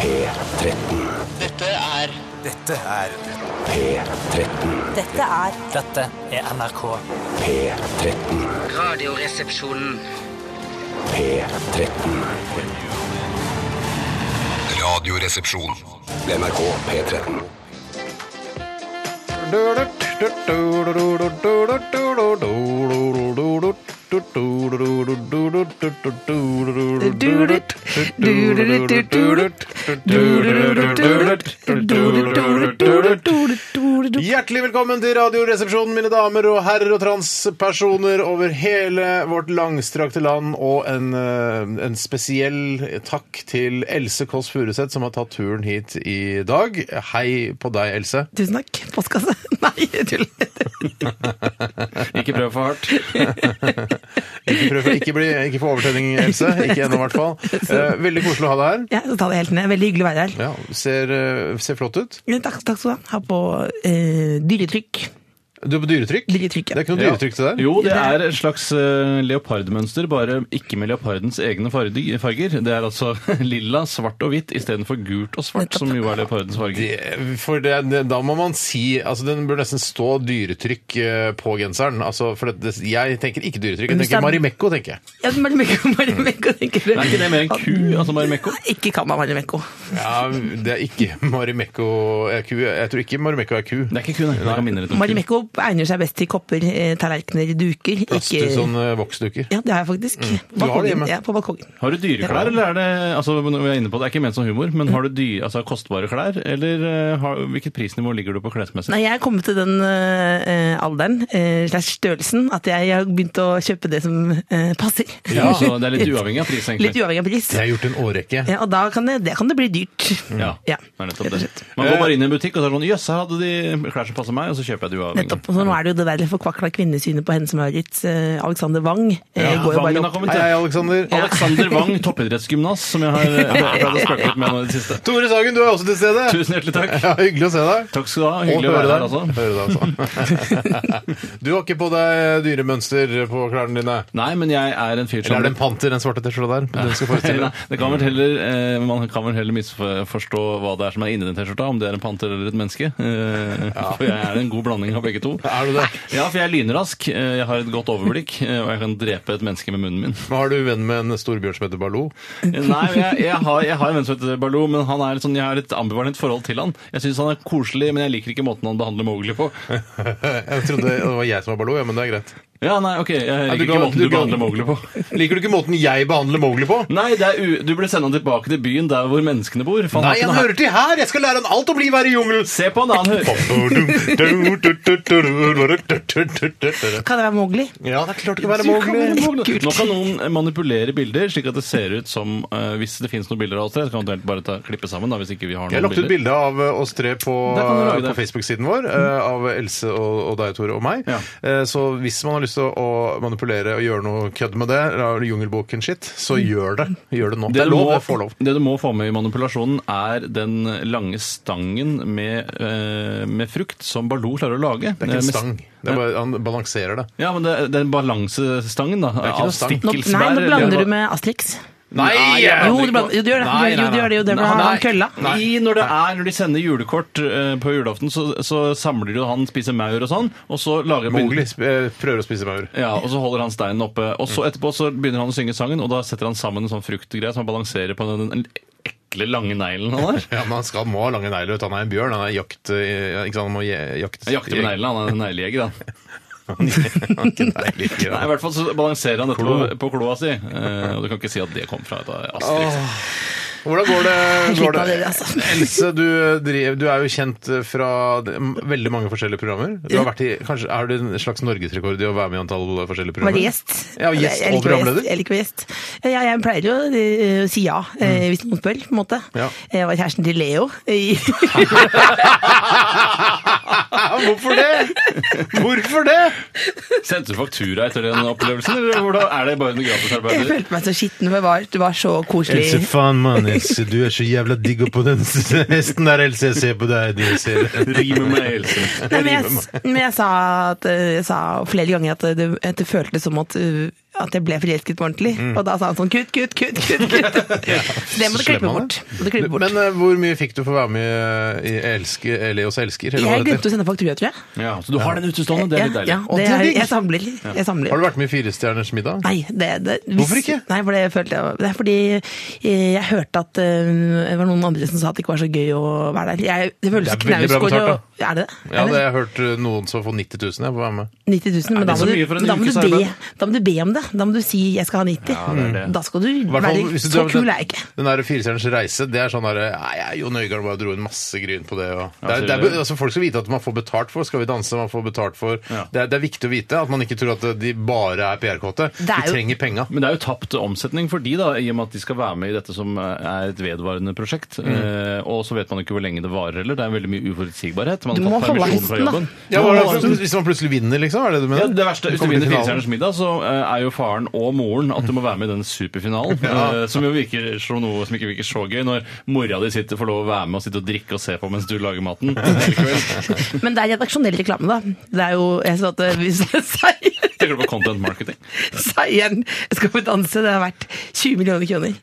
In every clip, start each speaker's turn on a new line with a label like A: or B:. A: P13.
B: Dette er
C: Dette er
A: P13.
D: Dette er
E: Dette er NRK.
A: P13.
F: Radioresepsjonen.
A: P13.
G: Radioresepsjon.
A: NRK P13.
H: Hjertelig velkommen til Radioresepsjonen, mine damer og herrer og transpersoner over hele vårt langstrakte land, og en, eh, en spesiell takk til Else Kåss Furuseth som har tatt turen hit i dag. Hei på deg, Else.
D: Tusen takk. Postkasse. Nei, jeg tuller.
I: Ikke prøv for hardt.
H: Ikke, prøv, ikke, bli, ikke få overtenning, Else. Ikke ennå, i hvert fall. Eh, Veldig koselig å ha deg her.
D: Ja, så tar det helt ned. Veldig hyggelig å være her.
H: Ja, ser, eh, ser flott ut.
D: Takk, takk skal du ha. Har på eh, dyretrykk.
H: Du er på dyretrykk?
D: Dyretrykk, ja.
H: Det er ikke noe dyretrykk til deg?
I: Jo, det er et slags eh, leopardmønster, bare ikke med leopardens egne fardig- farger. Det er altså lilla, svart og hvitt istedenfor gult og svart, som jo er leopardens farger.
H: Det- For det, det, da må man si altså Den bør nesten stå dyretrykk eh, på genseren. Altså, for det, det- jeg tenker ikke dyretrykk.
D: Men
H: Jeg
D: hvis det
H: tenker
D: er-
H: Marimekko, tenker jeg.
D: Ja, Marimekko, Marimekko, tenker du.
I: Er ikke det mer en ku, altså Marimekko?
D: Ikke kall meg Marimekko.
H: Ja, det er ikke Marimekko er ku. Jeg tror ikke Marimekko E er ku.
I: Det er ikke ku, nei. Det kan minne litt om ku.
D: Marimekko egner seg best til kopper, eh, tallerkener, duker.
H: Plass til sånne voksduker.
D: Ja, det har jeg
I: Mm.
D: faktisk. På
H: Du har det
D: balkongen.
H: hjemme.
D: Ja, på balkongen.
I: Har du dyreklær, eller er det altså, når vi er inne på det, det er ikke ment som humor, men har du dyr, altså, kostbare klær, eller eh, har, hvilket prisnivå ligger du på klesmessig?
D: Nei, jeg er kommet til den eh, alderen, eh, slags størrelsen, at jeg har begynt å kjøpe det som eh, passer.
I: Ja, så det er litt uavhengig av pris, egentlig.
D: Litt uavhengig av pris.
H: Det har jeg gjort en årrekke.
D: Ja, og da kan det, det kan det bli dyrt.
I: Ja, det
D: Ja,
I: er nettopp
D: rett og
I: det.
D: slett.
I: Man går bare inn i en butikk og tar sånn Jøss, her hadde de klær som passer meg, og så kjøper jeg det uavhengig.
D: Nettopp. Og så nå er det jo det der forkvakla kvinnesynet på henne som har gitt eh, Alexander Wang. eh, går jo
I: Vangen
D: bare
I: har
D: opp.
I: kommet
H: Hei,
I: til.
H: hei, Aleksander.
I: Alexander Wang, toppidrettsgymnas, som jeg har eh, jeg har prøvd å spøke litt med nå i det siste.
H: Tore Sagen, du er også til stede.
I: Tusen hjertelig takk.
H: Ja, hyggelig å se deg.
I: Takk skal du ha.
H: Og
I: Hyggelig å være her,
H: deg.
I: altså.
H: Høre deg, altså. Du har ikke på deg dyremønster på klærne dine?
I: Nei, men jeg er en fyr som
H: Eller er det en panter, den svarte T-skjorta der? Den skal forestille.
I: Nei, det kan vel heller, eh, man kan vel heller misforstå hva det er som er inni den T-skjorta, om det er en panter eller et menneske. Eh, For jeg er en god blanding av begge to.
H: Er du det?
I: Ja, for jeg er lynrask, eh, jeg har et godt overblikk, eh, og jeg kan drepe et menneske med munnen min.
H: Men Har du venn med en stor bjørn som heter Baloo?
I: Nei, men jeg, jeg, har, jeg har en venn som heter Baloo, men han er litt sånn, jeg har et ambivalent forhold til han. Jeg syns han er koselig, men jeg liker ikke måten han behandler Mowgli på.
H: Jeg trodde det var jeg som var Baloo, ja, men det er greit.
I: Ja, nei, ok, jeg liker
H: du
I: ikke
H: kan-
I: måten
H: du
I: du,
H: kan-
I: behandler Mowgli på.
H: Liker du ikke måten jeg behandler Mowgli på?
I: Nei, det er u du blir sendt tilbake til byen der hvor menneskene bor. for har
H: Nei,
I: ikke
H: han
I: noe her.
H: hører til her! Jeg skal lære han alt om livet her i jungelen!
I: Se på han, da, han hører
D: Kan det være Mowgli?
H: Ja, det er klart det kan være
D: Mowgli.
H: Mowgli.
I: Nå kan noen manipulere bilder, slik at det ser ut som eh, Hvis det finnes noen bilder av oss tre, så kan vi eventuelt bare ta, klippe sammen. da, hvis ikke vi har
H: Jeg har
I: noen
H: lagt ut
I: bilder.
H: bilde av eh, oss tre på,
I: Der kan du lage
H: på
I: det. Mm.
H: Facebook-siden vår. eh, Av Else og, og deg, Tore, og meg.
I: Ja.
H: Eh, Så hvis man har lyst til å manipulere og gjøre noe kødd med det, la- Jungelboken-shit, så
I: Mm.
H: gjør det. Gjør det nå. Det er
I: du
H: lov.
I: må-
H: Jeg får lov.
I: det du må få med i manipulasjonen, er den lange stangen med, eh, med frukt som Baloo klarer å lage. Eh,
H: Det er ikke en stang. Det er bare, han balanserer det.
I: Ja, men det, den balansestangen, da.
H: er ikke noe
I: av
H: stang.
D: Nå, nei,
I: stikkelsbær,
D: nå
I: eller-
D: blander du med Asterix.
H: Nei!
D: Jo, du, blander, jo, du gjør det.
H: Nei, nei,
D: jo, du gjør det, jo, det
H: nei.
D: var
H: Nei.
D: han kølla.
I: I når det er, når de sender julekort eh, på julaften, så, så samler de og han spiser maur og sånn, og så lager
H: Mowgli sp- eh, prøver å spise maur.
I: Ja, og så holder han steinen oppe. Og så
H: Mm.
I: etterpå så begynner han å synge sangen, og da setter han sammen en sånn fruktgreie som han balanserer på den, den ekle lange neglen han har.
H: Ja, men han skal, må ha lange negler. vet du. Han er en bjørn. Han er jakt... eh, Ikke sant? Han må je, jakt...
I: Jeg jakter på neglene, han er en neglejeger, han.
H: negler.
I: Nei, I hvert fall så balanserer han dette på, på kloa si, eh, og du kan ikke si at det kom fra et Asterix.
H: Hvordan går det? Går
D: Slutt av
H: det?
D: dere, altså.
H: Else, du, driver, du er jo kjent fra de- m- veldig mange forskjellige programmer. Du har, vært i, kanskje, har du en slags norgesrekord i å være med i antall forskjellige
D: Var
H: programmer?
D: det gjest?
H: Ja, gjest
D: Jeg- jeg
H: og
D: liker å være
H: programleder.
D: gjest, Jeg liker å være gjest. Ja, jeg pleier jo eh, å si ja, eh, hvis noen spør, på en måte.
H: Ja.
D: Jeg var kjæresten til Leo i
H: Hvorfor det? Hvorfor det?
I: Sendte du faktura etter den opplevelsen, eller hvordan er det bare en
D: Jeg
I: gratisarbeider?
D: følte meg så skitten, for det var, det var så
H: Else,
D: koselig.
H: faen mann, Else. Du er så jævla digg oppå den hesten der, Else. Jeg ser på deg. Du ser
I: Rimer med Elsen.
D: Nei, men jeg, men jeg sa, at, eh, jeg sa flere ganger at det, at det føltes som at, eh, at jeg ble forelsket på ordentlig.
H: Mm.
D: Og da sa han sånn kutt, kutt, kutt, kutt. kutt. Så det må du
H: Så slem
D: klippe
H: han er.
D: bort. Må du klippe bort.
H: Men eh, hvor mye fikk du for å være med i Elsker, Elios elsker? eller hva
D: jeg
H: det heter?
D: glemte å sende faktura, tror jeg.
I: Ja, så du har den utestående, det er litt
D: Ja,
I: deilig.
D: ja,
H: Å,
D: det
H: det er
D: er,
H: digg.
D: jeg samler. Jeg samler.
H: Har du vært med i Firestjerners middag?
D: Nei, det, det, hvis,
H: Hvorfor ikke?
D: Nei, for det følte jeg Det er fordi eh, jeg hørte at eh, det var noen andre som sa at det ikke var så gøy å være der. Jeg, det føles
H: Det er veldig bra
D: knausgård
H: betalt,
D: å- Er det det? Er
H: Ja, det har jeg hørt eh, noen som får 90 000 jeg, for å være med.
D: 90 000, men
I: det
D: da må,
I: så
D: du,
I: mye for en
D: da, må
I: ukes
D: du be,
I: arbeid?
D: da må du be om det. Da må du si 'jeg skal ha 90'.
I: det er det.
D: Da skal du
H: I hvert fall
D: være
H: hvis du
D: Så
H: drar-
D: kul er jeg ikke.
H: Den der Firestjerners reise, det er sånn der Nei, jeg, Jon Øigarden bare dro inn masse gryn på det. Og. Det er, det er, altså, folk skal vite at man får betalt for Skal vi danse, man får betalt for.
I: Ja.
H: Det, er, det er viktig å vite at man ikke tror at de bare er PR-kåte.
D: er
H: De
D: jo-
H: trenger penga.
I: Men det er jo tapt omsetning for de, da, i og med at de skal være med i dette som eh, er et vedvarende prosjekt. Eh,
D: Mm.
I: og så vet man ikke hvor lenge det varer heller. Det er veldig mye uforutsigbarhet. Man
D: Du
I: har
D: må
I: tatt
D: holde
I: permisjon fra
D: hesten, da.
I: jobben.
H: Ja, hva er det, hvis man plutselig vinner, liksom? Er det det du mener?
I: Ja, det verste Hvis du
H: kommer til
I: vinner
H: finalen.
I: Firestjerners middag, så eh, er jo faren og moren at du må være med i den superfinalen. eh, Som jo virker som noe som ikke virker så gøy, når mora di sitter får lov å være med og sitte og drikke og se på mens du lager maten. Likevel.
D: Men det er redaksjonell reklame, da. Det er jo Jeg så at eh, hvis seier-
I: Tenker du på content marketing?
D: seieren Skal vi danse, det har vært 20 millioner kroner.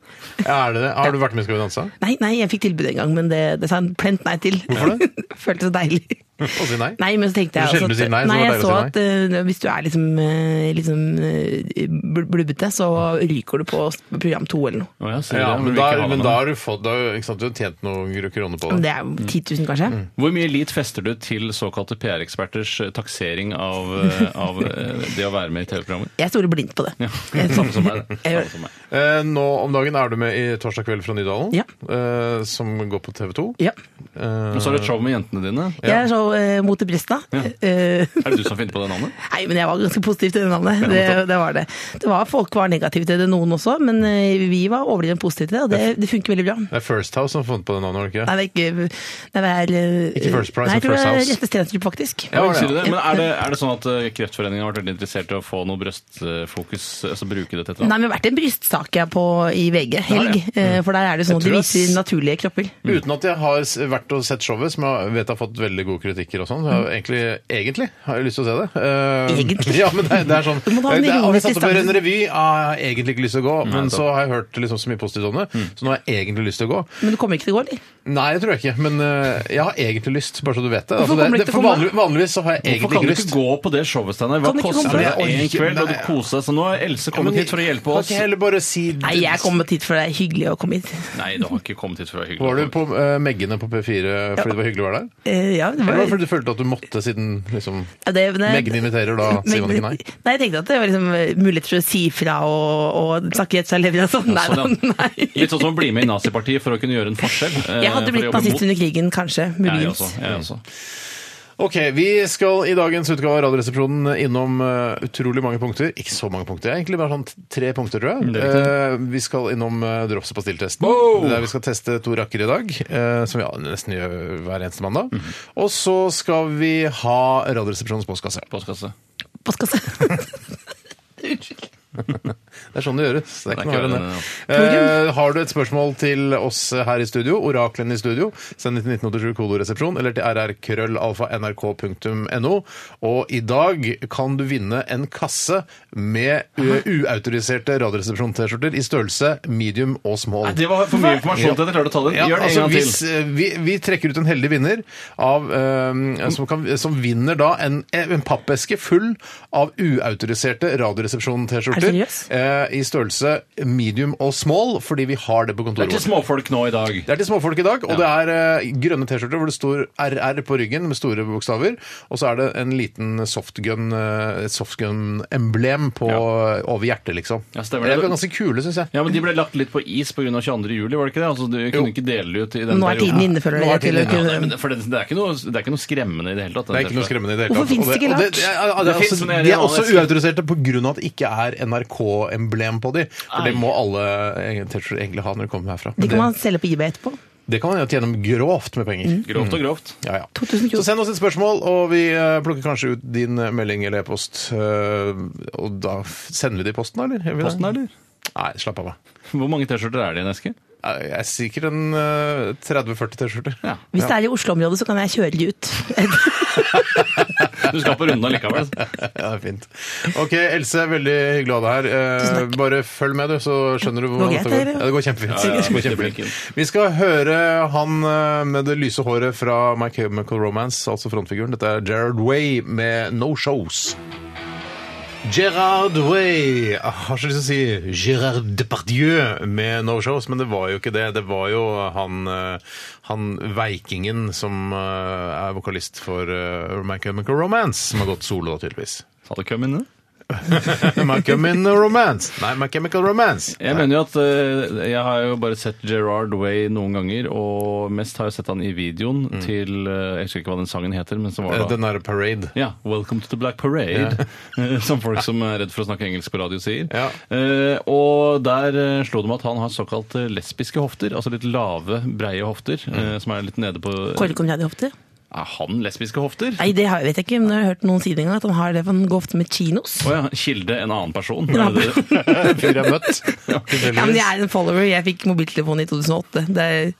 H: Ja, er det det? Har du vært med i Skal vi danse?
D: Nei, nei, jeg fikk tilbud en gang, men det, det sa han plent nei til.
H: Hvorfor det?
D: Føltes så deilig.
H: Å si nei?
D: Nei, men så tenkte jeg
H: Det er sjelden
D: altså
H: du sier nei, så
D: nei,
H: det var
D: jeg
H: deilig
D: så
H: å si
D: at eh, hvis du er liksom, eh, liksom eh, bl- blubbete, så ryker du på s- program to eller noe.
I: Å ja, sier
H: Ja,
I: det,
H: men
I: vil
H: da,
I: ikke ha det
H: men
I: med.
H: da har du fått da, har du- ikke sant, Du har tjent noen kroner på
D: Men
H: det.
D: det er jo 10 000 kanskje.
H: Mm.
I: Hvor mye lit fester du til såkalte PR-eksperters eh, taksering av, eh, av eh, det å være med i TV-programmer?
D: Jeg stoler blindt på det.
I: Ja, samme som meg. det.
D: Jeg gjør
I: Samme som meg.
H: Eh, nå om dagen er du med i Torsdag kveld fra Nydalen,
D: Ja.
H: eh, som går på TV 2.
D: Ja.
H: Eh,
I: Og så har du et show med jentene dine.
D: Jeg er så eh, mot i brista. Eh,
I: Er det du som har funnet på det navnet?
D: nei, men jeg var ganske positiv til det navnet. Det, det var det. det var, folk var negative til det, noen også, men eh, vi var overdrevent positive til det, og det, det funker veldig bra.
H: Det er First House som har funnet på det navnet, var det ikke?
D: Nei, det er ikke, nei, det er, eh,
H: Ikke First Price,
D: nei, Jeg
H: men First House.
D: tror det er Rette Stenstrup, faktisk.
H: Ja, var det,
I: Sier du
H: ja.
I: det? Men er det, er det sånn at eh, Kreftforeningen har vært veldig interessert i å få noe brøstfokus, altså bruke det til et eller
D: Nei,
I: annet?
D: men det har vært en brystsak jeg på i VG helg,
I: Ja,
D: eh, for der er det sånn at de
H: tror Mm. jeg
D: viser
H: s-
D: naturlige kropper.
H: Uten at jeg har s- vært og sett showet, som jeg vet har fått veldig gode kritikker og sånn. så jeg har Egentlig, egentlig har jeg lyst til å se det. Eh,
D: Mm. Egentlig?
H: Ja, men det, er- det er sånn
D: Du må ta en
H: det er- Har vi
D: ironisk
H: satt opp en
D: distanse.
H: revy? Ah, jeg har egentlig ikke lyst til å gå, men
I: sant.
H: så har jeg hørt liksom så mye positivt om det,
D: Mm.
H: så nå har jeg egentlig lyst til å gå.
D: Men du kommer ikke til å gå, eller?
H: Nei, det tror jeg ikke, men eh, jeg har egentlig lyst, bare så du vet
D: Hvorfor
H: det. Altså, det,
D: kommer du
H: det
D: ikke
H: for
D: til å komme?
H: vanlig, vanligvis så har jeg
I: Hvorfor
H: egentlig
I: kan
H: ikke
I: du
H: lyst.
I: ikke gå på det showet, Steinar? Hva
D: Kan du ikke
I: koster
D: komme?
I: det
H: Ja, men
I: én
H: jeg orker-
I: kveld? Og du
H: Nei.
I: koser deg. Så nå har Else kommet hit for å hjelpe
H: Kan
I: oss.
H: ikke jeg heller bare si
D: Nei, jeg kommer hit for det er hyggelig å komme hit.
I: Nei, du har ikke kommet hit for å være hyggelig.
H: Var du på eh, Meggene på P4 fordi det var hyggelig å være der?
D: Eh, ja, det
H: Eller var det
D: var...
H: fordi du følte at du måtte, siden liksom
D: Ja, det- det-
H: Meggen inviterer, da sier man ikke nei?
D: Nei, jeg tenkte at det var liksom eh, mulighet for å si fra og, og snakke rett fra levra og sånn. Nei,
I: sånn, ja.
D: da, nei.
I: Litt sånn som å bli med i nazipartiet for å kunne gjøre en forskjell. eh,
D: Jeg hadde
I: for å
D: blitt
I: jobbe mot-
D: nazist under krigen, kanskje,
I: Jeg
D: muligens.
I: også. Jeg også.
H: Ok, vi skal i dagens utgave av Radioresepsjonen innom eh, utrolig mange punkter. Ikke så mange punkter, egentlig bare sånn t- tre punkter, tror jeg.
I: Det er riktig.
H: Eh, vi skal innom uh, drops- og pastilltesten,
I: Wow!
H: der vi skal teste to rakker i dag, eh, som vi ja, nesten gjør hver eneste mandag.
I: Mhm.
H: Og så skal vi ha Radioresepsjonens postkasse.
I: Postkasse.
D: Postkasse. Unnskyld.
H: Det er sånn det gjøres. Det er
I: Det er
H: ikke noe
I: ikke
H: verre enn
I: verre
H: det. Eh, har du et spørsmål til oss her i studio, oraklen i studio, send det til 1987 kodoresepsjon eller til rrkrøllalfa.nrk.no. Og i dag kan du vinne en kasse med u- uautoriserte Radioresepsjon-T-skjorter i størrelse medium og small.
I: Nei, det var for mye informasjon til at jeg klarte å ta den.
H: Ja,
I: Gjør det en
H: altså,
I: gang til.
H: hvis, eh, vi, vi trekker ut en heldig vinner av, eh, som, kan, som vinner da en, en pappeske full av uautoriserte
D: Er
H: Radioresepsjonen-T-skjorter
D: du seriøs?
H: eh, i størrelse medium og small, fordi vi har det på
I: Det er
H: kontoret
I: til
H: vårt.
I: småfolk nå i dag.
H: Det er til småfolk i dag, og det er eh, grønne T-skjorter hvor det står RR på ryggen med store bokstaver, og så er det en liten softgun, eh, softgun-emblem på, over hjertet, liksom.
I: Ja, stemmer
H: det
I: det.
H: er ganske kule, syns jeg.
I: Ja, men De ble lagt litt på is pga. 22. juli, var det ikke det? Altså, Du kunne ikke dele det ut i den
D: Nå er tiden
I: perioden.
D: inne, føler
H: Nå er
D: jeg. til å
H: tiden inne,
I: Ja,
D: kunne-
I: nei, men det- for det, det, er ikke noe, det er ikke noe skremmende i det hele tatt. den
H: Det er ikke noe
I: T-skjorta.
H: skremmende i det hele
D: Hvorfor
H: tatt.
D: finnes det
H: Og
D: ikke
H: og
D: lart?
H: det- ja, ja, det er
I: Det finnes,
H: også-
I: men det er
H: De er
I: en annen
H: også
I: sk-
H: uautoriserte pga. at det ikke er NRK-emblem på de. For det
I: Nei.
H: må alle T-skjorter egentlig ha når de kommer herfra.
D: De
H: Men
D: kan man Mm.
H: det,
D: selge på eBay etterpå.
H: det kan man jo tjene grovt med penger.
I: Grovt og grovt.
H: Ja, ja.
D: 2000 kroner.
H: Så send oss et spørsmål, og vi eh, plukker kanskje ut din eh, melding eller e-post. eh, Og da f- sender vi det i posten, da, eller? Gjør vi det?
I: Posten, eller?
H: Nei, slapp av. da.
I: Hvor mange T-skjorter er det i en eske?
H: Nei, Jeg er sikkert en eh, 30-40 T-skjorter.
I: Ja.
D: Hvis det er i Oslo-området, så kan jeg kjøre de ut.
I: Du skal på runden allikevel.
H: Ja, det er fint. OK, Else, veldig hyggelig å ha deg her. Eh, Bare følg med, du, så skjønner du hvordan
D: greit,
H: dette går.
D: det, eller?
H: Ja, det går
I: Ja,
H: kjempefint.
I: ja,
H: det går
I: kjempeflink.
H: kjempefint. Vi skal høre han eh, med det lyse håret fra My Chemical Romance, altså frontfiguren. Dette er Gerard Way med No Shows. Gerard Way Ah, Jeg har så lyst til å si Gerard Depardieu med No Shows, men det var jo ikke det. Det var jo han, eh, han veikingen som eh, er vokalist for eh, My Chemical Romance, som har gått solo, da, tydeligvis.
I: Sa du køm inne?
H: My Chemical Romance. Nei, My Chemical Romance.
I: Jeg mener jo at eh, jeg har jo bare sett Gerard Way noen ganger, og mest har jeg sett han i videoen til eh, Jeg husker ikke hva den sangen heter, men som var
H: Eh,
I: da
H: Den derre Parade.
I: Ja, 'Welcome to the Black Parade', eh, som folk som er redd for å snakke engelsk på radio sier.
H: Ja.
I: Eh, og der eh, slo det meg at han har såkalt eh, lesbiske hofter, altså litt lave, breie hofter,
H: Mm.
I: eh, som er litt nede på
D: Kåre Conradi hofter?
I: Er han lesbiske hofter?
D: Nei, det har, vet jeg ikke, men jeg har hørt noen si det en gang, at han har det, for han går ofte med chinos.
I: Å ja, kilde en annen person.
D: Ja.
I: Er det det?
H: Fyr jeg har møtt.
D: Ja, men jeg er en follower. Jeg fikk mobiltelefon i 2008. Det er...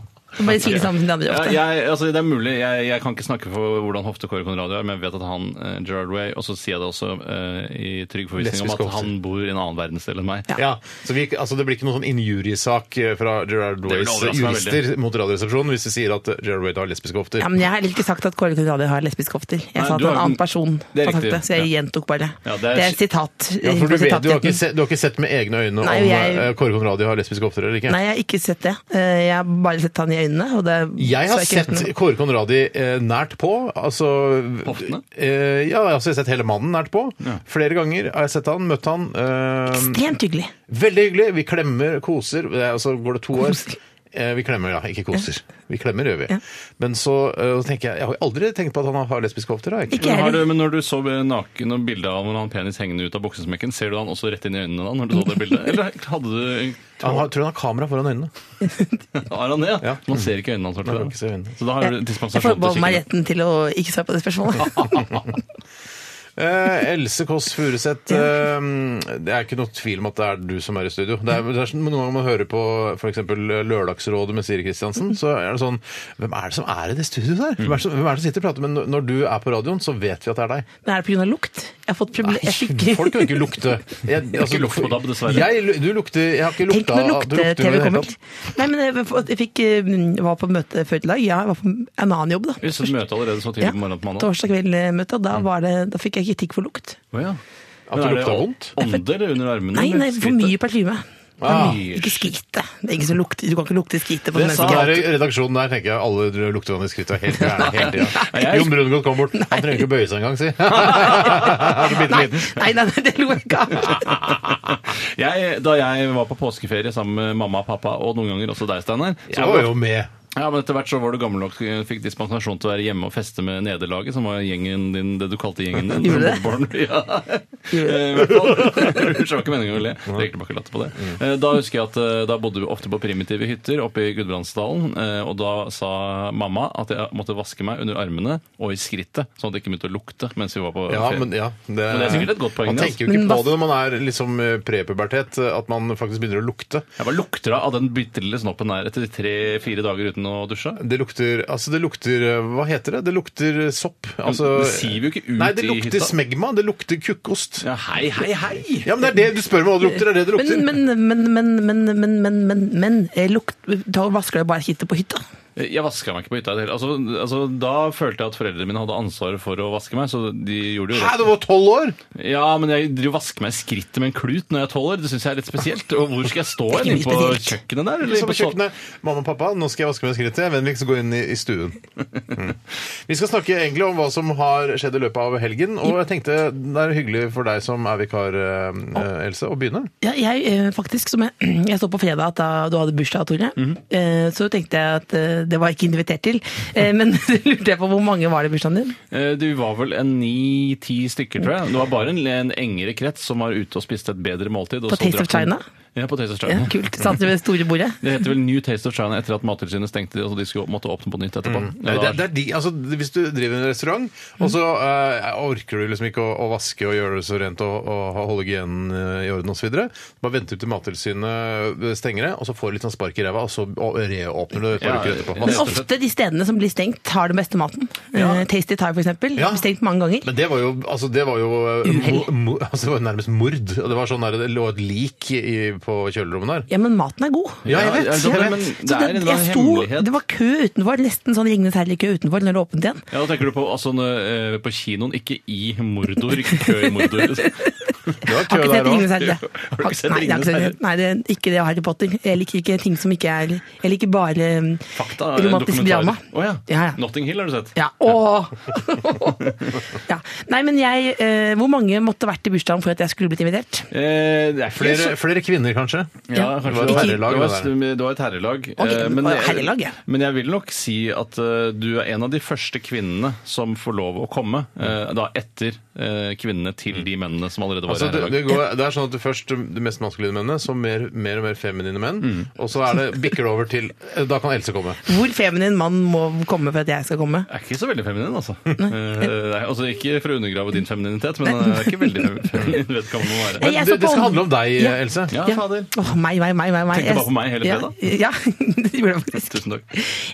D: Så Bare si det sammen med de andre
I: Ja,
D: ofte.
I: jeg, altså, det er mulig, jeg, jeg kan ikke snakke for hvordan hofte Kåre Conradi er, men jeg vet at han, eh, Gerard Way, og så sier jeg det også eh, i trygg forvissning om
H: Lesbiske
I: at
H: hofter.
I: han bor i en annen verdensdel enn meg.
H: Ja, så vi, altså Det blir ikke noen sånn injuriesak eh, fra Gerard
I: vil
H: Ways
I: overraske meg
H: jurister mot Radioresepsjonen hvis de sier at eh, Gerard Way har lesbiske hofter.
D: Ja, men jeg har ikke sagt at Kåre Conradi har lesbiske hofter. Jeg
I: Nei,
D: sa at
I: du
D: en
I: har-
D: annen person
I: Det er
D: har sagt
I: riktig.
D: det, så jeg
I: Ja.
D: gjentok bare.
I: Ja, det
D: det
I: er-
D: er et sitat.
H: Ja, for du,
D: på
H: vet, du, har ikke
D: sitatretten.
H: sett, du har ikke sett med egne øyne
D: Nei,
H: om
D: jeg-
H: eh, Kåre Conradi har lesbiske hofter eller ikke?
D: Nei, jeg har ikke sett det. Eh, Jeg har bare sett han i øynene. Og det
H: Jeg har
D: så ikke hørt
H: sett
D: noe.
H: Kåre Conradi eh, nært på. Altså,
I: Hoftene?
H: Eh, ja, altså, jeg har sett hele mannen nært på.
I: Ja.
H: Flere ganger har jeg sett han, møtt han. Eh,
D: Ekstremt hyggelig.
H: veldig hyggelig. Vi klemmer, koser. Eh, Altså, går det to år?
D: Koser.
H: Eh, vi klemmer, ja. Ikke koser. Vi klemmer, gjør vi.
D: Ja.
H: Men så eh, så tenker jeg Jeg har aldri tenkt på at han har lesbiske hofter. Har jeg ikke.
D: Ikke
I: Men, har du,
D: heller.
I: men når du så naken og bildet av når han penis hengende ut av buksesmekken, ser du han også rett inn i øynene da? når du så det bildet? Eller hadde du
H: Han har, tror han har kamera foran øynene.
I: Har han det, ja?
H: Ja.
I: Man ser ikke øynene hans. i hvert
H: Man kan
I: fall.
H: ikke se øynene.
I: Så da har du
D: Jeg jeg
I: dispensasjon til å
D: forbeholder meg
I: kikke.
D: retten til å ikke svare på det spørsmålet.
H: Eh, Else Kåss Furuseth, eh, det er ikke noe tvil om at det er du som er i studio. Det er, det er sånn- Noen ganger man hører på f.eks. Lørdagsrådet med Siri Kristiansen, så er det sånn Hvem er det som er i det studioet der?
D: Mm.
H: Hvem er det som, hvem er det som sitter og prater? Men når- når du er på radioen, så vet vi at det er deg.
D: Men er det pga. lukt? Jeg har fått problem... Jeg fikk
H: Folk kan jo ikke lukte. Jeg, altså,
I: Ikke lukt på DAB, dessverre.
H: Jeg, du lukter, jeg har ikke
D: Tenk
H: lukta
D: når
H: at du lukter noe i
D: lukte-TV
H: det hele
D: kommer.
H: tatt.
D: Nei, men jeg f- jeg fikk, eh, var på møte før i dag. Ja, jeg var på en annen jobb, da.
I: Vi satt møte allerede så tidlig
D: Ja,
I: på morgenen på mandag.
D: torsdag kveld-møte,
H: Mm.
D: og da, var det, da fikk jeg kritikk for lukt.
I: Å ja.
H: At det
I: Men er
H: lukta vondt?
I: Ånder under armene?
D: Nei,
I: eller
D: nei, for
I: skrittet?
D: mye parfyme.
H: Ah.
D: Ikke skite. Det er ingen som lukter, du kan ikke lukte skite på
H: Det
D: en
H: sa
D: menneske.
H: her i redaksjonen der, tenker jeg. Alle lukter vann i skrittet og er helt gærne hele tida.
I: Nei.
H: Jon Brungot kom bort. Han trenger ikke å bøye seg engang, si. Han er så bitte
D: Nei,
H: liten.
D: nei, nei, nei, det lo jeg ikke av.
I: Jeg, da jeg var på påskeferie sammen med mamma og pappa, og noen ganger også deg, Steinar så
H: Jeg var jo med.
I: Ja, men Etter hvert så var du gammel nok, eh, fikk dispensasjon til å være hjemme og feste med nederlaget, som var gjengen din, det du kalte gjengen din.
D: Gjorde det?
I: Mobbebarn. Ja. Eh, i hvert fall. Unnskyld, det var ikke meningen å le. Jeg Rekker tilbake latter på det. Eh, Da husker jeg at eh, da bodde vi ofte på primitive hytter oppe i Gudbrandsdalen, eh, og da sa mamma at jeg måtte vaske meg under armene og i skrittet, sånn at det ikke begynte å lukte mens vi var på
H: Ja, men, ja, det,
I: Men det er sikkert et godt poeng, altså.
H: Man
I: det,
H: tenker jo ikke
D: Men
H: på
D: hva-
H: det når man er liksom eh, prepubertet, eh, at man faktisk begynner å lukte.
I: Jeg bare lukter av den bitte lille snoppen der etter tre-fire dager uten å dusje.
H: Det lukter altså det lukter, eh, Hva heter det? Det lukter eh, sopp. Altså,
I: det siver jo ikke ut
H: Nei, det
I: i
H: lukter
I: hytta.
H: smegma. Det lukter kukkost. Ja.
I: Ja, hei, hei, hei!
H: men det er det du spør meg hva det lukter. Det er det det lukter.
D: Men, men, men, men, men, men, men, men, men eh, lukt, da vasker du bare skittet på hytta.
I: Jeg vaska meg ikke på hytta i det hele. Altså, altså, da følte jeg at foreldrene mine hadde ansvaret for å vaske meg, så de gjorde jo
H: Hæ,
I: rett.
H: du var tolv år?
I: Ja, men jeg driver og vasker meg i skrittet med en klut når jeg er tolv år. Det syns jeg er litt spesielt. Og hvor skal jeg stå
D: Det er
I: hen?
D: ikke
I: Inn på
D: spesielt.
I: kjøkkenet der? Eller
H: Liksom
I: på
H: på kjøkkenet. Mamma og pappa, nå skal jeg vaske meg i skrittet. Vennligst gå inn i, i stuen. Mm. Vi skal snakke egentlig om hva som har skjedd i løpet av helgen. Og jeg tenkte det er hyggelig for deg som er vikar, eh, eh, Else, å begynne.
D: Ja, jeg eh, faktisk, som jeg, jeg så på fredag at da du hadde bursdag, Tore,
H: Mhm.
D: eh, så tenkte jeg at eh, det var jeg ikke invitert til. Eh, men lurte jeg på hvor mange var det i bursdagen din?
I: Eh, Du var vel en ni-ti stykker, tror jeg. Det var bare en, en engere krets som var ute og spiste et bedre måltid. og
D: På
I: så
D: Taste of
I: drakk den-
D: China?
I: Ja, på Taste of
D: Ja,
I: China.
D: kult. Satt dere ved det store bordet?
I: Det heter vel New Taste of China etter at Mattilsynet stengte trengte de, og de skulle måtte åpne på nytt etterpå.
H: Nei,
I: Ja,
H: Mm.
I: Mm.
H: det,
I: da-
H: det er de, altså, Hvis du driver en restaurant, og så eh, orker du liksom ikke å, å vaske og gjøre det så rent og, og holde hygienen eh, i orden osv., bare venter du til Mattilsynet stenger det, og så får du litt sånn spark i ræva, og så og reåpner du et
I: Ja,
H: par uker etterpå.
I: men
D: Men
I: rett og
H: Masse.
I: slett.
D: ofte de stedene som blir stengt, har den beste maten. Eh, Tasty Thai, for eksempel.
H: Ja.
D: Stengt mange ganger.
H: Men det var jo, altså, det var jo eh,
D: Uhell.
H: mo, mo, altså, det var nærmest mord. Og det var sånn der, det lå et lik i, på kjølerommet
D: Ja,
H: der.
D: men maten er god.
H: Ja, jeg vet, jeg
I: men-
H: vet.
I: Men det
D: Så
I: er en eller
D: jeg
I: annen
D: sto,
I: hemmelighet.
D: det var kø utenfor, nesten sånn Ringenes herlige kø utenfor når det åpnet igjen.
I: Ja, da tenker du på, altså, eh, på kinoen, ikke i Mordor, kø i Mordor.
H: Det var
D: Har
H: kø
D: ikke sett
H: der
D: Ringenes
H: òg.
D: herre.
I: Har du ikke sett
D: Nei, jeg har
I: Ringenes
D: ikke
I: herre?
D: sett- Nei, det er ikke det og Harry Potter. Jeg liker ikke ting som ikke er Jeg liker bare um,
I: Fakta, eh,
D: romantisk
I: dokumentarer.
D: drama.
I: Å ja.
D: Ja, ja.
I: Notting Hill har du sett.
D: Ja, åh! ja. Nei, men jeg eh, Hvor mange måtte vært i bursdagen for at jeg skulle blitt invitert?
I: Eh, det er ikke
H: Flere,
I: så-
H: flere kvinner, kanskje.
I: Ja,
H: Det
I: kanskje
H: var et herrelag.
I: det
H: det
I: var,
H: der.
I: det var et herrelag.
D: Ok,
I: Eh,
D: det var et herrelag, ja.
I: jeg, men jeg vil nok si at eh, du er en av de første kvinnene som får lov å komme, eh, da etter eh, kvinnene til de mennene som allerede var
H: Altså,
I: i
H: det, det,
I: herrelag.
H: går, det er sånn at du først de mest maskuline mennene, så mer, mer og mer feminine menn,
D: Mm.
H: og så er det, bikker det over til eh, Da kan Else komme.
D: Hvor feminin mann må komme for at jeg skal komme?
I: Jeg er ikke så veldig feminin, altså. Eh, nei, altså ikke for å undergrave din femininitet, men jeg er ikke veldig fem- feminin. Vet ikke hva man må være.
D: Nei,
H: Men
D: jeg
H: det,
D: så på-
H: det skal handle om deg,
D: Ja.
H: Else.
I: Ja, fader.
D: Åh, meg, meg, meg, meg, meg.
I: Tenkte bare på meg hele fredag.
D: Ja, ja det gjorde jeg faktisk.
I: Tusen takk.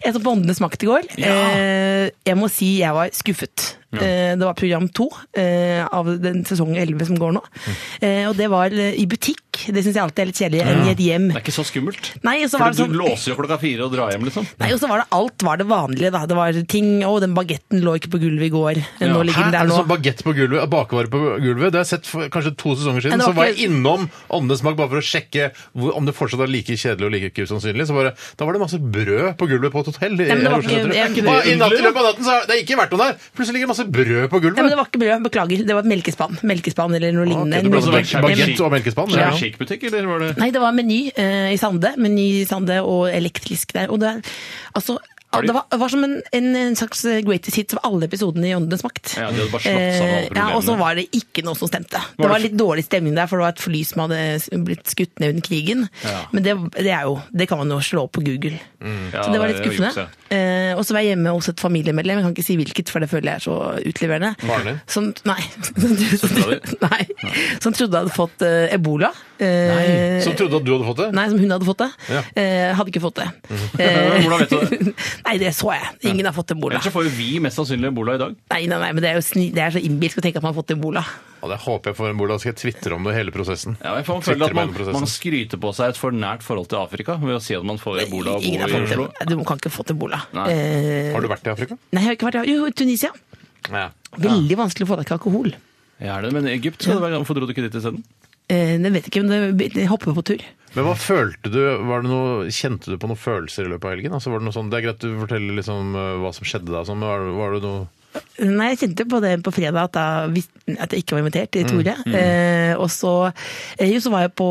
D: Jeg så på Åndenes makt i går.
I: Ja.
D: Eh, jeg må si jeg var skuffet. Eh, det var program to eh, av den sesong 11 som går nå.
H: Mm.
D: Eh, og det var eh, i butikk. Det syns jeg alltid er litt kjedelig. Enn i et hjem.
I: Det er ikke så skummelt.
D: Nei, og så
I: For
D: var det
I: du
D: sånn
I: låser jo klokka fire og drar hjem, liksom.
D: Nei, og så var det alt var det vanlige, da. Det var ting Å, den bagetten lå ikke på gulvet i går. Nå
I: Ja.
D: ligger
H: Hæ?
D: den
H: Er
D: der
H: det
D: nå.
H: sånn bagett på gulvet, bakevare på gulvet? Det har jeg sett for kanskje to sesonger
D: Men
H: siden.
D: det var
H: Så var
D: ikke-
H: jeg innom Åndenes makt bare for å sjekke hvor, om det fortsatt er like kjedelig og like usannsynlig. Så bare, da var det masse brød på gulvet på et hotell. i-
D: men det var
H: her i Oslo
D: ikke-
H: sentrum.
D: jeg-
H: Er ikke det Og I natt i løpet av natten så har det ikke vært noen der. Plutselig ligger det masse brød
D: Nei,
H: på
D: men det
H: gulvet.
D: var ikke brød. Beklager. Det var et melkespann. Melkespann eller noe
H: Ok,
D: lignende.
H: det ble altså
D: Meny.
H: bagett- bagett og melkespann.
I: Ja.
H: Ja.
I: Chic-butikk, eller var det
D: Nei, det var Meny eh, i Sande. Meny i Sande og elektrisk der. Og det er altså
I: Har de-
D: det var, det var som en, en, en slags eh, greatest hit av alle episodene i Åndenes makt.
I: Ja, de hadde bare slått sammen alle
D: Eh, ja, Og så
I: problemene.
D: var det ikke noe som stemte.
I: Var
D: Det
I: det
D: var
I: f-
D: litt dårlig stemning der, for det var et fly som hadde s- blitt skutt ned under krigen.
I: Ja. Mm.
D: Men det, det er jo Det kan man jo slå opp på Google.
I: Ja,
D: Så det var litt
I: det er
D: skuffende.
I: juks,
D: Eh, og så var jeg hjemme hos et familiemedlem, jeg kan ikke si hvilket, for det føler jeg er så utleverende.
H: Faren din?
D: Som, nei. Som,
I: Søstera
D: trodde- nei. Som trodde jeg hadde fått eh, ebola. Eh,
H: Som trodde at du hadde fått det?
D: Nei, som hun hadde fått det.
H: Ja.
D: Eh, hadde ikke fått det.
I: Hvordan vet du det?
D: nei, det så jeg. Ingen har fått ebola.
I: Ellers så får jo vi mest sannsynlig ebola i dag.
D: Nei, nei, nei, men det er jo sni det er så innbilsk å tenke at man har fått ebola.
H: Ja, det håper jeg får en bord. Da skal jeg tvitre om det hele prosessen.
I: Ja, jeg får man føler
H: Twitter
I: at
H: med
I: man,
H: hele prosessen.
I: man skryter på seg et for nært forhold til Afrika ved å si at man får ebola og
D: Ingen har
I: bor i
D: fått
I: Oslo.
D: det. Du kan ikke få ebola.
I: Nei.
D: Eh,
H: Har du vært i Afrika?
D: nei, jeg har ikke vært Jo, i Tunisia.
H: Nei.
D: Veldig vanskelig å få tak i alkohol.
I: Ja, er det, men i Egypt skal det være Hvorfor dro du ikke dit isteden?
D: Eh, jeg vet ikke, men det, det hopper på tur.
H: Men hva følte du? Var det noe, kjente du på noen følelser i løpet av helgen? Altså, var det, noe sånn, det er greit du forteller liksom, eh, hva som skjedde da, sånn, men var, det- var det noe
D: Nei, jeg kjente på det på fredag at, da, vis- at jeg ikke var invitert
I: Mm.
D: til Tore. Eh, og så, eh, jo, så var jeg på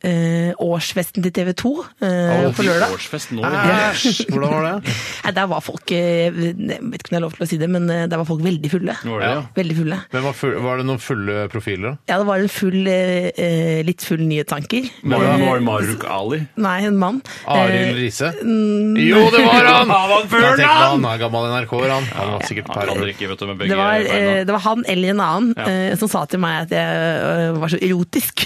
D: eh, årsfesten til TV 2 eh,
H: Å,
D: på lørdag.
I: Årsfest nå. liksom.
H: Æsj! Hvordan var det?
D: Nei, der var folk eh, Jeg vet ikke om jeg har lov til å si det, men eh, der var folk veldig fulle.
I: Var det, ja?
D: Veldig fulle.
H: Men var, full, var det noen fulle profiler? da?
D: Ja, det var en full, eh, eh, litt full nyhetstanker.
I: Var det,
D: Eh,
I: var det Maruk Ali?
D: Nei, en mann.
H: Arild
D: Eh,
H: Riise? Jo, det var han!
I: Ja, var han full,
H: Jeg tenkte,
I: da?
H: Han er gammel NRK-er, han. Han var sikkert
I: Han
H: per
I: kan
H: år.
I: drikke, vet du, med
D: det
I: begge
D: var, eh,
I: beina.
D: det var han eller en annen
I: Ja.
D: eh, som sa til meg at jeg eh, var så erotisk.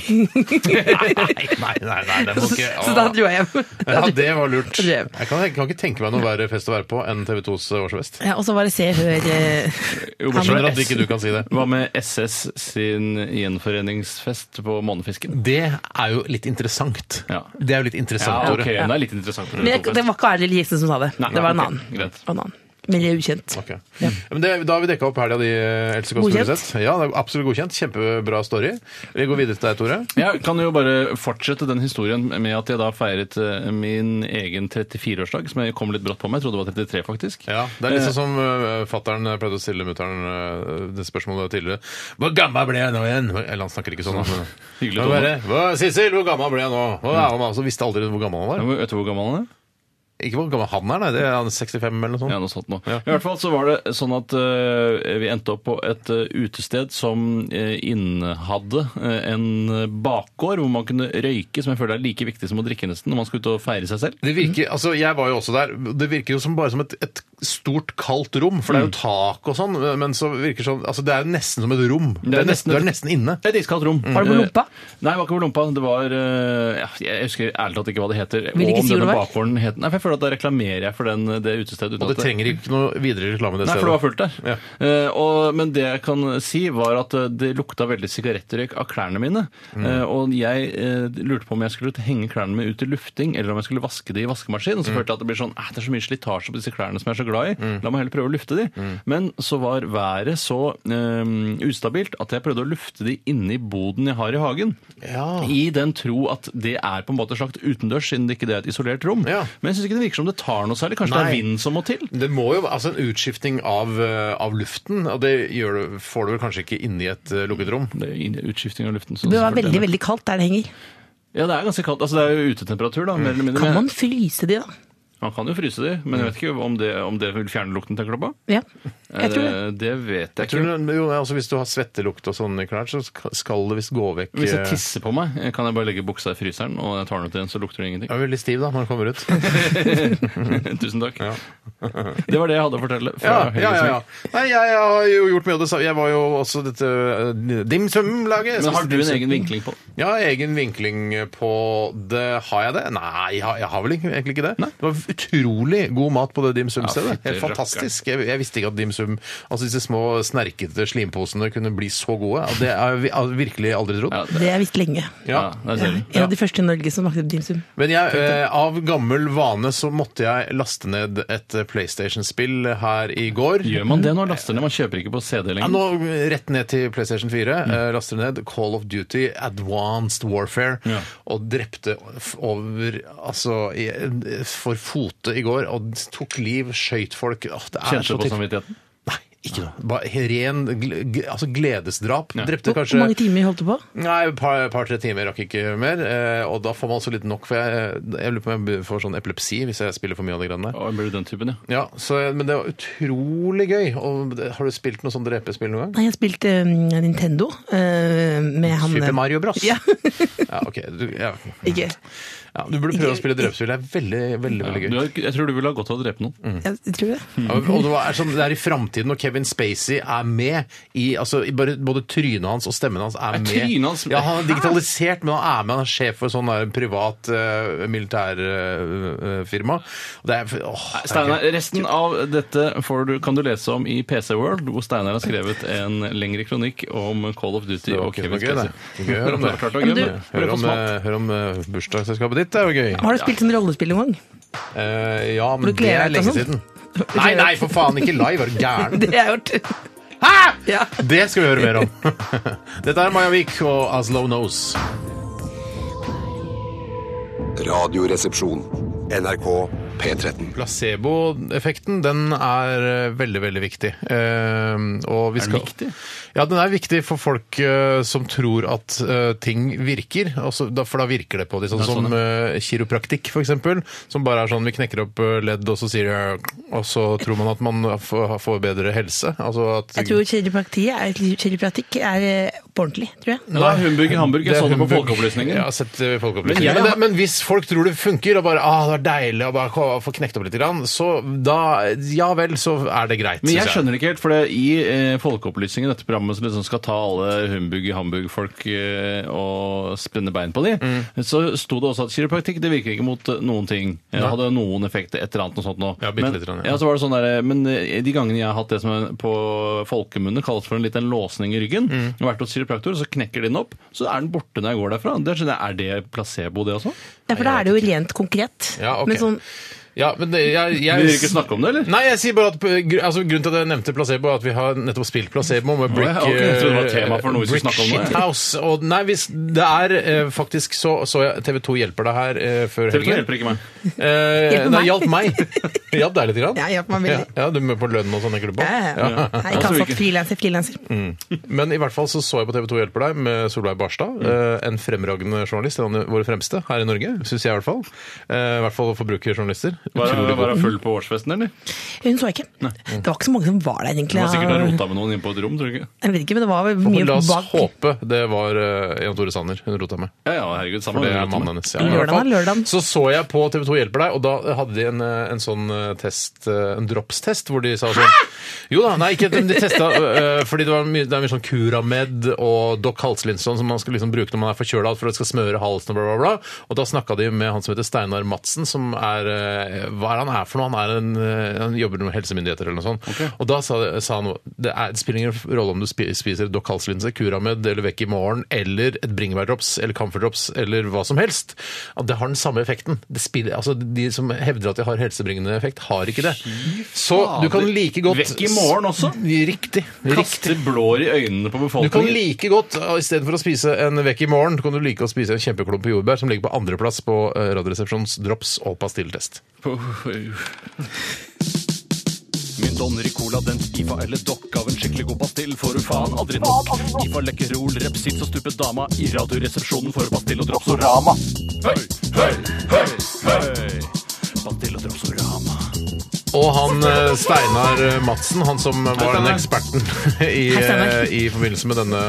H: Nei, nei, nei, det må
D: så,
H: ikke
D: så da dro jeg hjem.
H: Ja, det var lurt. Jeg
D: Drev.
H: kan, jeg kan ikke tenke meg noe verre fest å være på enn TV 2s årsfest.
D: Ja, og så var det Se Hør eh,
I: Jo,
H: Jeg
I: bortsett
H: skjønner at ikke
I: fra
H: du kan si det.
I: S- Hva med SS sin gjenforeningsfest på Månefisken?
H: Det er jo litt interessant.
I: Ja.
H: Det er jo litt interessant,
I: Ja, ok,
H: Tore.
I: Det er litt interessant. for
D: Men
I: en
D: jeg, det
I: tofest.
D: var ikke Arild Giksen som sa det.
I: Nei,
D: det var en
I: ok,
D: annen.
I: greit.
D: Det var en annen. Men det er ukjent.
H: Ok. Men det, da har vi dekka opp helga di, eh, Else Kåss
D: Godkjent.
H: Furuseth. Ja, det er absolutt godkjent. Kjempebra story. Vi går videre til deg, Tore.
I: Jeg kan jo bare fortsette den historien med at jeg da feiret eh, min egen 34-årsdag, som jeg kom litt brått på meg. Jeg trodde det var 33, faktisk.
H: Det er litt sånn som uh, fattern pleide å stille mutter'n øh, det spørsmålet tidligere. Hvor gammel ble jeg nå igjen? Eller han snakker ikke sånn. da, Men...
I: Hyggelig
H: Men
I: tone.
H: bare, Hva, Sissel, hvor gammel ble jeg nå? Og Mm. ja, han altså visste aldri hvor gammel han var.
I: Vet du hvor gammel han er?
H: Ikke hvor gammel han er, nei. Det er han 65 eller noe sånt.
I: Ja, noe sånt nå.
H: Ja.
I: I hvert fall så var det sånn at eh, vi endte opp på et eh, utested som eh, innehadde eh, en bakgård hvor man kunne røyke, som jeg føler er like viktig som å drikke nesten når man skal ut og feire seg selv.
H: Det virker, altså Jeg var jo også der. Det virker jo som bare som et, et stort, kaldt rom. For det er jo tak og sånn, men så virker det som altså Det er jo nesten som et rom. Det er nesten, du er nesten inne.
I: Et iskaldt rom.
D: Var det på
I: Eh,
D: lompa?
I: Nei, det var ikke på lompa. Det var eh, ja, Jeg husker ærlig talt ikke hva det heter.
D: Vil ikke
I: og om
D: si hvor
I: denne
D: det var?
I: bakgården het Nei, for jeg føler at da reklamerer jeg for den, eh, det utestedet. uten
H: Og det
I: at
H: trenger ikke noe videre reklame det
I: Nei, for det var
H: stedet.
I: fullt der.
H: Ja.
I: Eh, og, men det jeg kan si, var at eh, det lukta veldig sigarettrøyk av klærne mine.
H: Mm.
I: Eh, og jeg eh, lurte på om jeg skulle henge klærne mine ut i lufting, eller om jeg skulle vaske de i vaskemaskinen.
H: Mm.
I: Og så følte jeg at det blir sånn «Æ, Det er så mye slitasje på disse klærne som jeg er så glad i. La meg heller prøve å lufte de.
H: Mm.
I: Men så var været så eh, ustabilt at jeg prøvde å lufte de inni boden jeg har i hagen.
H: Mm.
I: I den tro at det er på en måte slakt utendørs, siden det ikke er et isolert rom.
H: Ja.
I: Men jeg syns ikke det virker som det tar noe særlig. Kanskje det
H: Nei.
I: er vind som må til?
H: Det må jo være altså en utskifting av, eh, av luften, og det gjør du, får du vel kanskje ikke inni et eh, lukket rom.
I: Det er inn- utskifting av luften. så-
D: Det var
I: så
D: veldig, veldig kaldt der det henger.
I: Ja, det er ganske kaldt. Altså, det er jo utetemperatur, da. Mer eller mindre.
D: Kan man fryse de, da?
I: man kan jo fryse de, men jeg vet ikke om det, om det vil fjerne lukten, tenker du på?
D: Ja, jeg tror det.
I: Eh, det vet jeg
H: Tror
I: ikke.
H: du, jo, altså Hvis du har svettelukt og sånn i klær, så sk- skal det visst gå vekk.
I: Hvis jeg
H: eh,
I: tisser på meg, eh, kan jeg bare legge buksa i fryseren, og jeg tar den ut igjen, så lukter det
H: jeg
I: ingenting.
H: er veldig stiv da, når den kommer ut.
I: Tusen takk. det var det jeg hadde å fortelle. Fra
H: Ja, ja, ja,
I: Høyre
H: ja. Nei, jeg, jeg har jo gjort mye av det samme. Jeg var jo også dette eh, Dim Sum-laget. Jeg
I: Men har
H: spiste
I: du
H: dim
I: en
H: sum.
I: egen vinkling på det?
H: Ja, egen vinkling på det. Har jeg det? Nei, jeg har, jeg har vel ikke- egentlig ikke det. Det var utrolig god mat på det Dim Sum-stedet.
I: Ja, fytti
H: Helt fantastisk. Jeg, jeg visste ikke at Dim Sum, altså disse små snerkete slimposene, kunne bli så gode. Det har jeg vi- har jeg virkelig aldri trodd.
I: Ja,
D: Det
I: det,
D: har jeg visst lenge.
I: ja,
H: Ja.
I: der ser du.
D: En av de første i Norge som smakte dimsum.
H: Men jeg, eh, av gammel vane så måtte jeg laste ned et eh, PlayStation-spill her i går.
I: Gjør man det når laster ned? Man kjøper ikke på CD
H: Ja,
I: lenger.
H: nå Rett ned til PlayStation 4.
I: Mm.
H: eh, Laster ned Call of Duty Advanced Warfare.
I: Ja.
H: Og drepte f- over Altså i, for fote i går. Og tok liv, skøyt folk. Åh, det er
I: Kjente
H: så
I: du på
H: titt-
I: samvittigheten?
H: Nei, ikke noe. Bare ren gle- g- altså gledesdrap.
I: Ja.
H: Drepte
D: Hvor hvor
H: kanskje
D: mange timer holdt du på?
H: Nei, et par, par-tre timer rakk ikke mer. eh, Og da får man så litt nok, for jeg, jeg lurer på om jeg får sånn epilepsi hvis jeg spiller for mye av de greiene der.
I: Å, blir du den typen, ja.
H: Ja, så, men det var utrolig gøy. Og, det- har du spilt noe sånn drepespill noen gang?
D: Nei, jeg spilte um, Nintendo eh, med han
H: Super Mario Bros.
D: Ja,
H: Ja, ok. Du, ja.
D: ikke.
H: Ja, du burde prøve å spille drepespill. Det er veldig, veldig, veldig
I: ja.
H: gøy. Mm.
I: Du, har- jeg tror du ville ha godt av å drepe noen.
D: Jeg tror det.
H: Ja, Og det var- er sånn, det er i framtiden når Kevin Spacey er med i altså, i bare, Både trynet hans og stemmen hans er,
I: Er
H: med.
I: trynet hans-
H: Ja, Han er digitalisert, men han er med. Han er sjef for sånn der privat eh, uh, militærfirma. det er, åh, det er
I: Steinar,
H: gøy.
I: resten av dette får du, kan du lese om i PC World, hvor Steinar har skrevet en lengre kronikk om Call of Duty
H: Det var
I: og
H: ikke
I: Kevin
H: noe gøy,
I: Spacey.
H: det. Gøy å høre om det.
I: er klart det var gøy,
D: Men du-
I: men
H: Hør
I: ble for
H: om,
I: smalt.
H: eh, hør om eh, bursdagsselskapet ditt, det er jo gøy.
D: Har du spilt en rollespill noen gang?
H: Eh, ja, men
D: du
H: det
D: gleder
H: er
D: deg til
H: lenge siden.
D: sånn?
H: Nei, nei, for faen! Ikke live, er du gæren?
D: Det har jeg gjort.
H: Hæ?!
D: Ja.
H: Det skal vi høre mer om. Dette er Maja Vik og As Low Knows.
A: Radioresepsjon. NRK P13.
H: Placeboeffekten den er eh, veldig, veldig viktig. Eh, og vi
I: Er den
H: skal...
I: viktig?
H: Ja, den er viktig for folk eh, som tror at eh, ting virker. Altså, da, for da virker det på dem. Sånn,
I: Ja, sånn,
H: som eh, kiropraktikk, for eksempel. Som bare er sånn vi knekker opp eh, ledd, og så sier de eh, Og så tror man at man får får bedre helse. Altså at
D: Jeg tror kiropraktikk er, kiropraktikk er eh, på ordentlig, tror jeg.
I: Det var Humbug i Hamburg. Jeg
H: Det
I: så det
H: er
I: på
H: humbug.
I: Folkeopplysningen.
H: Ja, jeg har sett det i folkeopplysningen.
I: eh, Men jeg
H: Men,
I: har-
H: det, men hvis folk tror det funker, og bare ah, det er deilig å bare ko- få knekt opp litt, grann, så da ja vel, så er det greit.
I: Men
H: synes
I: jeg skjønner det ikke helt, for det, i eh, Folkeopplysningen, dette programmet som liksom skal ta alle humbug i Hamburg-folk eh, og spenne bein på de,
H: Mm.
I: så sto det også at kiropraktikk det virker ikke mot eh, noen ting. Det hadde noen effekter, et eller annet noe sånt nå.
H: Ja, bitte
I: men,
H: litt grann, ja.
I: ja. så var det sånn der, eh, men eh, de gangene jeg har hatt det som er på folkemunne kalles for en liten låsning i ryggen,
H: Mm.
I: og vært hos kiropraktor, så knekker de den opp, så er den borte når jeg går derfra. Det skjønner jeg, er det placebo, det også?
D: Ja, for da er det jo rent konkret.
H: Ja, ok.
D: Men sånn,
H: Ja, men det, jeg, jeg,
I: Vil dere ikke snakke om det, eller?
H: Nei, jeg sier bare at gr- altså, Grunnen til at jeg nevnte placebo, er at vi har nettopp spilt placebo med Brick,
I: ja, ok. Jeg trodde det var
H: eh,
I: tema for noe vi skulle
H: Brick
I: snakke om nå, jeg.
H: Shithouse. Og, nei, hvis det er eh, faktisk så, så jeg TV 2 hjelper deg her eh, før
I: TV2
H: helgen.
I: hjelper ikke meg.
H: Eh,
D: Hjelper
H: nei,
D: meg.
H: hjalp meg. Hjalp deg litt? Grann.
D: Ja, hjelper meg
H: ja,
D: veldig.
H: ja, Du er med på lønn og sånn, tenker du på?
D: ja, ja, ja. Nei,
I: Ja,
D: ikke
I: så
D: ansatt
I: virker-
D: frilanser, frilanser.
H: Mm. Men i hvert fall så så jeg på TV 2 Hjelper deg med Solveig Barstad. eh, En fremragende journalist, en av våre fremste her i Norge, syns jeg i hvert fall. Eh, I hvert fall forbrukerjournalister.
I: Var hun var hun full på årsfesten, eller?
D: Hun så jeg ikke. Det var ikke så mange som var der,
I: Hun
D: egentlig.
I: var sikkert og
D: Jeg-
I: rota med noen inne på et rom, tror du ikke?
D: Jeg vet ikke, men det var vel
H: Og
D: mye
H: La oss
D: bak.
H: håpe det var eh, Jan Tore Sanner hun rota med.
I: Ja, ja, herregud, samme
H: For det
I: hva hun
H: er
I: rota med.
H: mannen hennes. Ja,
D: Lørdagen
H: i hvert fall.
D: er lørdagen.
H: Så så jeg på TV 2 Hjelper deg, og da hadde de en, eh, en sånn eh, test, eh, en drops-test, hvor de sa sånn Jo da, nei, ikke de testa eh, Fordi det, var mye, det er mye sånn Curamed og Doc Halslinson som man skal liksom bruke når man er forkjøla for at det skal smøre halsen og bla, bla, bla. Og da snakka de med han som heter Steinar Madsen, som er eh, Hva er han er for noe? Han, er en, eh, han jobber med helsemyndigheter eller noe sånt. Og da sa, sa han det, er, det spiller ingen rolle om du spi- spiser Doc Halslinse, Curamed eller Vekk i morgen eller et bringebærdrops eller Camphordrops eller hva som helst. At det har den samme effekten. Det spiller, altså, de som hevder at de har helsebringende effekt, har ikke det. Så du kan like godt Mm,
I: Vekk i morgen også?
H: Riktig. riktig.
I: Kaste blår i øynene på
H: Du kan
I: befolkningen.
H: like godt, eh, i stedet for å spise en vekk i morgen, kan du like å spise en kjempeklump på jordbær som ligger på andreplass på eh, Radioresepsjons drops og pastilltest.
I: Min Donner i Cola, den IFA eller Dokk av en skikkelig god pastill får du faen aldri nok. IFA Lekkerol, Repsits og Stupet Dama i Radioresepsjonen får du pastill og Dropsorama. Høy, høy, høy, høy. Pastill og Dropsorama.
H: Og han eh, Steinar Madsen, han som var den
I: Steinar.
H: eksperten i,
D: Hei, Steinar.
H: eh, i forbindelse med denne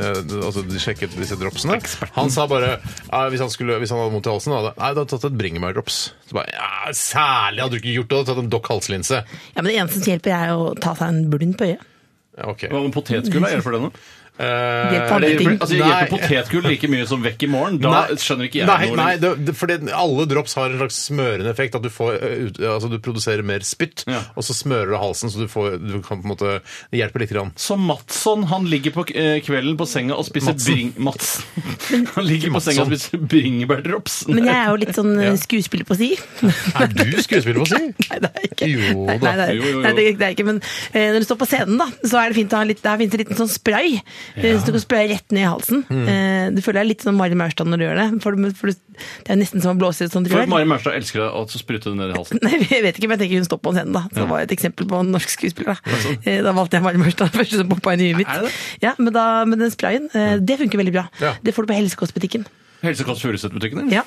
H: eh, Altså, de sjekket disse dropsene. Han sa bare eh, Hvis han, skulle, hvis han hadde vondt i halsen, hadde Nei, du hadde tatt et bringebærdrops. Så bare ja, Særlig hadde du ikke gjort det, du hadde tatt en Doc halslinse.
D: Ja, men det eneste som hjelper, er å ta seg en blund på øyet.
H: Ja, Ok.
I: Hva med potetgull? da? Gjør det for det nå?
H: Eh,
D: Hjelper andre ting.
I: Altså,
H: Nei.
I: Hjelper potetgull like mye som vekk i morgen? Da skjønner ikke jeg
H: nei,
I: noe. liksom.
H: Nei, det, det, fordi alle drops har en slags smørende effekt. At du, får, eh, ut, altså, du produserer mer spytt,
I: Ja.
H: og så smører du halsen, så du, får, du kan på en måte Det hjelper litt. Grann.
I: Så Madsson han ligger på eh, kvelden på senga og spiser
H: Madsen.
I: bring... Mats. Han ligger på senga og
H: Madsson.
I: spiser bringebærdrops.
D: Men jeg er jo litt sånn
H: Ja.
D: skuespiller på si.
H: Er du skuespiller, må jeg si?
D: Nei, det er jeg ikke.
H: Jo
D: Nei,
H: da.
D: nei, det er-
I: Jo, jo, jo.
D: Nei, det, er- det er ikke. Men eh, når du står på scenen, da, så er det fint å ha litt, der finnes det en liten sånn spray. eh, Så du kan spraye rett ned i halsen. Eh, du føler deg litt sånn Mari Maurstad når du gjør det. For, du- for du, det er nesten som å blåse i et sånt
I: For
D: rør.
I: Mari Maurstad elsker deg, og så spruter det ned i halsen.
D: Nei, jeg vet ikke, men jeg tenker hun står på en scene, da. Så det var et eksempel på en norsk skuespiller. Da, Eh, da valgte jeg Mari Maurstad først som poppa inn i huet mitt.
I: Er det det?
D: Ja, men, da, men den sprayen, eh, det funker veldig bra.
H: Ja.
D: Det får du på Helsekostbutikken.
I: Helsekost Furuset-butikken din.
D: Ja.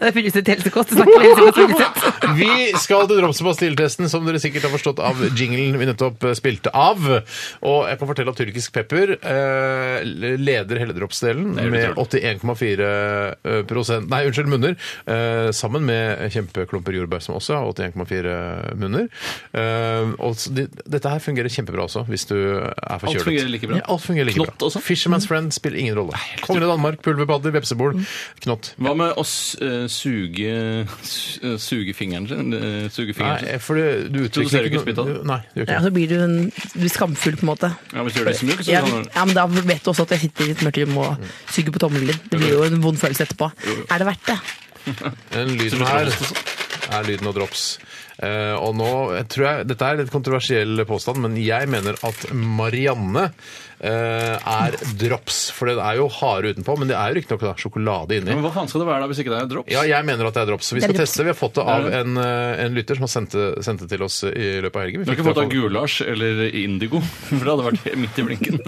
D: det fylles ut helsekost. Det snakker helsekost Furuset.
H: Vi skal til drops- og pastilletesten, som dere sikkert har forstått av jinglen vi nettopp eh, spilte av. Og jeg kan fortelle at tyrkisk pepper eh, leder helledropsdelen
I: er
H: med
I: utrolig.
H: 81,4 eh, prosent- Nei, unnskyld, munner. eh, Sammen med kjempeklumper jordbær, som også har 81,4 munner. Eh, Og s- de- dette her fungerer kjempebra også, hvis du er forkjølet.
I: fungerer like bra.
H: Ja, alt fungerer like
I: Knott sånn.
H: bra.
I: også?
H: Fisherman's Friend spiller ingen rolle. Kongen av Danmark, pulverpadder, vepsebol,
I: Mm.
H: knott.
I: Hva med å s- eh, suge su- eh, Suge fingeren sin? Eh, Suge fingeren
H: Nei,
I: sin?
H: for du, du
I: Produserer
H: utvikler
I: ikke spytt av
H: noe-
I: det?
H: Nei, du gjør ikke det.
D: Ja, så blir du, en, du blir skamfull, på en måte.
I: Ja, hvis du gjør det som mjuk, så sånn-
D: Ja,
I: kan du-
D: ja, men da vet du også at jeg sitter i et mørkt rom og suger på tommelen din. Det blir jo en vond følelse etterpå. Er det verdt det?
H: Den lyden her er lyden av drops. Eh, og nå jeg tror jeg, Dette er litt kontroversiell påstand, men jeg mener at Marianne eh, er drops. For det er jo hare utenpå, men det er jo riktignok da sjokolade inni.
I: Men hva faen skal det være da, hvis ikke det er drops?
H: Ja, jeg mener at det er drops. Vi
D: Det er
H: skal
D: drops.
H: teste. Vi har fått det av en, eh, en lytter som har sendt det, sendt det til oss i løpet av helgen.
I: Du
H: Vi
I: har ikke
H: fikk det
I: fått av
H: av-
I: gulasj eller indigo, for det hadde vært midt i blinken.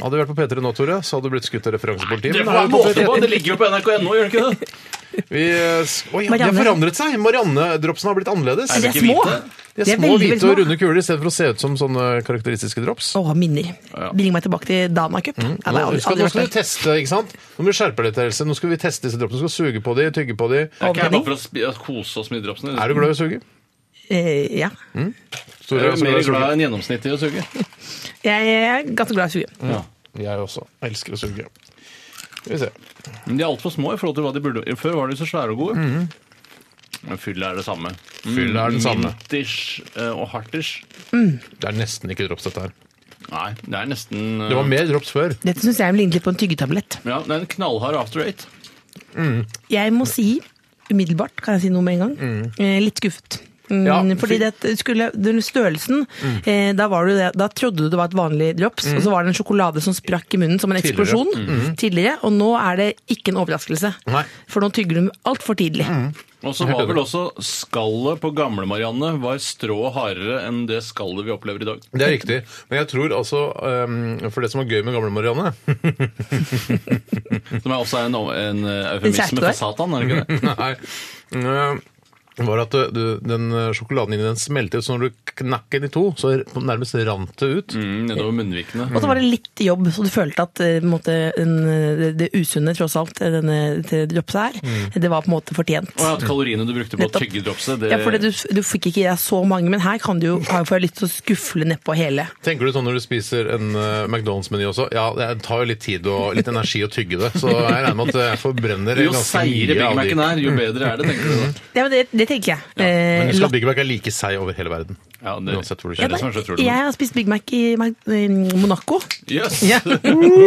H: Hadde du vært på P3 nå, Tore, så hadde du blitt skutt av referansepolitiet.
I: Det
H: men
I: får være
H: her er vi på
I: måte på!
H: P3.
I: Det ligger jo på nrk.no, gjør det ikke det?
H: Vi, eh, s- Oi, ja, de har
D: Marianne.
H: forandret seg! Marianne-dropsene har blitt annerledes.
D: Er
I: det
D: det
I: ikke
D: små?
I: hvite?
H: De
D: De
H: er
D: er
H: små,
D: veldig,
H: hvite
D: veldig
H: og
D: små.
H: runde kuler istedenfor å se ut som sånne karakteristiske drops.
D: Å, minner.
I: Ja.
D: Bringer meg tilbake til Dana Cup. Ja, det har
H: Nå
D: aldri-
H: skal,
D: aldri
H: nå
D: vært
H: skal du
D: der.
H: teste, ikke sant? Nå må du skjerpe deg litt, Else. Nå skal vi teste disse dropsene. Du skal suge på de, tygge på de.
I: Er ikke jeg
D: Overtenning?
I: bare for å spi- å kose oss med de dropsene?
H: Er du glad i å suge?
D: Eh, Ja.
H: Store,
I: Jeg er
H: så glad i
I: mer
H: å suge.
I: glad enn gjennomsnittet i å suge.
D: Jeg er ganske glad i å suge.
I: Ja.
H: Jeg også. Elsker å suge. Skal vi se.
I: Men de er altfor små i forhold til hva de burde Før var de så svære og gode. Men fyllet er det samme.
H: Fyllet Mhm. er den samme.
I: Mintish eh, og hartish.
H: Det er nesten ikke drops, dette her.
I: Nei, det er nesten eh,
H: Det var mer drops før.
D: Dette syns jeg ligner litt på en tyggetablett.
I: ja, det er en knallhard after eight.
D: Jeg må si umiddelbart, kan jeg si noe med en gang, eh, litt skuffet. Mm,
I: Ja,
D: fordi
I: fy-
D: det at skulle, den størrelsen eh, da, var det, jo det- da trodde du det var et vanlig drops, og så var det en sjokolade som sprakk i munnen som en
H: Tidligere.
D: eksplosjon tidligere. Og nå er det ikke en overraskelse.
H: Nei.
D: For nå tygger du altfor tidlig.
I: Og så var vel også skallet på gamle Marianne var strå hardere enn det skallet vi opplever i dag.
H: Det er riktig. Men jeg tror altså ehm, For det som var gøy med gamle Marianne
I: Som er også en, en eh,
D: kjæreste?
I: eufemisme for Satan, er det ikke det?
H: Nei. eh, var at eh, du, den eh, sjokoladen inni den smeltet, så når du knakk den i to, så r- nærmest rant det ut.
I: Mm, nedover munnvikene.
D: Og så var det litt jobb, så du følte at eh, på en måte, en, det, det usunne tross alt eh, denne det dropset her, det var på en måte fortjent.
I: Og at kaloriene du brukte på å
D: Nettopp.
I: tygge dropset, det
D: Ja, for det, du, du fikk ikke i deg så mange, men her kan du jo, har jeg lyst til å skufle nedpå hele.
H: Tenker du sånn når du spiser en eh, McDonald's-meny også? Ja, det tar jo litt tid og litt energi å tygge det, så jeg regner med at jeg forbrenner
I: Jo
H: ganske
I: seigere Big
H: mye av de. Mm.
I: Mac-en er, jo bedre er det, tenker du da.
D: Ja, men det, det tenker jeg. Eh,
H: Men husk
D: latt-
H: at Big Mac er like seig over hele verden.
I: Ja, det,
H: Uansett hvor du
I: det er
H: kjøper.
I: det som er så utrolig.
D: jeg har spist Big Mac i Mac- i Monaco.
I: Yes.
D: Ja.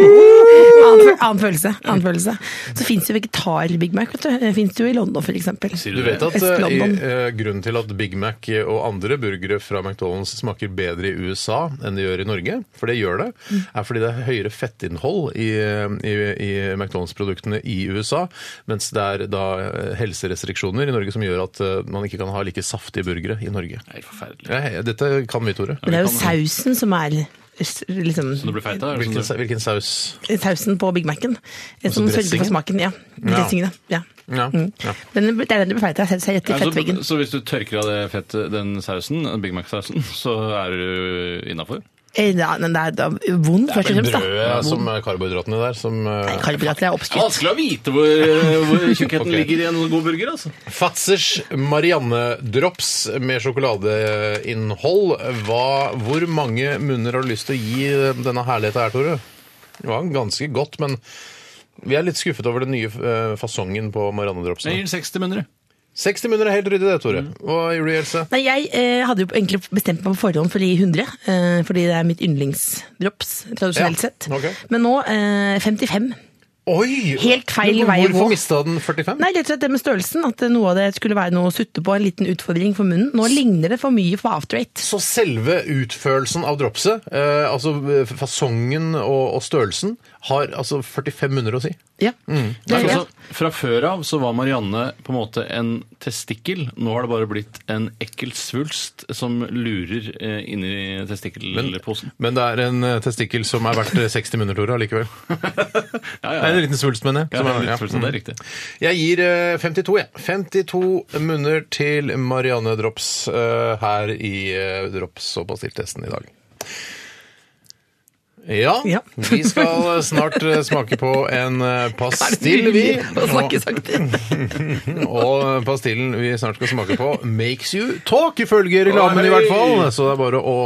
D: Annen, føl- annen følelse. Annen følelse. Så fins jo vegetar-Big Mac. Vet du. Det fins jo i London, for eksempel.
I: Sier
H: Du vet at eh, i,
D: Øst-London.
H: eh, grunnen til at Big Mac og andre burgere fra McDonald's smaker bedre i USA enn de gjør i Norge, for det gjør det, er fordi det er høyere fettinnhold i, eh, i, i McDonald's-produktene i USA, mens det er da eh, helserestriksjoner i Norge som gjør at eh, man ikke kan ha like saftige burgere i Norge.
I: Det er helt forferdelig.
H: Ja, he- dette kan vi, Tore.
D: Men det er jo
I: kan-
D: sausen som er s- liksom
I: Så du blir feit da? er det sånn du-
H: Hvilken, sa- hvilken saus?
D: sausen på Big Mac-en. eh, Som sørger for
H: dressingen?
D: smaken. Ja. Dressingen, ja.
H: Ja,
D: Mm.
H: ja.
D: Den, det er den du blir feit av. Ser rett i
I: Ja,
D: fettveggen.
I: så, så hvis du tørker av det fettet, den sausen, Big Mac-sausen, så er du innafor?
D: Eh, Ja, men det er da vondt, først og fremst. sånn, da.
H: Brødet som er karbohydratene der, som eh,
D: Mm. Nei, Karbohydrater er oppskrytt.
I: Vanskelig å vite hvor, eh, hvor tjukkheten
H: Ok.
I: ligger i en god burger, altså.
H: Fatzers Marianne-drops med sjokoladeinnhold. Hva, hvor mange munner har du lyst til å gi denne herligheten her, Tore? Det var ganske godt, men vi er litt skuffet over den nye eh, fasongen på
I: Jeg
H: Marianne-dropsene.
I: gir 60 munner. jeg.
H: 60 munner er helt ryddig, det, Tore.
D: Mm.
H: Hva gjorde du, Else?
D: Nei, jeg eh, hadde jo egentlig bestemt meg på forhånd for å gi 100, eh, fordi det er mitt yndlingsdrops, tradisjonelt
H: Ja,
D: sett.
H: ok.
D: Men nå eh, 55.
H: Oi!
D: Helt feil
H: Men
D: vei å gå.
H: Hvorfor mista den 45?
D: Nei, rett og slett det med størrelsen, at eh, noe av det skulle være noe å sutte på, en liten utfordring for munnen. Nå ligner det for mye på after eight.
H: Så selve utførelsen av dropset, eh, altså eh, fasongen og, og størrelsen, har altså 45 munner å si.
D: Ja.
H: Mm.
D: Det,
I: Nei,
D: er
I: altså, fra før av så var Marianne på en måte en testikkel. Nå har det bare blitt en ekkel svulst som lurer eh, inni testikkelposen.
H: Men det er en eh, testikkel som er verdt eh, 60 munner, Tore, allikevel.
I: Ja,
H: Nei,
I: ja,
H: en
I: ja.
H: liten svulst, mener jeg.
I: Ja,
H: Som
I: det
H: er-
I: er litt svulst,
H: ja. Mm.
I: det er riktig.
H: Jeg gir eh, 52, jeg. 52 munner til Marianne Drops eh, her i eh, Drops og Bastilltesten i dag. Ja,
D: Ja.
H: vi skal snart eh, smake på en eh, pastill, vi.
D: Å snakke sakte.
H: Og pastillen vi snart skal smake på, makes you talk, ifølge reklamen i hvert fall. Så det er bare å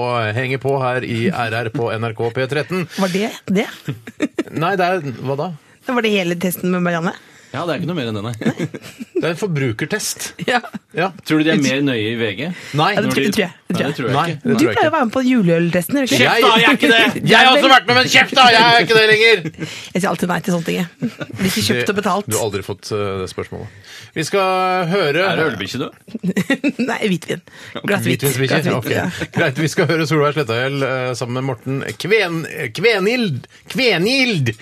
H: henge på her i RR på NRK P13.
D: Var det det?
H: Nei, det er Hva da?
D: Det Var det hele testen med Marianne?
I: ja, det er ikke noe mer enn det, nei.
H: Det er en forbrukertest.
D: Ja.
H: Ja.
I: Tror du de er mer nøye i VG?
H: Nei.
D: Ja, det tror-
I: Når
D: det tror
I: de-
D: jeg. Det tror
I: Nei,
D: jeg.
I: det tror
H: Nei,
I: jeg ikke.
H: det
D: Du
H: tror jeg
D: pleier å
H: ikke.
D: være med på juleøltesten, gjør du ikke?
H: Kjeft da, jeg er ikke det! Jeg har også vært med, men kjeft da! Jeg er ikke det lenger!
D: Jeg sier alltid nei til sånne ting, jeg. Blir ikke kjøpt og
H: Du har
D: betalt.
H: aldri fått eh, det spørsmålet. Vi skal høre
I: Er det ølbikkje, du?
D: Nei, hvitvin. Glass hvit.
H: Hvitvinsbikkje?
D: Glass hvit,
H: Ok.
D: ja.
H: Greit, vi skal høre Solveig Slettahjell eh, sammen med Morten Kven... Kvenild! Kvenild!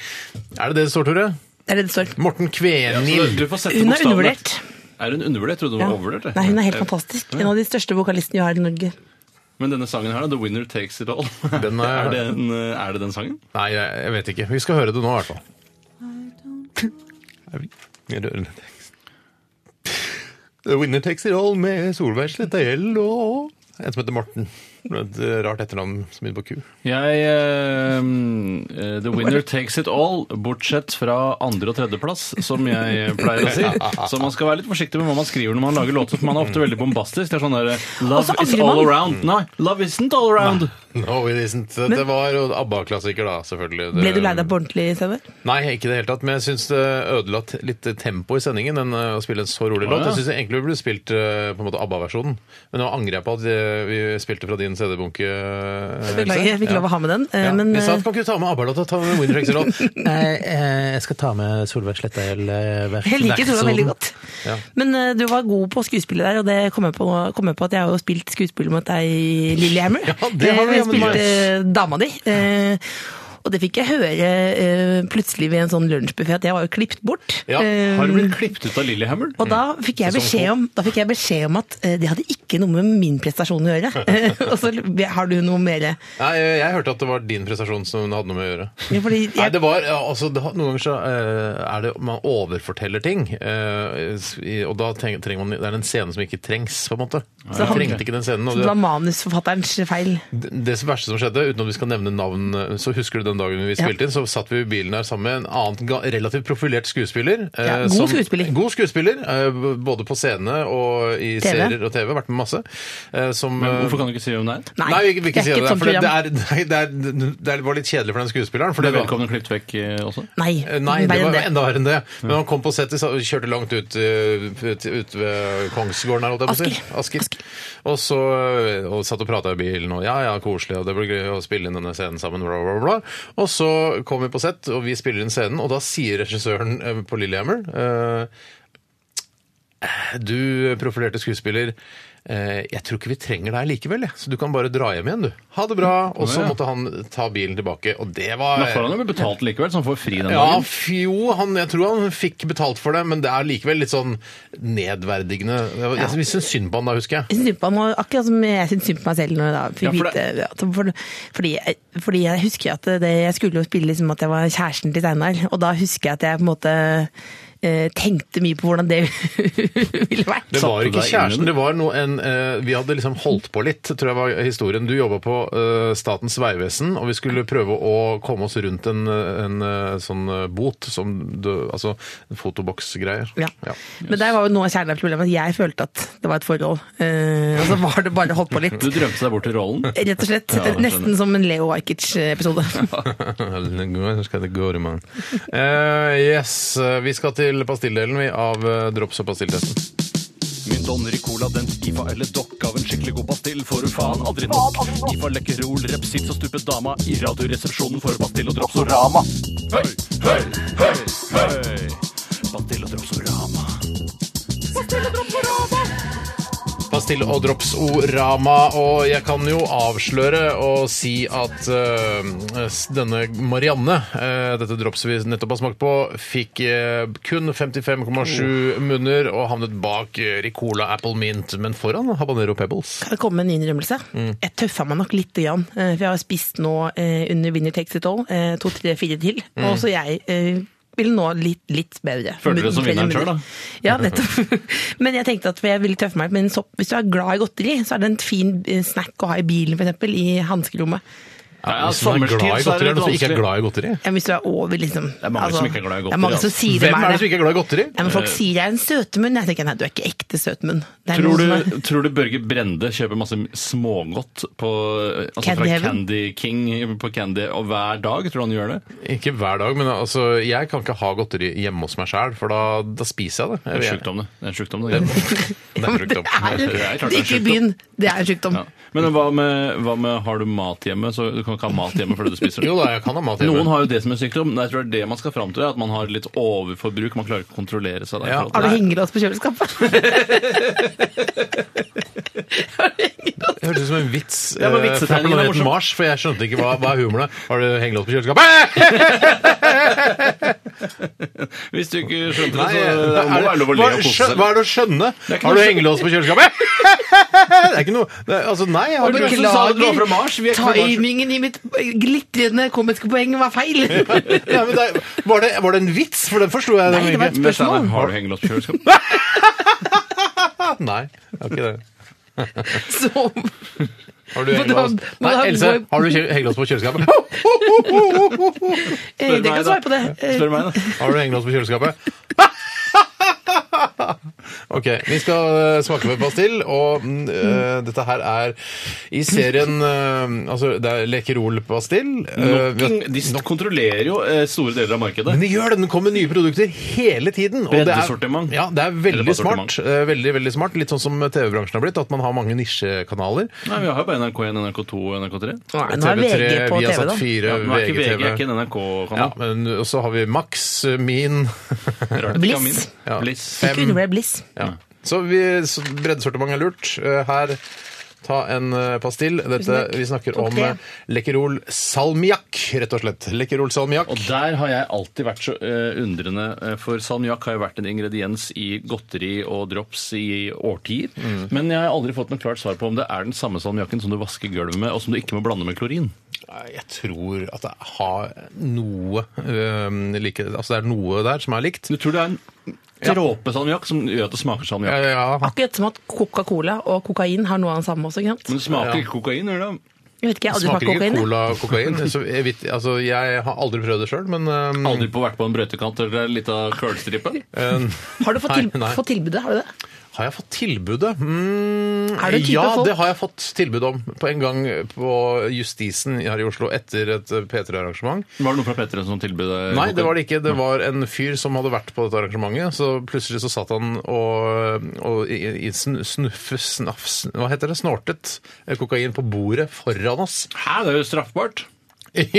H: Er det det det står, Tore?
D: Det er det det står.
H: Morten
I: Du
H: Kvenild.
I: får sette
D: Hun er
I: bokstavene.
D: undervurdert.
I: Er hun undervurdert? Jeg trodde hun
D: Ja.
I: var overvurdert. jeg. Eh,
D: Nei, hun er helt fantastisk. En av de største vokalistene vi har i Norge.
I: Men denne sangen her, da, 'The Winner Takes It All',
H: Den er-
I: er, den, eh, er det den sangen?
H: Nei, jeg jeg vet ikke. Vi skal høre det nå, i hvert fall. Er vi- Jeg rører litt tekst. The winner takes it all med Solveig Slettahjell og en som heter Morten. Et eh, rart etternavn som begynner på Q.
I: Jeg eh, eh, The winner takes it all, bortsett fra andre- og tredjeplass, som jeg pleier å si. Så man skal være litt forsiktig med hva man skriver når man lager låter, for man er ofte veldig bombastisk. Det er sånn derre Love
D: Og så
I: is
D: angrer
I: all
D: man.
I: around. Nei, love isn't all around.
H: No, it isn't. Det var jo ABBA-klassiker, da, selvfølgelig. Det-
D: Ble du lei deg på ordentlig, Sauer?
H: Nei, ikke i det hele tatt. Men jeg syns det ødela t- litt tempo i sendingen den, eh, å spille en så rolig
I: Å,
H: låt.
I: ja.
H: Jeg syns egentlig vi burde spilt eh, på en måte ABBA-versjonen, men nå angrer jeg på at eh, vi spilte fra din liten CD-bunke. eh,
D: Beklager, jeg fikk
H: Ja.
D: lov å ha med den. eh,
H: Ja.
D: Men
H: jeg sa at
D: eh,
H: kan ikke du ta med ABBA-låta? Ta med Winnerfexer-låt.
B: Nei, eh, jeg skal ta med Solveig eh, Slettahjell.
D: jeg liker Tora veldig godt.
H: Ja.
D: Men eh, du var god på skuespillet der, og det kom jeg på, kom jeg på at jeg har jo spilt skuespill mot deg i Lillehammer.
H: Ja, det har vi,
D: Eh,
H: ja,
D: Jeg
H: men
D: spilte
H: nice.
D: eh, dama di. eh, Og det fikk jeg høre eh, plutselig ved en sånn lunsjbuffé, at jeg var jo klippet bort.
H: Ja,
D: Eh,
I: Har du blitt klippet ut av Lillehammer?
D: Og da
H: Mm.
D: fikk jeg beskjed om, da fikk jeg beskjed om at eh, det hadde ikke noe med min prestasjon å gjøre. og så har du noe mer
H: Nei, jeg, jeg hørte at det var din prestasjon som hadde noe med å gjøre.
D: Ja, fordi jeg-
H: Nei, det var, ja, altså, det, har- Noen ganger så eh, er det man overforteller ting. eh, s- i- og da treng, trenger man Det er en scene som ikke trengs, på en måte.
D: Så
H: Jeg
D: han-
H: trengte ikke den scenen. Og
D: Det var
H: det,
D: manusforfatterens feil.
H: det som verste som skjedde, uten at vi skal nevne navn, eh, så husker du den dagen vi spilte inn, så satt vi i bilen her sammen med en annen ga- relativt profilert skuespiller. eh,
D: Ja, god skuespiller.
H: God skuespiller, eh, b- både på scene og i
D: TV.
H: serier og TV. Vært med masse. eh, som,
I: Men
H: eh,
I: hvorfor kan du ikke si hvem det er?
D: Nei,
H: Nei, vi, vi
D: det
H: ikke
D: er ikke
H: si det.
D: et
H: der,
D: sånt
H: For det,
D: program.
H: er, nei, det, er, det er- var litt kjedelig for den skuespilleren. For
I: Ble
H: det var,
I: vedkommende klippet vekk eh, også?
D: Nei,
H: Nei, det
D: verre enn
H: var enda verre enn det. Men han kom på settet og kjørte langt ut, eh, ut, ut ved Kongsgården her, holdt jeg på å si. Asker. Og så eh, og satt og prata i bilen, og ja ja, koselig, og det blir gøy å spille inn denne scenen sammen, bla, bla, bla. Og så kom vi på sett, og vi spiller inn scenen, og da sier regissøren eh, på Lillehammer eh, Du profilerte skuespiller. eh, Jeg tror ikke vi trenger deg likevel, jeg. så du kan bare dra hjem igjen, du. Ha det bra. Og så
I: Ja.
H: måtte han ta bilen tilbake, og det var
I: Da får han jo betalt likevel, så han får fri den
H: ja,
I: dagen.
H: f- jo, han, jeg tror han fikk betalt for det, men det er likevel litt sånn nedverdigende. Jeg, jeg vi syns synd på han da, husker jeg.
D: Jeg syns synd på han, og akkurat som jeg syns synd på meg selv når jeg da fikk
I: Ja, for det-
D: vite at- for, fordi, jeg- fordi jeg husker at det, jeg skulle jo spille liksom at jeg var kjæresten til Steinar, og da husker jeg at jeg på en måte eh, tenkte mye på hvordan det ville vært.
H: Det var
I: Satte deg inn
H: ikke
I: i
H: kjæresten,
I: det?
H: det var noe en eh, Vi hadde liksom holdt på litt, tror jeg var historien. Du jobba på eh, Statens vegvesen, og vi skulle prøve å komme oss rundt en, en eh, sånn eh, bot som du Altså fotoboksgreier.
D: Ja. Men der var jo noe av kjernen av problemet, at jeg følte at det var et forhold. Eh, og så var det bare holdt på litt.
I: Du drømte deg bort til rollen?
D: Rett og slett.
I: Ja, det skjønner jeg.
D: nesten som en Leo eh, Ajkic-episode.
H: Skal det gå i morgen? Eh, yes, eh, vi skal til pastilledelen vi, av eh, drops og pastilltesten.
C: Min Don Ricola, den IFA eller dokk av en skikkelig god pastill får du faen aldri nok. IFA Lekkerol, Repsits og Stupet Dama i Radioresepsjonen får du pastill og Dropsorama. Høy, høy, høy, høy. Pastill og Dropsorama.
H: Pastill og drops-orama, og jeg kan jo avsløre og si at eh, s- denne Marianne, eh, dette dropset vi nettopp har smakt på, fikk eh, kun 55,7 munner og havnet bak eh, Ricola Apple Mint, men foran Habanero Pebbles.
D: Kan det komme en innrømmelse?
I: Mm.
D: Jeg tøffa meg nok litt, grann, eh, for jeg har spist nå eh, under Winner Takes It All eh, to, tre, fire til. Og så jeg eh, vil nå litt, litt bedre.
I: Følte Mm. du deg som
D: Flere
I: vinneren
D: munner.
I: selv, da?
D: Ja, nettopp. men jeg tenkte at jeg ville tøffe meg. Men sopp, hvis du er glad i godteri, så er det en fin eh, snack å ha i bilen, f.eks. I hanskerommet.
I: Ja,
H: Hvis man er glad i godteri, er det noen som ikke er glad i godteri?
D: Ja, hvis du er over, liksom.
I: er mange som ikke er glad i
D: Det er mange som
I: godteri, altså.
D: sier
H: Hvem er det
D: det.
H: som ikke er glad i godteri?
D: Ja, men folk sier jeg er en søtemunn. Jeg tenker nei, du er ikke ekte søtemunn. Det er
I: Tror
D: noen som er-
I: du, tror du Børge Brende kjøper masse smågodt på, altså
D: Candy
I: fra
D: Heaven?
I: Candy King på Candy og hver dag? Tror du han gjør det?
H: Ikke hver dag, men altså, jeg kan ikke ha godteri hjemme hos meg sjæl, for da, da spiser jeg det.
I: Det er en
H: Jeg-
I: sjukdom, det. det, er en sjukdom, det.
H: Det er
D: Det
H: sjukdom.
I: er klart det er
D: er, ikke i
I: sjukdom.
D: byen. Det er en sykdom.
I: Ja. Men hva med, hva med har du mat hjemme? Så du kan ikke ha mat hjemme fordi du spiser det.
H: Jo da, jeg kan ha mat hjemme.
I: Noen har jo det som en sykdom. men Jeg tror det er det man skal fram til. At man har litt overforbruk. Man klarer ikke å kontrollere seg. Der,
H: Ja.
I: i forhold
D: Har du
I: til det.
D: hengelås på kjøleskapet?
H: Det hørtes ut som en vits.
I: Ja, men
H: eh,
I: vitsetegningen
H: fra
I: er
H: planeten
I: morsom.
H: Mars, for jeg skjønte ikke hva, hva er humoren er. Har du hengelås på kjøleskapet?
I: Hvis du ikke skjønte altså, det,
H: Nei,
I: så
H: er
I: det må være lov å le
H: hva-
I: og kose
H: skjø-
I: seg.
H: Hva er det å skjønne?
I: er ikke
H: Har du
I: noe-
H: hengelås på kjøleskapet? Det er ikke noe det er- Altså, nei. Jeg har
I: Hva er det
H: ikke
I: du sa? Du var fra Mars, vi er ikke fra Mars.
D: Timingen i mitt glitrende komiske poeng var feil!
H: Nei, men det, er- var, det, var det en vits? For den forsto jeg.
D: Nei, det var et
I: Men
H: ikke.
I: Steinar,
D: spørsmål.
I: Har du hengelås på kjøleskapet?
H: Ah, Nei, jeg har ikke det.
D: Så eh, må
H: Har
D: Må
H: du
D: du
H: hengelås?
D: ha- må du ha-
H: Nei, Else, har du kjø- hengelås på kjøleskapet?
D: eh, dere kan svare på det. Eh,
I: Spør meg, da.
H: Har du hengelås på kjøleskapet? Ok, Vi skal eh, smake på pastill, og mm, eh, dette her er i serien eh, Altså, det er Lekerol-pastill. eh, vi har-
I: De kontrollerer jo eh, store deler av markedet.
H: men de gjør det! Den kommer med nye produkter hele tiden. og det er-
I: Breddesortiment.
H: Ja, det er
I: Eller
H: veldig
I: assortiment.
H: smart. eh, Veldig, veldig smart. Litt sånn som TV-bransjen har blitt, at man har mange nisjekanaler.
I: Nei, Vi har jo bare NRK1, NRK2 og NRK3.
D: Nei, nå er VG på
H: vi har
D: TV, da.
H: satt fire,
I: Ja, men er ikke VG er ikke
H: VGTV.
I: en
H: Ja,
I: NRK-kanal.
H: men og så har vi Max, eh, Min
I: Rart det ikke er min.
D: Bliss.
H: Ja.
I: Bliss.
D: Ikke undervurder bliss.
H: ja. Mm. Så, vi- så breddesortiment er lurt. Eh, Her Ta en eh, pastill. Dette,
D: Tusen takk.
H: vi snakker
D: Tok
H: om
D: det.
H: eh, Lekkerol salmiakk, rett og slett. Lekkerol salmiakk.
I: Og der har jeg alltid vært så eh, undrende, eh, for salmiakk har jo vært en ingrediens i godteri og drops i årtier.
H: Mm.
I: Men jeg har aldri fått noe klart svar på om det er den samme salmiakken som du vasker gulvet med, og som du ikke må blande med klorin.
H: Nei, Eh, Jeg tror at det har noe øhm, like, Altså det er noe der som er likt.
I: Du tror det er en dråpe salmiakk som gjør at det smaker
H: Ja,
I: salmiakk?
H: Eh, ja, ja.
D: Akkurat som at Coca-Cola og kokain har noe av det samme også. ikke sant?
I: Men det smaker
H: Ja.
I: ikke kokain, gjør det?
D: Jeg vet ikke, jeg har aldri smakt
H: Smaker ikke
D: kokain. jeg.
H: cola og kokain. Så jeg, vet, altså, jeg har aldri prøvd det sjøl, men eh, øhm,
I: Aldri på vært på en brøytekant eller litt av curlstripe?
H: øhm,
D: Har du fått, til,
H: Nei, nei.
D: fått tilbudet? Har du det?
H: Har jeg fått tilbudet? Mm,
D: Er du type
H: ja,
D: folk-
H: det har jeg fått tilbud om på en gang på Justisen her i Oslo etter et P3-arrangement.
I: Var det noe fra Petter som tilbød deg
H: Nei, det
I: kokain?
H: var det ikke. Det var en fyr som hadde vært på dette arrangementet, så plutselig så satt han og, og i- i sn- snuffe, snafs, hva heter det, snortet eh, kokain på bordet foran oss.
I: Hæ, det er jo straffbart!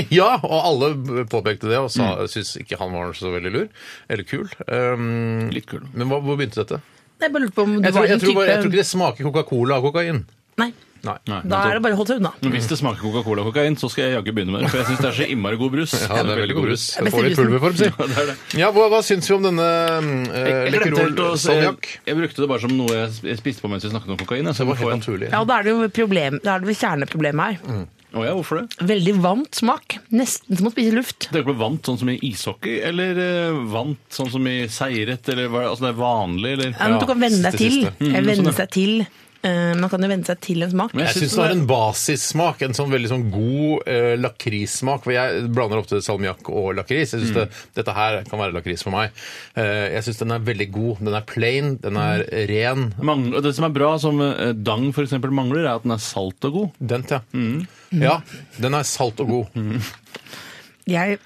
H: Ja, og alle påpekte det og sa, syntes ikke han var så veldig lur. Eller kul. Um,
I: Litt kul.
H: Men hva, hvor begynte dette?
D: Nei, Jeg bare lurte på om du
H: Jeg tror,
D: var
H: jeg,
D: en
H: tror
D: type
H: bare, jeg tror ikke det smaker Coca-Cola av kokain.
D: Nei,
H: Nei.
I: Nei,
D: da
I: nettopp.
D: er det bare å holde seg unna.
I: Men Hvis det smaker Coca-Cola og kokain, så skal jeg jaggu begynne med det. For jeg syns det er så innmari god brus.
H: Ja, det er veldig god brus. Det
D: beste
H: får vi
D: brusen.
H: pulverform, si.
I: Ja, det er det.
H: Ja, hva, hva syns vi om denne uh,
I: Jeg, glemte
H: Lekkerol
I: helt å se-
H: salmiakk?
I: jeg brukte det bare som noe jeg sp- jeg spiste på mens vi snakket om kokain. jeg, Så
H: Det
I: jeg
H: var
I: må få
H: helt
I: en
H: naturlig.
D: Ja, og Da er det jo problem, da er det vel kjerneproblemet her.
I: Å ja, hvorfor det?
D: Veldig varmt smak. Nesten som å spise luft.
I: Tenker du på vant sånn som i ishockey, eller eh, vant sånn som i seiret, eller hva, altså det er vanlig, eller
D: Ja, men Du kan venne deg
H: siste, Mm,
D: til.
H: siste.
D: Jeg venne
I: sånn, ja.
D: seg til. Eh, Man kan jo venne seg til en smak.
I: Men
H: Jeg syns det er en basissmak. En sånn veldig sånn god eh, lakrissmak. For jeg blander ofte salmiakk og lakris. Jeg synes det, Dette her kan være lakris for meg. Eh, jeg syns den er veldig god. Den er plain, den er ren.
I: Mangl- og det som er bra, som eh, Dang for eksempel mangler, er at den er salt og god.
H: Den, ja. Mm. Ja, den er salt og god.
D: Jeg,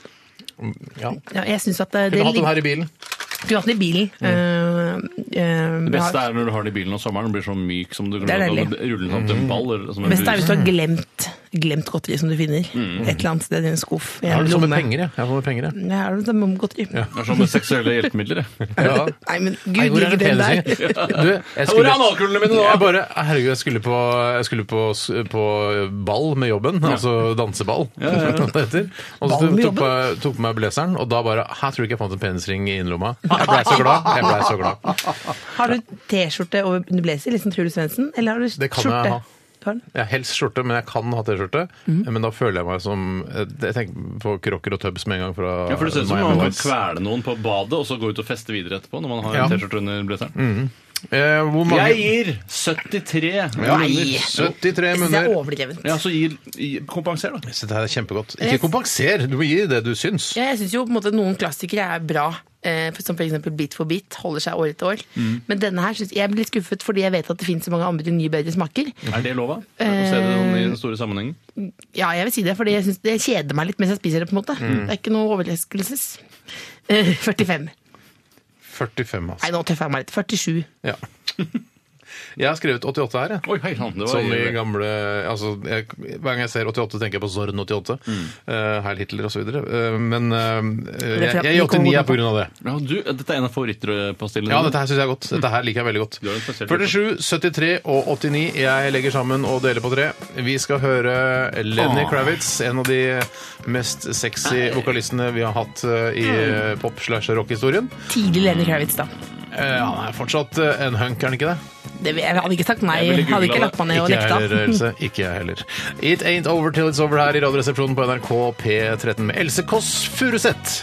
H: Ja.
D: ja, jeg syns at det, det
H: Kunne hatt den
D: ligger
H: her Mm. i bilen.
D: Skulle hatt den i bilen. Eh, eh,
I: Det beste er når du har den i bilen om sommeren, den blir så myk som du kan
D: Det er
I: rulle
D: deilig.
I: den opp til
H: Mm.
I: en ball. Eller, som en
D: Best er hvis
I: brus.
D: du har glemt, glemt godteri som du finner. Et eller annet sted i en skuff. i en
H: Jeg Mm. har det som med
D: lomme.
H: penger, jeg. jeg har det med penger, jeg.
D: Ja, er det samme om godteri.
I: Det er sånn med seksuelle hjelpemidler. jeg.
H: Ja.
D: Nei, men
H: Nei,
D: gud,
H: hvor er
D: ligger
H: det
D: den der?
H: penisen? Du, jeg
I: Hvor er
H: skulle
I: analkulene mine nå?
H: jeg bare, herregud, jeg skulle på, jeg skulle på, på ball med jobben, altså danseball, som det heter. Og så
D: Ball med
H: tok, på, tok på meg blazeren, og da bare Her tror jeg ikke jeg fant en penisring i innerlomma. Jeg blei så glad. jeg ble så glad.
D: Har du T-skjorte over under blazer, liksom Truls Svendsen? Eller har du
H: Det kan jeg
D: skjorte?
H: ha.
D: Du har den?
H: Jeg har helst skjorte, men jeg kan ha T-skjorte.
D: Mm.
H: Men da føler jeg meg som Jeg tenker på Crocker og Tubbs med en gang fra
I: Ja, for Det ser ut som
H: Miami
I: man kan
H: Vice.
I: kvele noen på badet og så gå ut og feste videre etterpå. når man har
H: Ja.
I: en t-skjorte under blazeren.
H: Eh, hvor mange
I: Jeg gir 73
D: Nei.
I: kroner.
H: 73
D: Jeg synes det er
H: munner.
D: overdrevent.
I: Ja, så gir, gi- kompenser, da.
H: Så Det her er kjempegodt.
D: Jeg-
H: Ikke kompenser, du må gi det du syns.
D: Ja, jeg syns jo på en måte noen klassikere er bra, eh, for- som f.eks. Bit for bit. Holder seg år etter år.
H: Mm.
D: Men denne her synes jeg blir litt skuffet, fordi jeg vet at det finnes så mange andre nye, bedre smaker.
I: Er det lova? Å se det sånn i den store sammenhengen?
D: Ja, jeg vil si det, fordi jeg synes det kjeder meg litt mens jeg spiser det. på en måte
H: Mm.
D: Det er ikke noe overraskelses. Eh, 45.
H: 45, altså.
D: Nei, nå tøffer jeg meg litt. 47.
H: Ja. Jeg har skrevet 88 her, jeg.
I: Oi, hei sann, det var
H: Som i gamle altså, jeg, Hver gang jeg ser 88, tenker jeg på Zorn 88.
I: Mm.
H: eh, Heil Hitler osv. Uh, men eh, jeg, jeg gir 89 her pga. det.
I: ja, du, Dette er en av favorittpastillene.
H: Ja, dette her syns jeg er godt. Dette her liker jeg veldig godt.
I: Mm. Du har en spesiell
H: 47, 73 og 89. Jeg legger sammen og deler på tre. Vi skal høre Lenny
I: Åh.
H: Kravitz, en av de mest sexy vokalistene vi har hatt eh, i
I: Mm.
H: eh, pop- slash rock-historien.
D: Tidlig Lenny Kravitz, da.
H: Eh, Han er fortsatt eh, en hunk, er han ikke det?
D: Det, jeg hadde ikke sagt nei.
I: Jeg ville
D: Hadde
I: googlet
D: ikke lagt meg ned og
H: Ikke jeg
D: lekta.
H: heller, Else. Ikke jeg heller. It ain't over till it's over her i Radioresepsjonen på NRK P13 med Else Kåss Furuseth.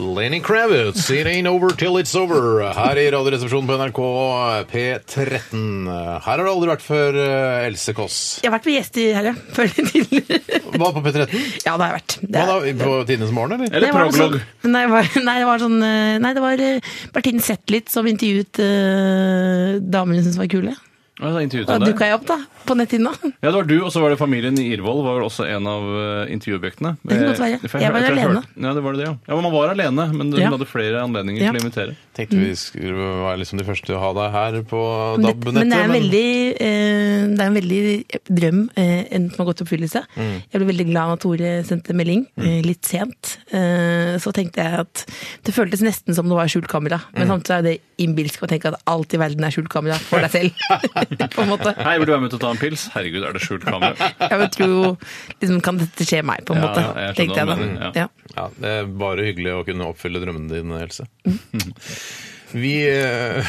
H: Lenny Kravitz, It Ain't Over Till It's Over, her i Radioresepsjonen på NRK P13. Her har du aldri vært før, eh, Else Kåss.
D: Jeg har vært med gjest i herre før tidligere.
H: Hva på P13?
D: Ja, det har jeg vært. Det
H: Hva
D: er-
H: da, På Tidenes morgen, eller?
I: Eller
D: Nei, var det
I: proglog.
D: Sånn, nei, det var, nei, det var sånn eh, Nei, det var eh, Bertine Zetlitz som intervjuet eh, damer hun syntes var kule.
I: Ja, det er intervjuet
D: Da
I: om det.
D: dukka jeg opp, da. På netthinna. Det
I: Ja, det var du, og så var det familien i Irvoll var vel også en av eh, intervjuobjektene.
D: Det kan godt være.
I: Eh, for
D: Jeg var
I: tror
D: alene.
I: hørte- Ja, det var det, ja. ja, men man var alene, men hun
D: Ja.
I: hadde flere anledninger
D: Ja.
I: til å invitere.
H: Tenkte vi skulle være liksom de første til å ha deg her på DAB-nettet.
D: Men det er en veldig, eh, det er en veldig drøm eh, en som har gått i oppfyllelse.
I: Mm.
D: Jeg ble veldig glad når Tore sendte melding, eh, litt sent. Eh, så tenkte jeg at det føltes nesten som det var skjult kamera.
I: Mm.
D: Men samtidig er det innbilsk å tenke at alt i verden er skjult kamera for deg selv. på en måte.
I: Hei, vil du være med til å ta en pils? Herregud, er det skjult kamera?
D: Jeg vil tro liksom, Kan dette skje meg, på en
I: Ja,
D: måte?
I: jeg skjønner
D: tenkte
I: hva
D: jeg
I: du
D: da.
I: mener, ja.
D: Ja.
H: Ja, det er bare hyggelig å kunne oppfylle drømmene dine, Else. Vi, eh,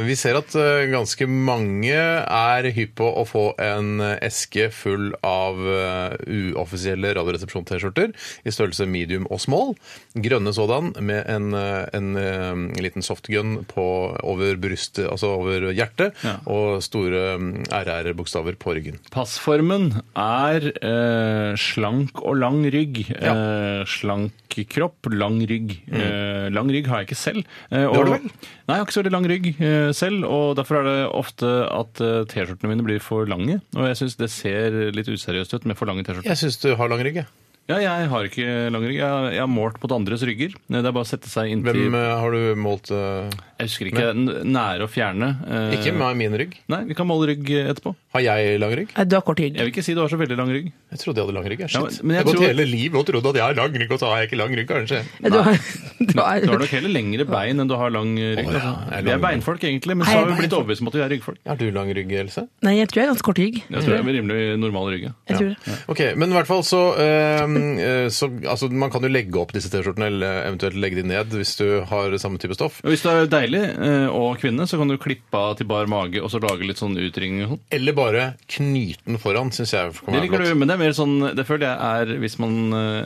H: vi ser at eh, ganske mange er hypp på å få en eske full av eh, uoffisielle Radioresepsjon-T-skjorter i størrelse medium og small. Grønne sådan, med en, eh, en, eh, liten softgun på, over brystet, altså over hjertet,
I: Ja.
H: og store mm, RR-bokstaver på ryggen.
I: Passformen er eh, slank og lang rygg. Eh, slank kropp, lang rygg. Eh, lang rygg har jeg ikke selv. Eh, og-
H: Mm. har du vel?
I: Nei, jeg har ikke så veldig lang rygg eh, selv, og derfor er det ofte at eh, T-skjortene mine blir for lange. Og jeg syns det ser litt useriøst ut med for lange T-skjorter.
H: Jeg syns du har lang rygg, jeg.
I: Ja, jeg har ikke lang rygg. Jeg, jeg har målt mot andres rygger. Det er bare å sette seg inntil
H: Hvem eh, har du målt eh,
I: Jeg husker ikke. n- Nære og fjerne. eh,
H: Ikke meg, min rygg.
I: Nei, vi kan måle rygg etterpå.
H: Har jeg lang rygg?
D: Nei, Du har kort rygg.
I: Jeg vil ikke si du har så veldig lang rygg.
H: Jeg trodde jeg hadde lang rygg. jeg.
I: Ja,
H: Shit.
I: men- men
H: jeg
I: jeg
H: har gått
I: tror-
H: hele livet og trodd at jeg har lang rygg, og så har jeg ikke lang rygg, kanskje.
D: Du har, du har,
I: Du har nok heller lengre bein enn du har lang rygg.
H: Å, ja,
I: altså.
H: jeg er
I: Vi er
H: lang.
I: beinfolk, egentlig, men
D: Nei,
I: så har
D: jeg
I: vi
D: er
I: blitt overbevist om at vi er ryggfolk.
H: Har du lang rygg, Else?
D: Nei, jeg tror jeg har ganske kort rygg.
I: Jeg tror jeg er rimelig normal rygg. ja.
D: Jeg tror det.
H: Ok, Men i hvert fall så, øhm, øh, så altså, Man kan jo legge opp disse T-skjortene, eller eventuelt legge de ned hvis du har samme type stoff.
I: Og Hvis du er deilig eh, og kvinne, så kan du klippe av til bar mage og så lage litt sånn utringning. og sånn.
H: Eller bare knyte den foran, syns jeg kan
I: Det
H: være
I: liker du,
H: flott.
I: men det er mer sånn Det føler jeg er hvis man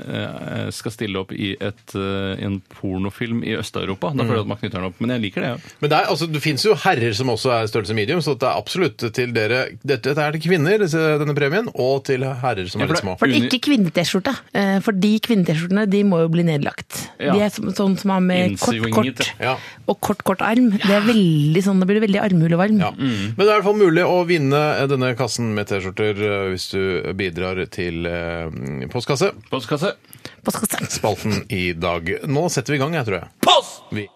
I: eh, skal stille opp i et, eh, en pornofilm i Øst-Europa. Da føler jeg at man knytter den opp. Men jeg liker det, ja.
H: Men det, er, altså, det fins jo herrer som også er størrelse medium, så det er absolutt til dere Dette, dette er til kvinner, disse, denne premien, og til herrer som
I: Ja,
H: er
I: for
H: litt
I: det-
H: små.
D: For
I: Uni-
D: ikke kvinne-T-skjorte. eh, For de kvinne-T-skjortene de må jo bli nedlagt.
I: Ja.
D: De er som- sånn som har med kort,
I: Innsvinget,
D: kort
H: ja.
D: og kort, kort arm. Det er veldig sånn, Da blir det veldig armhulevarm.
H: Ja. Men det er i hvert fall mulig å vinne eh, denne kassen med T-skjorter øh, hvis du bidrar til øh, postkasse.
I: Postkasse.
D: Hva skal jeg si?
H: spalten i dag. Nå setter vi i gang, jeg tror jeg. Vi.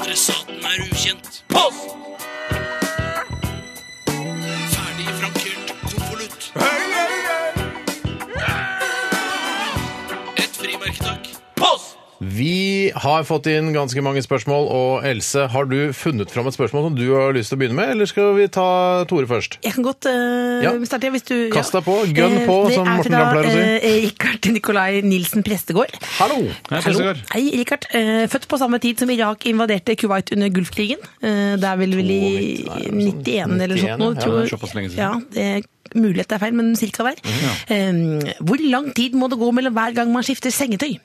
E: Adressaten er ukjent. Post! Ferdig frankert konvolutt. Et frimerke, takk. Post!
H: Vi har fått inn ganske mange spørsmål, og Else, har du funnet fram et spørsmål som du har lyst til å begynne med, eller skal vi ta Tore først?
D: Jeg kan godt eh,
H: Ja.
D: starte hvis du ja.
H: Kast deg på, gønn
D: Eh,
H: på,
D: det
H: som
D: er
H: Morten
D: fra,
H: Ramm pleier å si.
D: eh, Rikard Nikolai Nilsen Prestegård.
H: Hallo!
I: Hei,
D: Hallo.
I: Prestegård.
D: Hei, Richard. Eh, Født på samme tid som Irak invaderte Kuwait under Gulfkrigen. Eh, Det er vel vel i
H: 92, nei, eller sånt.
D: 91 eller
H: 91,
D: sånt noe.
H: ja,
D: tror-
I: det er såpass lenge siden.
D: Ja, det Mulighet er feil, men cirka der. Eh, Hvor lang tid må det gå mellom hver gang man skifter sengetøy?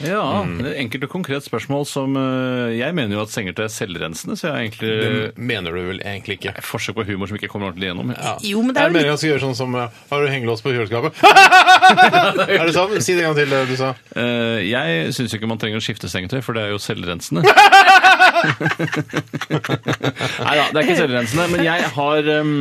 I: Ja,
H: Mm.
I: det er enkelt og konkret spørsmål som eh, Jeg mener jo at sengetøy er selvrensende, så jeg har egentlig
H: Det mener du vel egentlig ikke.
I: et forsøk på humor som ikke kommer ordentlig gjennom. Ja.
D: Jo, men det er
H: jeg
D: jo
H: mener
D: litt
H: jeg skal gjøre sånn som eh, Har du hengelås på kjøleskapet? er det sånn? Si det en gang til, eh, du sa.
I: Eh, Jeg syns ikke man trenger å skifte sengetøy, for det er jo selvrensende. Nei da, det er ikke selvrensende, men jeg har em,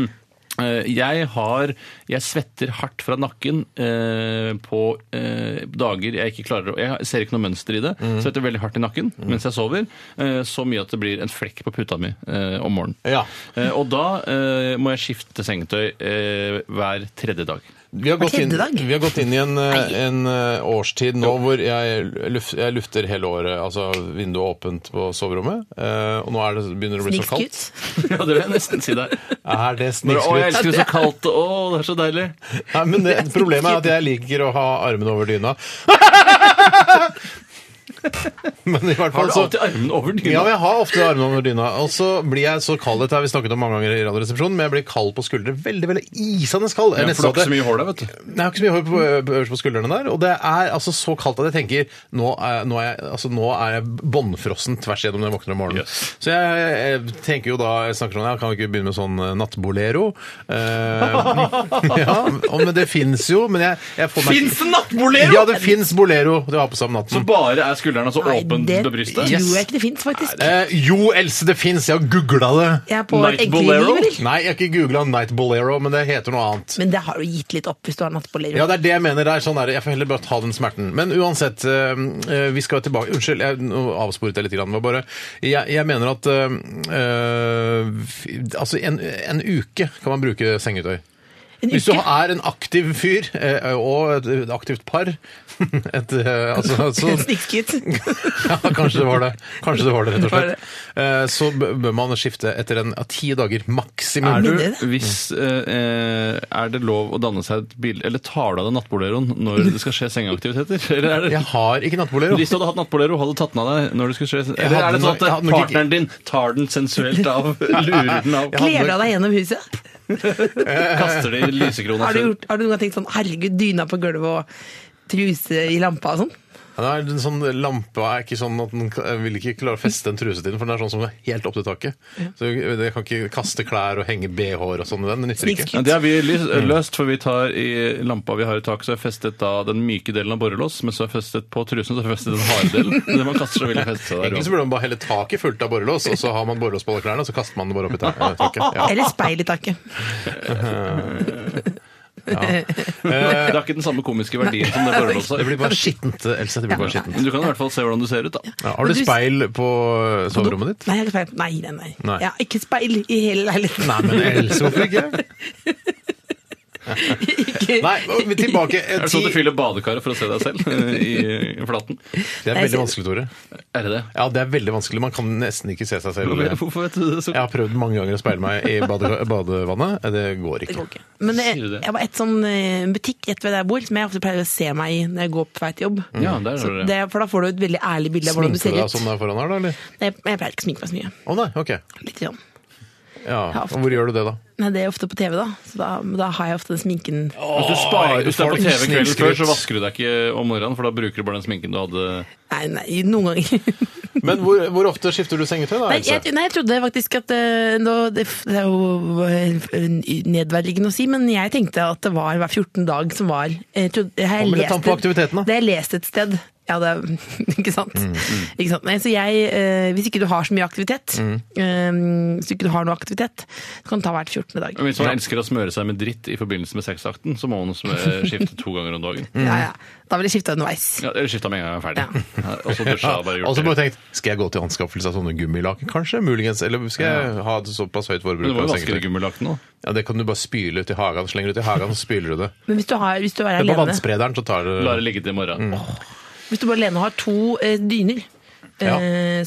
I: eh, jeg har Jeg svetter hardt fra nakken eh, på eh, dager jeg ikke klarer å Jeg ser ikke noe mønster i det. Svetter veldig hardt i nakken mens jeg sover. eh, så mye at det blir en flekk på puta mi eh, om morgenen.
H: Ja.
I: Eh, og da eh, må jeg skifte sengetøy eh, hver tredje dag.
H: Vi har, gått inn,
D: tredje dag?
H: vi har gått inn i en, eh, en eh, årstid nå hvor jeg, luf, jeg lufter hele året, altså vinduet åpent på soverommet. eh, Og nå er det, begynner det å bli så kaldt.
D: snikskryt.
I: ja, det vil jeg nesten si der.
H: Er
I: Bare, å,
H: det
I: jeg
H: snikskryt?
I: elsker det så kaldt. Å, det er så deilig.
H: Nei, men eh, det, problemet er at jeg liker å ha armene over dyna. Men i hvert
I: Har
H: fall
I: du
H: så
I: alltid armene over dyna?
H: ja, men jeg har ofte armene over dyna. Og så blir jeg så kald dette har vi snakket om mange ganger i Radioresepsjonen, men jeg blir kald på skuldre. Veldig, veldig isende kald. Jeg
I: Ja,
H: nesten
I: for det er ikke så
H: at jeg-
I: mye hår der, vet du.
H: Nei, Jeg har ikke så mye hår på, på- øverst på skuldrene der, og det er altså så kaldt at jeg tenker nå er, nå er, jeg, altså, nå er jeg båndfrossen tvers igjennom når jeg våkner om morgenen.
I: Yes.
H: Så jeg, jeg tenker jo da jeg snakker sånn, ja, kan vi ikke begynne med sånn eh, nattbolero? Eh, ja, og, men det fins jo, men jeg, jeg får meg
I: Fins det nattbolero?!
H: Ja, det fins bolero du har på seg om natten.
I: Så bare er skulderen altså
D: Nei,
I: åpen
D: det
I: ved brystet?
D: tror jeg ikke det fins, faktisk.
H: Eh, jo, Else, det fins! Jeg har googla det.
D: Jeg er på
I: Night
D: eggeriveren.
I: Bolero?
H: Nei, jeg har ikke googla Night Bolero, men det heter noe annet.
D: Men det har du gitt litt opp hvis du har nattbolero.
H: Ja, det er det jeg mener. Det er sånn der, jeg får heller bare ta den smerten. Men uansett, eh, eh, vi skal tilbake Unnskyld, jeg nå avsporet jeg litt. Grann, det var bare, jeg, jeg mener at eh, eh, f- Altså, en, en uke kan man bruke sengetøy.
D: En
H: Hvis du
D: uke.
H: er en aktiv fyr eh, og et, et aktivt par et, eh, altså, altså,
D: Snikskritt.
H: ja, kanskje det var det. Kanskje det var det, rett og
D: Var det?
H: slett. Eh, Så b- bør man skifte etter en ja, ti dager maksimum.
I: Er du,
D: det det?
I: hvis, eh, eh, er det lov å danne seg et bilde Eller tar du av deg nattboleroen når det skal skje sengeaktiviteter? Eller er det
H: Jeg har ikke nattbolero.
I: Hvis du hadde hatt nattbolero, hadde du tatt den av deg når det skulle skje Eller er det
H: hadde
I: sånn
H: nok- jeg
I: at
H: hadde nok ikke-
I: partneren din tar den sensuelt av, lurer den av,
D: Kler du av deg gjennom huset?
I: kaster det i lysekrona
D: Har du,
I: selv?
D: gjort, har du noen gang tenkt sånn herregud, dyna på gulvet og truse i lampa og sånn?
H: Ja, det er en sånn Lampa er ikke sånn at den k- vil ikke klare å feste en truse til den, for den er sånn som er helt opp til taket. Så det kan ikke kaste klær og henge bh-er og sånn i den. Det nytter ikke.
D: Snikskritt.
I: Ja, det har vi lys- løst, for vi tar i lampa vi har i taket, så er festet da den myke delen av borrelås, men så er festet på trusen, så er festet den harde delen. Det man kaster, så vil det feste seg
H: Egentlig så
I: der.
H: burde man bare helle taket fullt av borrelås, og så har man borrelås på alle klærne, og så kaster man det bare opp i ta- eh, taket. Ja.
D: Eller speil i taket.
I: Det har ikke den samme komiske verdien som det
H: Det
I: borrelåset.
H: blir bare skittent, Else. Det blir bare skittent.
I: Men Du kan i hvert fall se hvordan du ser ut, da.
H: Ja, har du
D: Men du-
H: speil på soverommet ditt?
D: Nei, jeg har ikke speil. Nei, nei, nei.
H: Nei.
D: Jeg har ikke speil i hele leiligheten.
H: Nei, men Else, hvorfor ikke?
D: Ikke-
H: Nei, men tilbake. eh,
I: Er det sånn at du fyller badekaret for å se deg selv eh, i i flaten?
H: Det er veldig vanskelig, Tore.
I: Er det det?
H: Ja, det er veldig vanskelig. Man kan nesten ikke se seg selv.
I: Hvorfor vet du det så
H: Jeg har prøvd mange ganger å speile meg i bade badevannet. Eh, Det går
D: Det
H: ikke.
D: går ikke. Men det,
I: Sier du det?
D: jeg var et sånn eh, butikk rett ved der jeg bor, som jeg ofte pleier å se meg i når jeg går på vei til jobb.
I: Ja, der
D: Så
I: har du det.
D: det, for da får du et veldig ærlig bilde av hvordan du
H: Sminker
D: ser
H: du
D: ut.
H: deg sånn der foran her, da? eller?
D: Nei, Jeg, jeg pleier ikke å sminke meg så mye.
H: Å nei, ok.
D: Litt grann.
H: Ja.
D: Ja,
H: Og hvor gjør du det, da?
D: Nei, det er ofte på TV, da. Så da, da har jeg ofte den sminken.
I: Hvis du sparer,
H: Åh,
I: hvis du er på
H: folk
I: TV kvelden før,
H: snikskryt.
I: så vasker du deg ikke om morgenen, for da bruker du bare den sminken du hadde
D: Nei, nei, noen ganger.
H: Men hvor, hvor ofte skifter du sengetøy, da?
D: Nei,
H: Else?
D: jeg, nei, jeg trodde faktisk at eh, nå, det, det er jo eh, nedverdigende å si, men jeg tenkte at det var hver 14. dag som var eh, jeg trodde, jeg har
H: Kommer litt
D: lest
H: an på
D: et-
H: aktiviteten, da.
D: Det har jeg lest et sted. Ja, det, er- ikke sant?
H: Mm,
D: Ikke sant? Nei, så jeg, eh, hvis ikke du har så mye aktivitet,
H: Mm.
D: eh, hvis ikke du har noe aktivitet, så kan det ta hvert 14. dag.
I: Men Hvis man elsker å smøre seg med dritt i forbindelse med sexakten, så må man smøre, skifte to ganger om dagen.
H: Mm.
D: Ja, ja. Da vil jeg skifte underveis.
I: Ja, eller skifte med en gang jeg er ferdig. Ja, og så dusja og bare
H: Og
I: gjort
H: så
I: det.
H: bare tenkt, skal jeg gå til anskaffelse av sånne gummilaken, kanskje? Muligens. Eller skal jeg ha et såpass høyt
I: Men
H: forbruk
I: det var jo
H: av
I: vaskere
H: sengetøy?
I: gummilakk nå.
H: Ja, det kan du bare spyle ut i hagen. Slenger det ut i hagen, så spyler du det.
D: Men hvis du, har, hvis du er
H: Men på
D: alene,
H: vannsprederen så tar
I: La
H: det
I: det ligge til i morgen.
D: hvis du bare alene har to eh, dyner, eh,
H: Ja.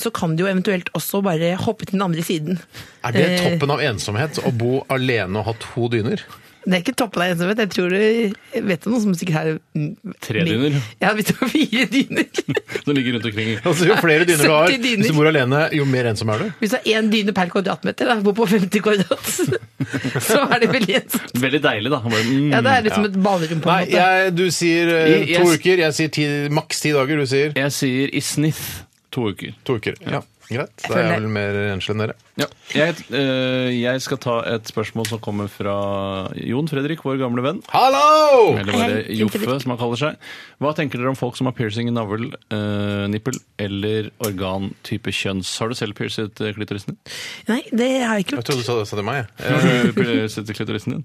D: så kan du jo eventuelt også bare hoppe til den andre siden.
H: Er det
D: Eh,
H: toppen av ensomhet å bo alene og ha to dyner?
D: Det er ikke toppen av ensomhet. Jeg tror du jeg vet om noen som sikkert har mm,
I: Tre dyner.
D: Ja, hvis du har fire dyner.
I: Som ligger rundt omkring.
H: Altså, Jo flere dyner du har,
D: 70 dyner.
H: hvis du bor alene, jo mer ensom er du.
D: Hvis du har én dyne per kvadratmeter, da, bor på 50 kvadrat, så er det veldig ensomt.
I: Veldig deilig, da. Bare, mm.
D: Ja, det er liksom et ballrom på
H: Nei,
D: en måte.
H: jeg, du sier eh,
I: Jeg- jeg-
H: to uker. Jeg sier ti, maks ti dager. Du sier
I: Jeg sier i snitt to uker.
H: to uker. Ja, Greit. Da er
D: føler-
H: jeg vel mer enslig enn dere.
I: Ja. Jeg, eh, jeg skal ta et spørsmål som kommer fra Jon Fredrik, vår gamle venn.
H: Hallo!
I: Eller bare
D: Hei, Jon
I: Joffe,
D: Fredrik.
I: som han kaller seg. Hva tenker dere om folk som har piercing i navl, eh, nippel eller organ type kjønns? Har du selv piercet eh, klitorisen din?
D: Nei, det har jeg ikke gjort.
H: Jeg trodde du sa det sa til meg. jeg. Eh,
I: Har du piercet klitorisen din?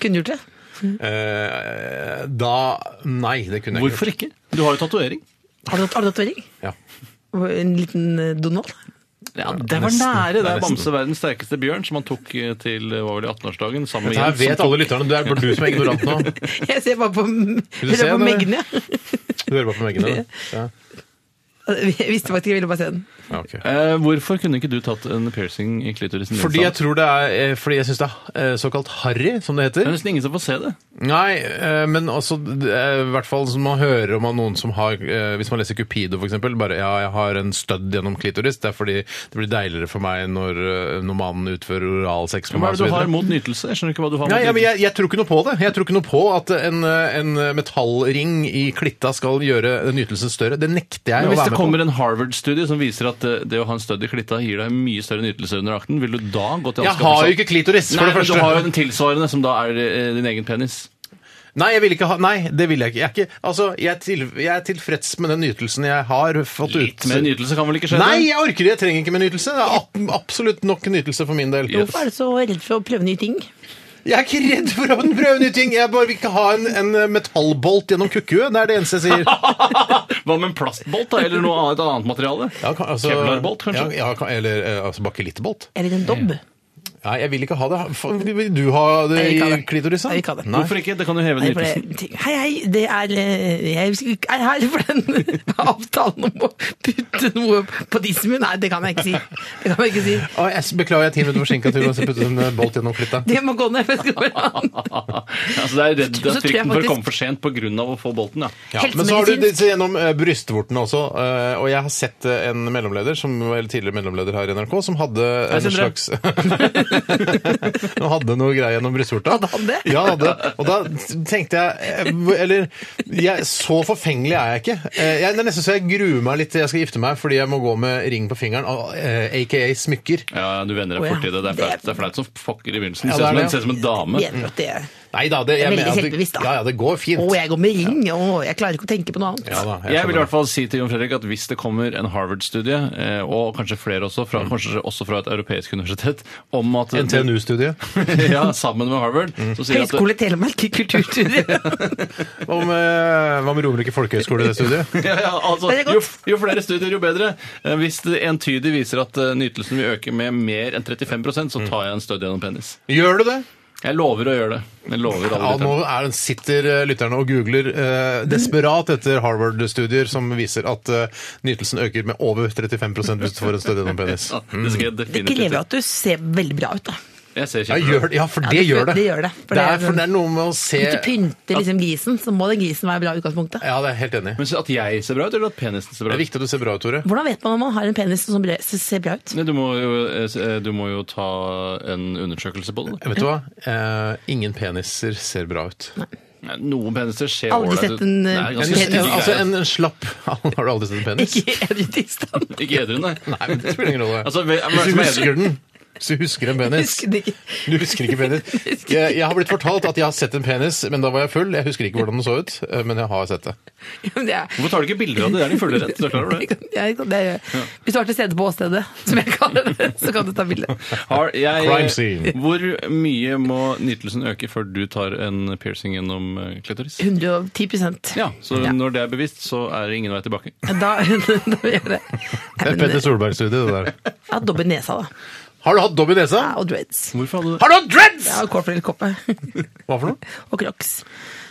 D: Kunne gjort det.
H: Eh, da Nei, det kunne jeg
I: Hvorfor ikke? Du har jo tatovering.
D: Har du hatt- har du hatt tatovering?
H: Ja.
D: En liten eh, Donald?
I: Ja, det var nære. Det er Bamse verdens sterkeste bjørn, som han tok eh, til eh, var vel i 18-årsdagen sammen
H: Dette her
I: med
H: vet
I: Jens.
H: alle lytterne. Det er bare du som er ignorant nå.
D: Jeg ser bare på,
H: du se
D: eller på
H: den, eller?
D: Megne.
H: Du hører bare på veggene. du. Ja.
D: Jeg visste faktisk ikke, jeg ville bare se den.
H: Ja, ok.
I: Eh, hvorfor kunne ikke du tatt en piercing i klitorisen? din,
H: Fordi jeg
I: Sam?
H: tror det er eh, Fordi jeg syns det er eh, såkalt harry, som det
I: det er
H: heter.
I: nesten ingen som får se det.
H: Nei, eh, men også det er i hvert fall som man hører om av noen som har eh, Hvis man leser Cupido, f.eks. Bare ja, jeg har en stødd gjennom klitoris. Det er fordi det blir deiligere for meg når, eh, når mannen utfører oralsex
I: Hva
H: med meg.
I: er
H: og så
I: det du
H: videre.
I: har mot nytelse? Jeg skjønner ikke hva du har mot
H: Nei, ja, men
I: nytelse.
H: jeg, jeg tror ikke noe på det. Jeg tror ikke noe på at en, eh, en metallring i klitta skal gjøre den nytelsen større. Det nekter
I: Men
H: jeg å
I: hvis
H: være
I: det
H: med på.
I: kommer en Harvard-studie som viser at eh, det å ha en stødd i klitta gir deg mye større nytelse under akten, vil du da gå til sånn?
H: Jeg har jo ikke klitoris, for
I: Nei,
H: det
I: men
H: første.
I: du har jo den tilsvarende, som da er eh, din egen penis.
H: Nei, jeg vil ikke ha, nei, det vil jeg ikke. Jeg er, ikke, altså, jeg er, til, jeg er tilfreds med den nytelsen jeg har fått
I: Litt
H: ut.
I: mer nytelse kan vel ikke skje?
H: Nei, jeg orker det. Jeg trenger ikke mer nytelse. Det er ab- absolutt nok nytelse for min del.
I: Yes.
D: Hvorfor er du så redd for å prøve nye ting?
H: Jeg er ikke redd for å prøve nye ting. Jeg bare vil ikke ha en, en eh, metallbolt gjennom kukkuet. Det er det eneste jeg sier.
I: Hva med en plastbolt, da? Eller noe annet, et annet materiale?
H: Ja, kan- altså-
I: Kevlarbolt, kanskje?
H: Ja, ja, kan- eller eh, altså, bakelittbolt.
D: Eller en dobb?
H: Nei, jeg vil ikke ha det. F- Vil du ha det
D: Jeg vil ikke ha
H: i
D: det.
H: klitorisen?
D: Jeg vil ikke ha det.
H: Nei.
I: Hvorfor ikke? Det kan jo heve
D: Nei, for
I: nytelsen.
D: det, hei, hei, det er eh, Jeg er her for den avtalen om å putte noe på tissen min. Nei, det kan jeg ikke si. Det kan jeg ikke si.
H: Å, jeg s- beklager, jeg er ti minutter forsinka til å putte en eh, bolt gjennom klitta.
D: Det må gå ned. for jeg skal bare-
I: altså, det er redd det
D: Så
I: er
D: tror jeg
I: frykten for å
D: faktisk-
I: komme for sent pga. å få bolten, ja.
H: Ja, men så har du
D: Helsemedisinsk.
H: disse gjennom eh, brystvortene også. eh, og jeg har sett eh, en mellomleder, som, eller tidligere mellomleder her i NRK, som hadde en
I: Sindre.
H: slags Han hadde noe greie gjennom brystvorta. Hadde
D: han det?
H: Ja, han hadde. Og da tenkte jeg eh, Eller jeg, så forfengelig er jeg ikke. Eh, jeg, det er nesten så jeg gruer meg litt til jeg skal gifte meg, fordi jeg må gå med ring på fingeren, og, eh, aka smykker.
I: Ja, du venner deg
D: Å, ja.
I: fort til det. Det er
D: Det-
I: flaut, det er flaut som fucker i begynnelsen.
H: Ja,
I: ser, som en,
H: det er det, ja.
I: ser som en dame.
D: Jeg mener at det
H: Nei da, det,
D: Det er
H: jeg
D: veldig
H: mener at det-
D: selvbevisst, da.
H: Ja, ja, det går fint.
D: Å, jeg går med ring. Å, jeg klarer ikke å tenke på noe annet.
H: Ja, da,
I: Jeg vil i
H: skjønner.
I: hvert fall si til Jon Fredrik at hvis det kommer en Harvard-studie, eh, og kanskje flere også, fra,
H: Mm.
I: kanskje også fra et europeisk universitet, om at
H: NTNU-studiet.
I: ja, sammen med Harvard,
H: Mm.
I: som sier at
D: Høyskole Telemark kulturstudie.
H: Hva med, hva med Romerike folkehøgskole, det studiet?
I: ja, ja, altså,
D: Det er
I: jo,
D: godt.
I: jo flere studier, jo bedre. Eh, Hvis det entydig viser at eh, nytelsen vil øke med mer enn 35
H: Mm.
I: så tar jeg en stødd gjennom penis.
H: Gjør du det?
I: Jeg lover å gjøre det. Jeg lover alle
H: Ja,
I: lytterne.
H: nå er, sitter eh, lytterne og googler eh, desperat etter Harvard-studier som viser at eh, nytelsen øker med over 35 hvis du får en stødig gjennom penis.
I: Ja, det skal jeg
D: Det
I: definitivt
D: krever
I: gjøre.
D: at du ser veldig bra ut, da.
I: Jeg ser
H: Ja,
I: kjempebra
H: gjør, det- ja for det
D: Ja,
H: gjør det.
D: det gjør det, for
H: For det,
D: det
H: er,
D: er-
H: for det er noe med å se
D: Hvis du pynter liksom grisen, så må den grisen være bra i utgangspunktet.
H: Ja, det er jeg helt enig. i.
I: Men så at jeg ser bra ut, eller at penisen ser
H: Det
I: bra
H: er
I: ut?
H: viktig at du ser bra ut, Tore.
D: Hvordan vet man om man har en penis som bre- ser bra ut?
I: Nei, Du må, jo, eh, s- eh, du må jo ta en undersøkelse på det. da.
H: Vet du hva? Eh, ingen peniser ser bra ut.
I: Nei, Noen peniser ser
D: Aldri
I: ålreit
D: sett
I: ut.
D: en,
I: Det
D: eh,
I: er
H: En,
I: ganske
D: penis.
H: en,
I: stygge
H: altså
I: greier.
H: en, en slapp Har du aldri sett en penis?
D: Ikke i edrutisstand.
I: Ikke edru, nei.
H: Nei, men det spiller ingen rolle.
I: Altså, ve-
H: Hvis du
I: hva-
H: husker den. Hvis du husker en penis.
D: Husker det ikke.
H: Du husker ikke penis? Jeg, jeg har blitt fortalt at jeg har sett en penis, men da var jeg full. Jeg husker ikke hvordan den så ut, eh, men jeg har sett det.
D: Men det er-
I: Hvorfor tar du ikke bilder av det? Det er din fulle rett. Du er klar over det?
D: Jeg kan- det er- Hvis du er til stede på åstedet, som jeg kaller det, så kan du ta bilde.
I: Har jeg,
H: Crime scene.
I: Hvor mye må nytelsen øke før du tar en piercing gjennom eh, klitoris?
D: 110
I: Ja, så
D: Ja.
I: når det er bevisst, så er det ingen vei tilbake.
D: Da, da gjør jeg det. Nei, men,
H: Petter Solberg-studio, det der.
D: jeg har dobbel nesa, da.
H: Har du hatt dobb i nesa?
D: Ja, Og dreads.
I: Hvorfor hadde du
H: Har du hatt dreads?!
D: Jeg har corporate-koppe.
H: Hva for noe?
D: Og crocs.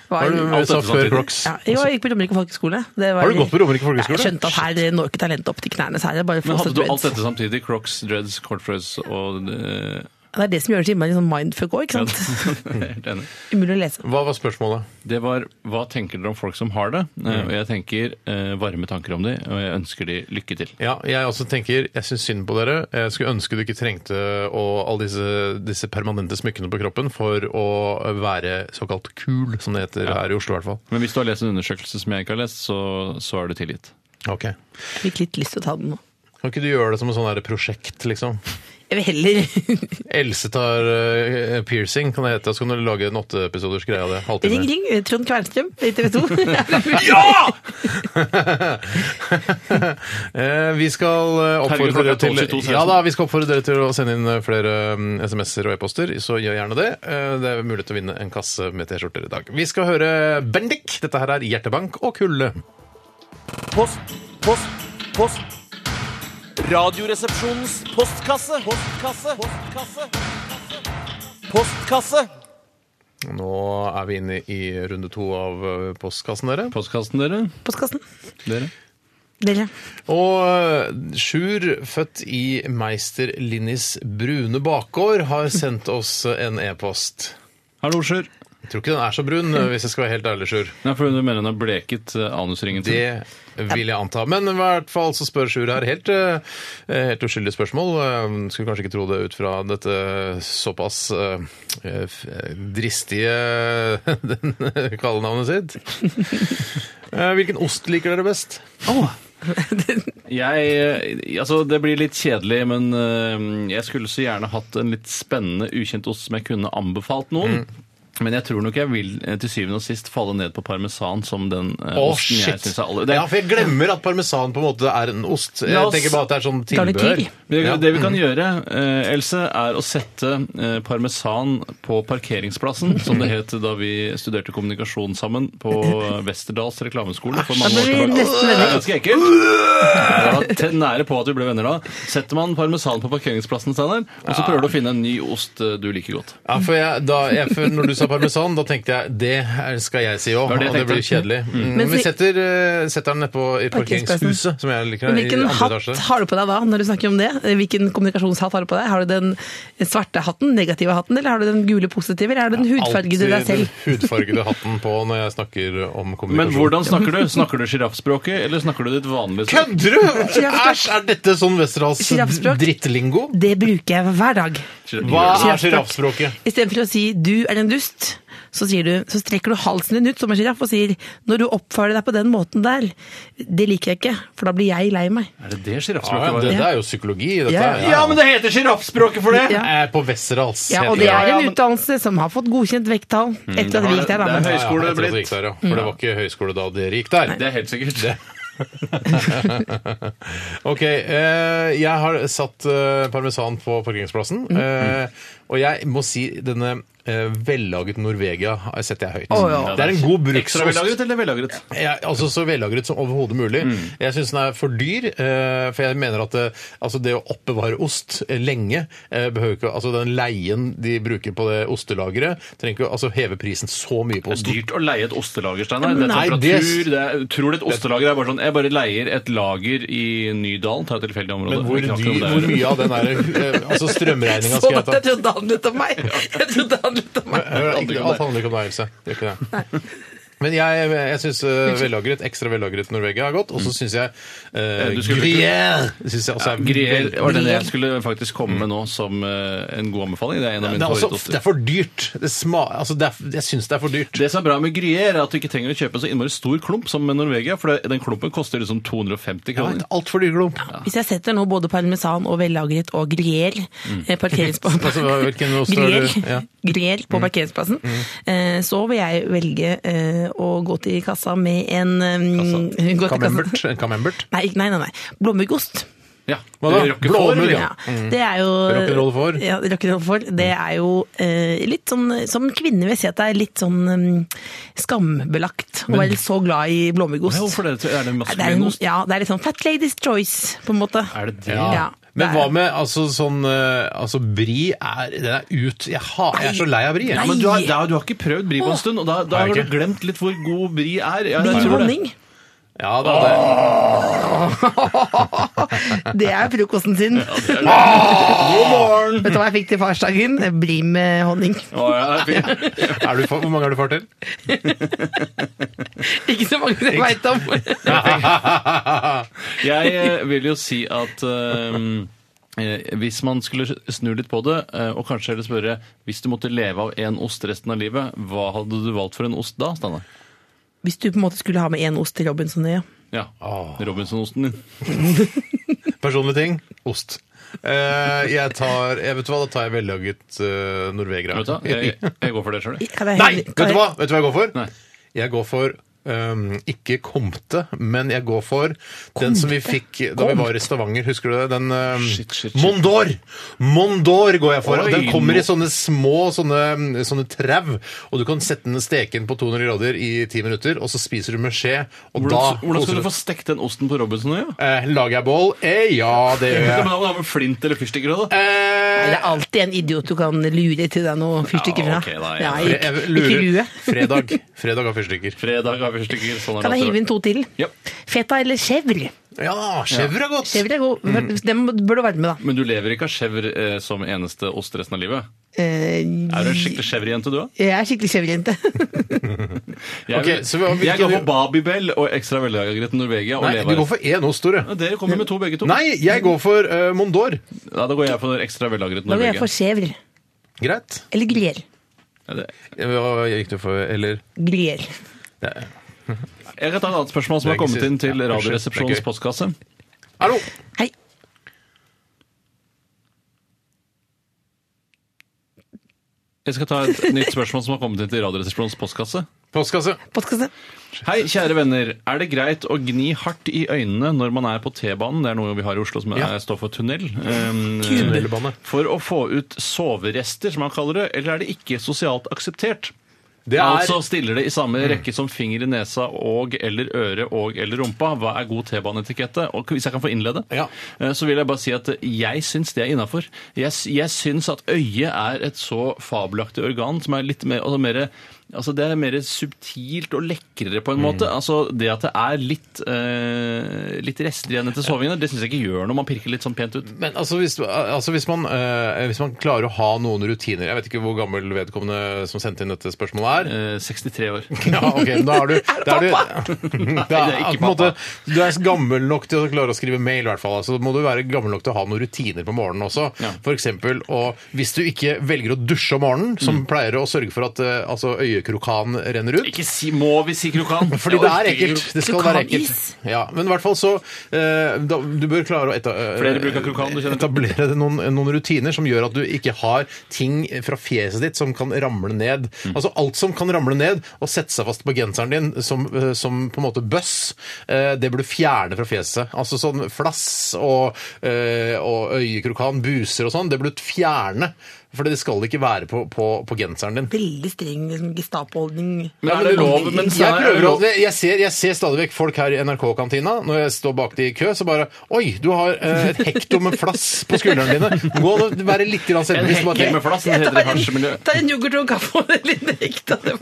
D: Var-
H: Har du
I: Alt
H: sa
I: dette
H: før
I: samtidig.
H: Crocs?
D: Ja, jo, jeg gikk på Romerike folkehøgskole. Det var-
H: Har du gått på Romerike folkehøgskole?
D: Ja, Jeg skjønte at her når ikke talentet opp til knærne. Så her er det bare
I: Men hadde
D: frosset
I: du alt
D: dreads.
I: dette samtidig? Crocs, dreads, cortfrøs og eh,
D: Det er det som gjør det så innmari sånn mindfuck òg, ikke
I: ja,
D: sant.
I: jeg er Helt enig.
D: Umulig å lese.
H: Hva var spørsmålet?
I: Det var hva tenker dere om folk som har det? Eh, Og jeg tenker eh, varme tanker om de, og jeg ønsker de lykke til.
H: Ja, jeg også tenker, jeg syns synd på dere. Jeg skulle ønske du ikke trengte å, alle disse, disse permanente smykkene på kroppen for å være såkalt kul, som det heter her i Oslo i hvert fall.
I: Men hvis du har lest en undersøkelse som jeg ikke har lest, så, så er du tilgitt.
H: Ok.
D: Jeg fikk litt lyst til å ta den nå.
H: Kan ikke du gjøre det som en sånn der prosjekt, liksom?
D: Jeg vil heller
H: Else tar eh, piercing, kan det hete. Så kan du lage en åtteepisoders greie av det.
D: Ring,
H: Halvtime.
D: ring, Trond Kvernstrøm i TV 2.
H: Ja! Eh, vi skal eh,
I: Herregud,
H: oppfordre
I: klokka
H: dere
I: er
H: til
I: 12.22,
H: Ja da, vi skal oppfordre dere til å sende inn eh, flere mm, SMS-er og e-poster, så gjør gjerne det. Eh, Det er mulig til å vinne en kasse med T-skjorter i dag. Vi skal høre Bendik. Dette her er Hjertebank og kulde.
C: Post, post, post. Radioresepsjonens postkasse. Postkasse. Postkasse. Postkasse.
H: Nå er vi inne i runde to av eh, postkassen, dere.
I: Postkassen, dere?
D: Postkassen.
I: dere?
D: Dere.
H: Og eh, Sjur, født i Meister Linnis brune bakgård, har sendt oss en e-post.
I: Hallo, Sjur.
H: Jeg tror ikke den er så brun, eh, hvis jeg skal være helt ærlig, Sjur.
I: Nei, for du mener hun har bleket eh, anusringen sin?
H: Det vil jeg anta. Men i hvert fall så spør Sjur her helt, eh, helt uskyldig spørsmål. Eh, Skulle kanskje ikke tro det ut fra dette såpass eh, f- eh, dristige den, kallenavnet sitt. Eh, Hvilken ost liker dere best?
I: Jeg, eh, altså Det blir litt kjedelig, men eh, jeg skulle så gjerne hatt en litt spennende ukjent ost som jeg kunne anbefalt noen. Men jeg tror nok jeg vil eh, til syvende og sist falle ned på parmesan som den eh,
H: Å,
I: osten jeg
H: shit!
I: syns er aller det,
H: Ja, for jeg glemmer at parmesan på en måte er en ost. Jeg
I: La oss-
H: tenker bare at det er sånn tilbehør.
D: Garnityr.
I: det,
H: Ja.
I: det vi kan gjøre, eh, Else, er å sette eh, parmesan på parkeringsplassen, som det het da vi studerte kommunikasjon sammen på eh, Westerdals reklameskole for
D: Da
I: mange år
D: blir vi
I: tilbake.
D: nesten
I: Det er
D: venner.
I: ganske ekkelt. Jeg var nære på at vi ble venner da. Setter man parmesan på parkeringsplassen, Steinar, og så prøver du å finne en ny ost eh, du liker godt.
H: Ja, for jeg, da, jeg, for når du sa parmesan, da tenkte jeg det her skal jeg si òg.
I: var
H: Og
I: det jeg
H: det blir
I: tenkte.
H: kjedelig. Mm. Men
D: Men
H: vi
D: så-
H: setter, eh, setter den nedpå i
D: Parkeringsplassen.
H: parkeringshuset, som jeg liker.
D: Men
H: her, i
D: Hvilken
H: andre
D: hatt
H: etasje.
D: har du på deg da, når du snakker om det? Hvilken kommunikasjonshatt har du på deg? Har du den svarte hatten, negative hatten, eller har du den gule positive, eller har du den hudfargede deg
H: den
D: selv?
H: hudfargede hatten på når jeg snakker om kommunikasjon.
I: Men hvordan snakker du? Snakker du sjiraffspråket, eller snakker du ditt vanlige språk?
H: Kødder du?! Æsj, er dette sånn Westerdals
D: Giraffespråk?
H: drittlingo?
D: Det bruker jeg hver dag.
H: Hva er
D: Giraffespråk.
H: sjiraffspråket?
D: Istedenfor å si 'du er en dust', så, sier du, så strekker du halsen din ut som en sjiraff og sier 'når du oppfører deg på den måten der', det liker jeg ikke, for da blir jeg lei meg.
I: Er det det
H: Ja,
I: sjiraffspråket
H: ja,
I: var?
H: dette er jo psykologi. Dette.
D: Ja,
H: er-
D: ja.
I: Ja, men det heter sjiraffspråket for det!
D: Ja.
H: Jeg er på Westerdals.
D: Ja,
H: heter
D: og det
H: det.
D: er
I: ja,
D: en
I: men- Mm,
D: utdannelse som har fått godkjent vekttall etter at vi gikk der. Da.
I: Det er
D: men-
I: høyskole
H: Ja, etter at det
I: blitt.
H: gikk der, ja.
D: Mm.
H: For det var ikke høyskole da dere gikk der.
I: Det er helt sikkert.
H: Ok, eh, jeg har satt eh, parmesan på parkeringsplassen.
I: Mm.
H: Eh, og jeg må si denne eh, vellaget Norvegia setter jeg høyt.
D: Å, ja.
H: Det er en god
I: Ekstra
H: bruksost.
I: vellagret eller vellagret?
H: Jeg, altså Så vellagret som overhodet mulig.
I: Mm.
H: Jeg syns den er for dyr, eh, for jeg mener at eh, altså det å oppbevare ost eh, lenge eh, behøver ikke Altså den leien de bruker på det ostelageret, trenger ikke å altså, heve prisen så mye på
I: Det
H: osten.
I: er dyrt å leie et ostelager, Steinar. Det er
H: Nei,
I: temperatur
H: det-
I: det er, Tror du et ostelager er bare sånn Jeg bare leier et lager i Nydalen, ta et tilfeldig område.
H: Men hvor,
I: Jeg kan
H: dyr,
I: ikke om det er-
H: hvor mye av den der, eh, altså strømregninga
D: Så
H: skal jeg
D: at jeg
H: ta?
D: trodde han lød om meg! Jeg trodde han lød om meg.
H: Hør, ikke- Alt handler ikke om deg, Else. Det gjør ikke det. Men jeg, jeg syns vellagret, ekstra vellagret Norvegia er godt.
D: Mm.
H: Og så syns jeg eh,
I: du skulle-
H: Gruyère synes jeg også er
I: Grier
H: vel-
I: var den jeg skulle faktisk komme med nå som eh, en god anbefaling. Det er altså- en av
H: Det er,
I: mine
H: også, det
I: favorittoster.
H: er for dyrt. Det sma, altså det er, jeg syns det er for dyrt.
I: Det som er bra med Gruyère, er at du ikke trenger å kjøpe en så innmari stor klump som med Norvegia, for det- den klumpen koster liksom 250
H: Ja,
I: kroner.
H: et Altfor dyr klump.
D: Hvis jeg setter nå både parmesan og vellagret og eh, grier
H: Altså, hvilken ost har
D: Grier,
H: du? Ja.
D: grier på parkeringsplassen. eh, Så vil jeg velge eh, å gå til kassa med en um, gå til kassa-
H: Camembert. En camembert.
D: Nei, nei, nei. nei. Blåmuggost.
I: Ja,
H: Hva da?
I: Roquefort,
H: Blåmugg,
I: eller?
H: ja.
D: Ja. Det er jo
H: Rock'n'roll for?
D: Ja, rock'n'roll for. Det er jo eh, litt sånn Som kvinne vil jeg si at det er litt sånn mm, skambelagt å være så glad i blåmuggost.
I: Ja, hvorfor det? Er
D: Nei, det
I: det
D: er,
I: maskulin
D: en-
I: ost?
D: ja, det er litt sånn fat ladies choice, på en måte.
I: Er det det?
D: Ja.
H: Men
D: det er-
H: hva med altså sånn eh, Altså, bri er Den er ut. Jeg, har, jeg er så lei av bri.
I: Ja,
H: Jeg.
I: men du har, da- du har ikke prøvd bri på en stund, og da, da
H: Har
I: har
H: jeg
I: du
H: ikke?
I: glemt litt hvor god bri er. Ja,
D: Brie
I: jeg tror det.
D: honning.
H: Ja, da, det,
D: Det er frokosten sin.
I: God morgen!
D: Vet du hva jeg fikk til farsdagen? Brie med honning.
I: Å, ja, det er fint.
H: er du, for- hvor mange har du far til?
D: Ikke så mange som veit om.
I: Jeg eh, vil jo si at eh, eh, hvis man skulle snu litt på det, eh, og kanskje heller spørre Hvis du måtte leve av én ost resten av livet, hva hadde du valgt for en ost da, Steinar?
D: Hvis du på en måte skulle ha med én ost til Robinson-øya.
I: Ja. Robinson-osten din.
H: Personlige ting. Ost. Eh, jeg tar jeg Vet du hva, da tar jeg vellaget uh, norvegere.
I: Vet du hva? Jeg, jeg går for det sjøl, jeg.
D: Kan jeg-
H: Nei!
D: kan jeg-
H: Vet du hva Vet du hva jeg går for?
I: Nei.
H: Jeg går for ehm, ikke Komte, men jeg går for den som vi fikk da vi var i Stavanger. Husker du det? Den ehm,
I: Shit, shit, shit.
H: Mondor! Mondor går jeg for. og den
I: Oi,
H: kommer
I: nå-
H: i sånne små sånne, sånne trau, og du kan sette den steken på 200 grader i 10 minutter, og så spiser du med skje, og da
I: Hvordan, hvordan
H: koser
I: skal du
H: du
I: få stekt den osten på Robinson-øya?
H: Eh, Lager jeg bål? Eh, ja, det gjør
I: Ja,
H: jeg.
I: men da må du ha med flint eller fyrstikker også, da.
H: Eh,
D: Nei, Det er alltid en idiot du kan lure til deg noe fyrstikker
I: Ja,
D: fra.
I: ok, da, ja.
D: Nei,
H: Jeg
D: ikke, ikke
H: lurer.
D: lue.
H: Fredag. Fredag har fyrstikker.
I: Fredag har leverstykker. Sånn er
D: Kan jeg
I: det
D: hive inn to til?
I: Ja.
D: Feta eller chèvre?
H: Ja, chèvre er godt!
D: Chèvre er god.
I: Mm.
D: Dem bør du være med, da.
I: Men du lever ikke av chèvre eh, som eneste ost resten av livet?
D: Eh,
I: Er du en skikkelig chèvrejente, du òg?
D: jeg er skikkelig chèvrejente.
I: Jeg,
H: Ok, så hva-
I: jeg
H: hvilken-
I: går for Babybel og ekstra vellagret Norvegia. Og
H: Nei, du
I: lever.
H: går for én ost, Tore.
I: Ja, Dere kommer med to, begge to.
H: Nei, jeg går for eh, Mondor.
I: Ja, da går jeg for ekstra vellagret
D: Da går jeg
I: Norvegia.
D: for chèvre.
H: Greit.
D: Eller gruyère.
I: Ja, det-
H: Hva gikk du for, eller
D: Gruyère.
I: Jeg kan ta et annet spørsmål som har
H: Det er ikke
I: kommet inn til
H: si- Ja,
I: Radioresepsjonens
H: unnskyld, det er gøy.
I: postkasse.
H: Hallo!
D: Hei.
I: Jeg skal ta et nytt spørsmål som har kommet inn til Radioresepsjonens postkasse.
H: Postkasse.
D: Postkasse.
I: Hei, kjære venner. Er det greit å gni hardt i øynene når man er på T-banen? Det er noe vi har i Oslo som
H: Ja.
I: er, står for tunnel. Um,
H: Tunnelbane.
I: For å få ut soverester, som man kaller det. Eller er det ikke sosialt akseptert?
H: Det er Mm.
I: Altså stiller det i samme rekke som finger i nesa og eller øre og eller rumpa. Hva er god T-baneetikette? Og hvis jeg kan få innlede,
H: Ja.
I: eh, så vil jeg bare si at jeg syns det er innafor. Jeg, s- jeg syns at øyet er et så fabelaktig organ som er litt mer, altså mer Altså Det er mer subtilt og lekrere,
H: Mm.
I: på en måte. Altså Det at det er litt eh, Litt rester igjen etter sovingen, det syns jeg ikke gjør noe. Man pirker litt sånn pent ut.
H: Men altså hvis, altså hvis, man, eh, hvis man klarer å ha noen rutiner Jeg vet ikke hvor gammel vedkommende som sendte inn dette spørsmålet er.
I: Eh, 63 år.
H: Ja, ok, men da er du da er du,
I: Nei,
H: da,
I: det er
H: på
I: ikke
H: en måte,
I: pappa.
H: du er gammel nok til å klare å skrive mail, i hvert fall. Så må du være gammel nok til å ha noen rutiner på morgenen også.
I: Ja.
H: For eksempel, og hvis du ikke velger å dusje om morgenen,
I: Mm.
H: som pleier å sørge for at eh, altså, øyekrokan renner ut
I: Ikke si, må vi si krokan?
H: fordi
I: Jeg
H: det er
I: orker ikke
H: ekkelt. Det skal være ekkelt.
D: Krokanis.
H: Ja, men i hvert fall så eh, da, Du bør klare å eta, eh,
I: Flere bruk av krokan, du kjenner til.
H: etablere noen, noen rutiner som gjør at du ikke har ting fra fjeset ditt som kan ramle ned.
I: Mm.
H: Altså alt som kan ramle ned og sette seg fast på genseren din som, eh, som på en måte bøss, eh, det bør du fjerne fra fjeset. Altså sånn flass og, eh, og øyekrokan, buser og sånn, det bør du fjerne. For det skal ikke være på, på, på genseren din.
D: Veldig streng liksom, Gestapo-holdning.
I: Men er det lov? Men
H: Jeg
I: er det
H: prøver å,
I: lov-
H: jeg, ser, jeg ser stadig vekk folk her i NRK-kantina. Når jeg står bak de i kø, så bare Oi, du har eh, et hekto med flass på skuldrene dine. Gå nå, vær litt grann
I: En
H: selvbevisst.
I: hekk med
H: bare-
I: flass, den heter i hasjemiljøet.
D: Ta en yoghurt og en kaffe og den lille hekta det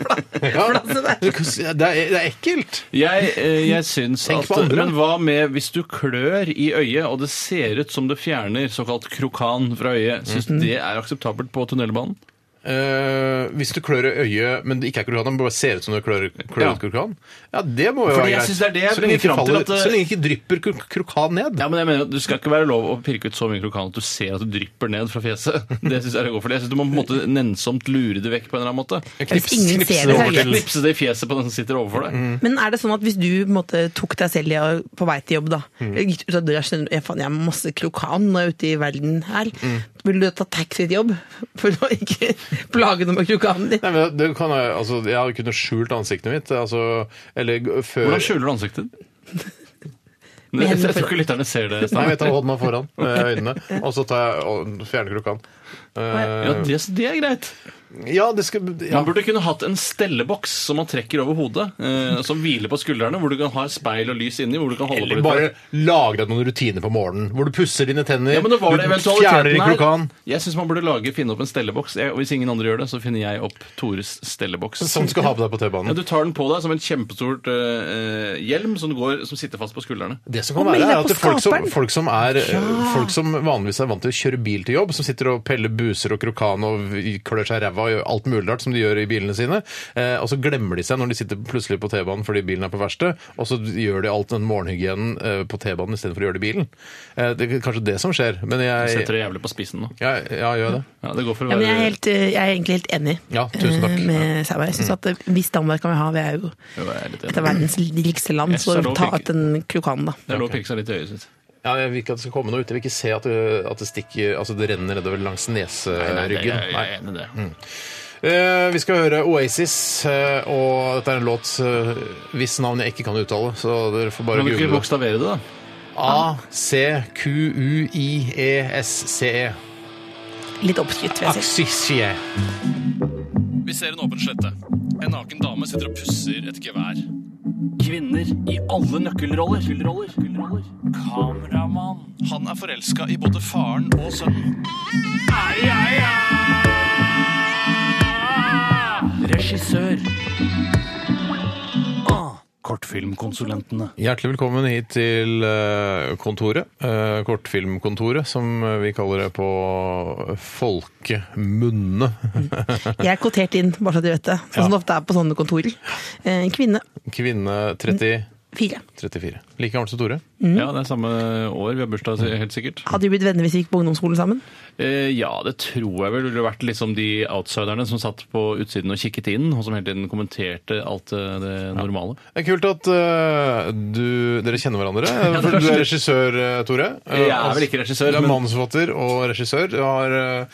H: Ja,
D: flasset der.
H: det er, det er ekkelt.
I: Jeg, eh, jeg syns
H: Tenk
I: at
H: på andre.
I: Men hva med hvis du klør i øyet, og det ser ut som det fjerner såkalt krokan fra øyet? Syns
H: Mhm.
I: du det er akseptabelt på tunnelbanen?
H: Eh, hvis du klør i øyet, men det ikke er krokan, men bare ser ut som du klør klør ut krokan Ja, det må jo
I: Fordi
H: være
I: jeg
H: greit.
I: synes det er det jeg
H: så lenge
I: bringer fram til
H: faller-
I: at, eh,
H: så lenge ikke drypper kro- krokan ned.
I: Ja, men jeg mener at Du skal ikke være lov å pirke ut så mye krokan at du ser at det drypper ned fra fjeset. Det synes Jeg det går for. Jeg synes du må på en måte nennsomt lure det vekk på en eller annen måte.
D: Hvis ingen ser
H: knips det
D: det, så er
H: over
D: det greit.
I: Knipse det i fjeset på den som sitter overfor deg.
H: Mm.
D: Men er det sånn at hvis du på en måte, tok deg selv i å- på vei til jobb, da eller gikk ut av døra, skjønner du, jeg, faen, jeg har masse krokan når jeg er ute i verden her, vil du ta taxi til jobb for å ikke plage noe med krokanen din?
H: Nei, men det kan jeg, altså, jeg har kunnet skjult ansiktet mitt. Altså, eller g- før
I: Hvordan skjuler du ansiktet?
D: Med
I: Jeg
D: hendene
I: tror ikke lytterne ser det.
H: Nei,
I: Stein.
H: jeg tar hånda foran eh, øynene, og så tar jeg og fjerner krokan.
I: Ja,
H: Eh,
I: det, det er greit.
H: ja, det skal ja.
I: Man burde kunne hatt en stelleboks som man trekker over hodet, eh, som hviler på skuldrene, hvor du kan ha speil og lys inni. hvor du kan holde på
H: Eller
I: litt.
H: bare lage deg noen rutiner på morgenen, hvor du pusser dine tenner,
I: ja, men det var det
H: du fjerner
I: eventualiteten
H: i krokan.
I: her. Jeg syns man burde lage, finne opp en stelleboks. Jeg, og hvis ingen andre gjør det, så finner jeg opp Tores stelleboks.
H: Sånn skal du ha på deg på
I: Ja,
H: T-banen.
I: du tar den på deg som en kjempestort eh, eh, hjelm som, går, som sitter fast på skuldrene.
H: Det som kan
D: Og
H: være,
D: meld deg
H: er at
D: på
H: det er folk som,
D: skaperen.
H: folk, som er, eh, folk som vanligvis er vant til å kjøre bil til jobb, som sitter og peller buser og krokan og v- klør seg i ræva og gjør alt mulig rart som de gjør i bilene sine, eh, og så glemmer de seg når de sitter plutselig på T-banen fordi bilen er på verksted, og så gjør de alt den morgenhygienen eh, på T-banen istedenfor å gjøre det i bilen. Eh, det er kanskje det som skjer, men
I: Du
H: jeg
I: setter det jævlig på spissen nå.
H: Ja, ja gjør det.
I: Ja, det går for å
D: Ja, men jeg, er
I: være...
D: helt, eh, jeg er egentlig helt enig
H: Ja, tusen takk.
D: eh, med Sauer. Jeg synes at eh, Hvis Danmark kan vi ha, vi er jo
I: Jo, jeg er litt
D: et av
I: enig.
D: verdens rikeste land,
I: Jeg synes
D: så
I: det er lov å
D: ta
I: pirke.
D: ut den krokanen, da.
I: Det er lov å pirke seg litt i øyet sitt.
H: Ja, jeg vil ikke at det skal komme noe ut. Jeg vil ikke se at det, at det stikker Altså, det renner nedover langs
I: jeg,
H: neseryggen.
I: jeg er enig i det.
H: Mm. Eh, vi skal høre Oasis, eh, og dette er en låt eh, hvis navn jeg ikke kan uttale, så dere får bare
I: Kan du ikke
H: google det.
I: bokstavere det, da?
H: E A-C-Q-U-I-E-S-C-E.
D: Litt oppskrytt, vil jeg si.
H: Aksisje.
C: Vi ser en åpen slette. En naken dame sitter og pusser et gevær. Kvinner i alle nøkkelroller. Kameramann. Han er forelska i både faren og sønnen. Regissør. Ah, Kortfilmkonsulentene.
H: Hjertelig velkommen hit til eh, kontoret. eh, Kortfilmkontoret, som vi kaller det på folkemunne.
D: Jeg er kvotert inn, bare så du vet det. Sånn som det ofte er på sånne kontorer. Eh, Kvinne
H: Kvinne 30,
D: fire.
H: 34. Like gammel som Tore.
I: Ja, det er samme år. Vi har bursdag, så- helt sikkert.
D: Hadde vi blitt venner hvis vi gikk på ungdomsskolen sammen?
I: Eh, ja, det tror jeg vel ville vært liksom de outsiderne som satt på utsiden og kikket inn, og som hele tiden kommenterte alt eh, det normale.
H: Det er kult at eh, du, dere kjenner hverandre. for du er regissør, eh, Tore.
I: Jeg er vel ikke regissør,
H: Du er
I: men-
H: manusforfatter og regissør. Du har eh,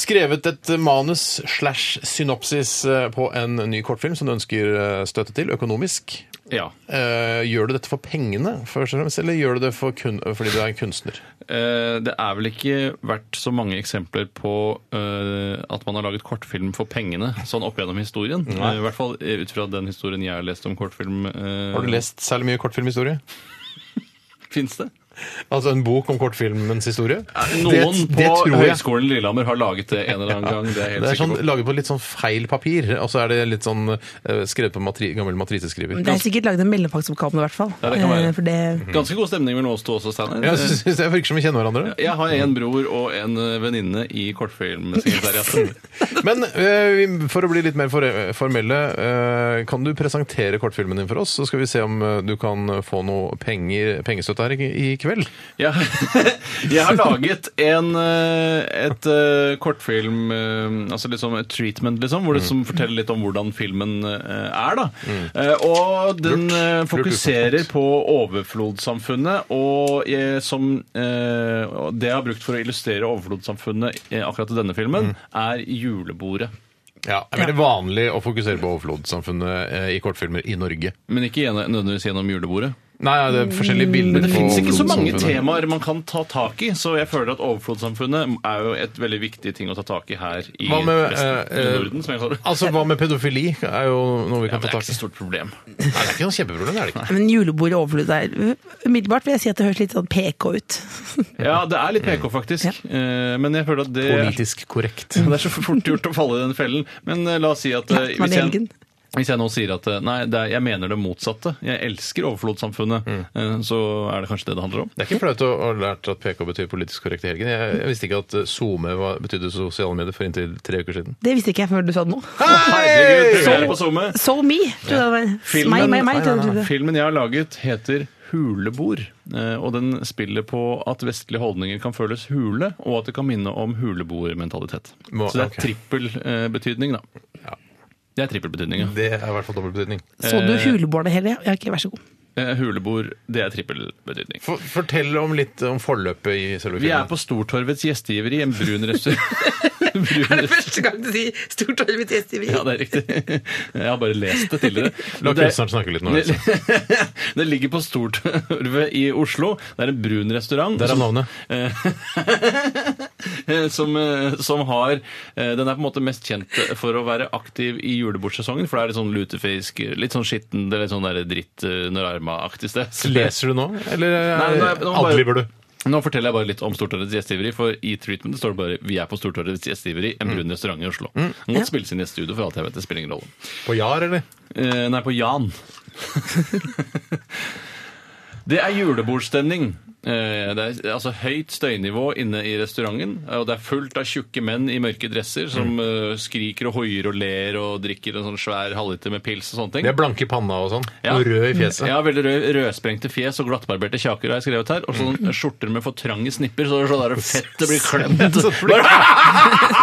H: skrevet et manus slash synopsis eh, på en ny kortfilm som du ønsker eh, støtte til økonomisk.
I: Ja.
H: Eh, gjør du dette for pengene, først og fremst, eller gjør du det for kun fordi du er en kunstner?
I: Eh, Det er vel ikke vært så mange eksempler på eh, at man har laget kortfilm for pengene, sånn opp gjennom historien. Eh, I hvert fall eh, ut fra den historien jeg har lest om kortfilm. eh,
H: Har du lest særlig mye kortfilmhistorie?
I: Fins det?
H: Altså en bok om kortfilmens historie?
I: Eh, Noen
H: det
I: på
H: tror jeg.
I: Høgskolen Lillehammer har laget det en eller annen gang. Det er jeg helt
H: Det er sånn,
I: sikker på.
H: laget på litt sånn feil papir, og så er det litt sånn eh, skrevet på matri gammel matriseskriver.
D: Det er sikkert laget en mellomfagsoppgave nå, i hvert fall.
I: Ja, det kan være.
D: Eh, For det,
I: Ganske god stemning mellom oss to også, Steinar. Eh,
H: Ja, jeg synes- synes det virker som vi kjenner hverandre.
I: Jeg har en bror og en eh, venninne i kortfilmsekretariatet.
H: Men eh, vi- for å bli litt mer for- formelle, eh, kan du presentere kortfilmen din for oss? Så skal vi se om eh, du kan få noe penger, pengestøtte her i, i kveld.
I: Ja. Jeg har laget en eh, et eh, kortfilm, eh, altså liksom et treatment, liksom, hvor det som forteller litt om hvordan filmen eh, er, da. Eh, Og den eh, fokuserer på overflodssamfunnet, og eh, som eh, og det jeg har brukt for å illustrere overflodssamfunnet eh, akkurat i denne filmen, er julebordet.
H: Ja, Det er veldig vanlig å fokusere på overflodssamfunnet eh, i kortfilmer i Norge.
I: Men ikke gjennom- nødvendigvis gjennom julebordet.
H: Nei, ja, det er forskjellige bilder
I: Men det
H: på
I: finnes ikke så mange
H: overflodssamfunnet.
I: temaer man kan ta tak i, så jeg føler at overflodssamfunnet er jo et veldig viktig ting å ta tak i her i
H: Hva med,
I: resten
H: eh,
I: av
H: eh,
I: Norden, som jeg kaller det.
H: Altså, Hva med pedofili? er jo noe vi
I: Ja,
H: kan
I: men det er
H: ta tak
I: ikke et
H: i.
I: stort problem.
H: Nei, Det er ikke noe kjempeproblem. det er det ikke.
D: men julebord og overflod der Umiddelbart vil jeg si at det høres litt sånn PK ut.
I: Ja, det er litt PK, faktisk. Eh, Men jeg føler at det
H: Politisk korrekt.
I: det er så fort gjort å falle i den fellen. Men eh, la oss si at eh,
D: Ja, man
I: hvis, jeg,
D: elgen.
I: hvis jeg nå sier at eh, nei, det er, jeg mener det motsatte, jeg elsker overflodssamfunnet,
H: Mm.
I: eh, så er det kanskje det det handler om.
H: Det er ikke flaut å å ha lært at PK betyr politisk korrekt i helgen. Jeg, jeg visste ikke at eh, SoMe var- betydde sosiale medier for inntil tre uker siden.
D: Det visste ikke jeg før du sa det nå.
I: Herregud, premiere på SoMe.
D: So me! Tror jeg det var. Meg, meg, meg. tror jeg det var.
I: Filmen jeg har laget heter Hulebord, eh, og den spiller på at vestlige holdninger kan føles hule, og at det kan minne om huleboermentalitet.
H: Må-
I: Så det er
H: ok.
I: trippel eh, betydning, da. Det er trippelbetydning, ja.
H: Det er i hvert fall dobbel betydning.
D: Så du hulebårene hele? Ja, ok, vær så god.
I: Eh, Hulebord, det er trippelbetydning.
H: For, fortell om litt om forløpet i selve
I: Vi er
H: filmen.
I: på Stortorvets gjestgiveri, en brun restaurant. brun
D: Første gang du sier stort år mitt gjestgiveri.
I: Ja, det er riktig. Jeg har bare lest det tidligere.
H: La
I: Men det-
H: kunstneren snakke altså. litt nå. liksom.
I: Det-
H: Else.
I: Det ligger på Stortorvet i Oslo. Det er en brun restaurant.
H: Der er
I: som-
H: navnet.
I: Eh, som, eh, som har eh, Den er på en måte mest kjent for å være aktiv i julebordsesongen, for det er litt sånn lutefisk, litt sånn skitten, det er litt sånn der dritt eh, Norarma-aktig sted.
H: Leser du nå, eller
I: Nei, nå er- nå bare-
H: adlyver du?
I: Nå forteller jeg bare litt om Stortorvets gjestgiveri, for i Treatment står det bare 'Vi er på Stortorvets gjestgiveri, en brun restaurant i Oslo'. Den kan godt spilles inn i et studio, for alt jeg vet. Det spiller ingen rolle.
H: På Jar, eller?
I: Eh, nei, på Jan. det er julebordstemning. Eh, det er altså høyt støynivå inne i restauranten. eh, Og det er fullt av tjukke menn i mørke dresser som
H: Mm.
I: eh, skriker og hoier og ler og drikker en sånn svær halvliter med pils og sånne ting.
H: De er blanke i panna og sånn.
I: Ja.
H: Og rød i fjeset.
I: Ja, veldig rød, rødsprengte fjes og glattbarberte kjaker har jeg skrevet her. Og
H: Mm.
I: sånn skjorter med for trange snipper, så det er sånn der fettet blir klemt.
H: Så blir-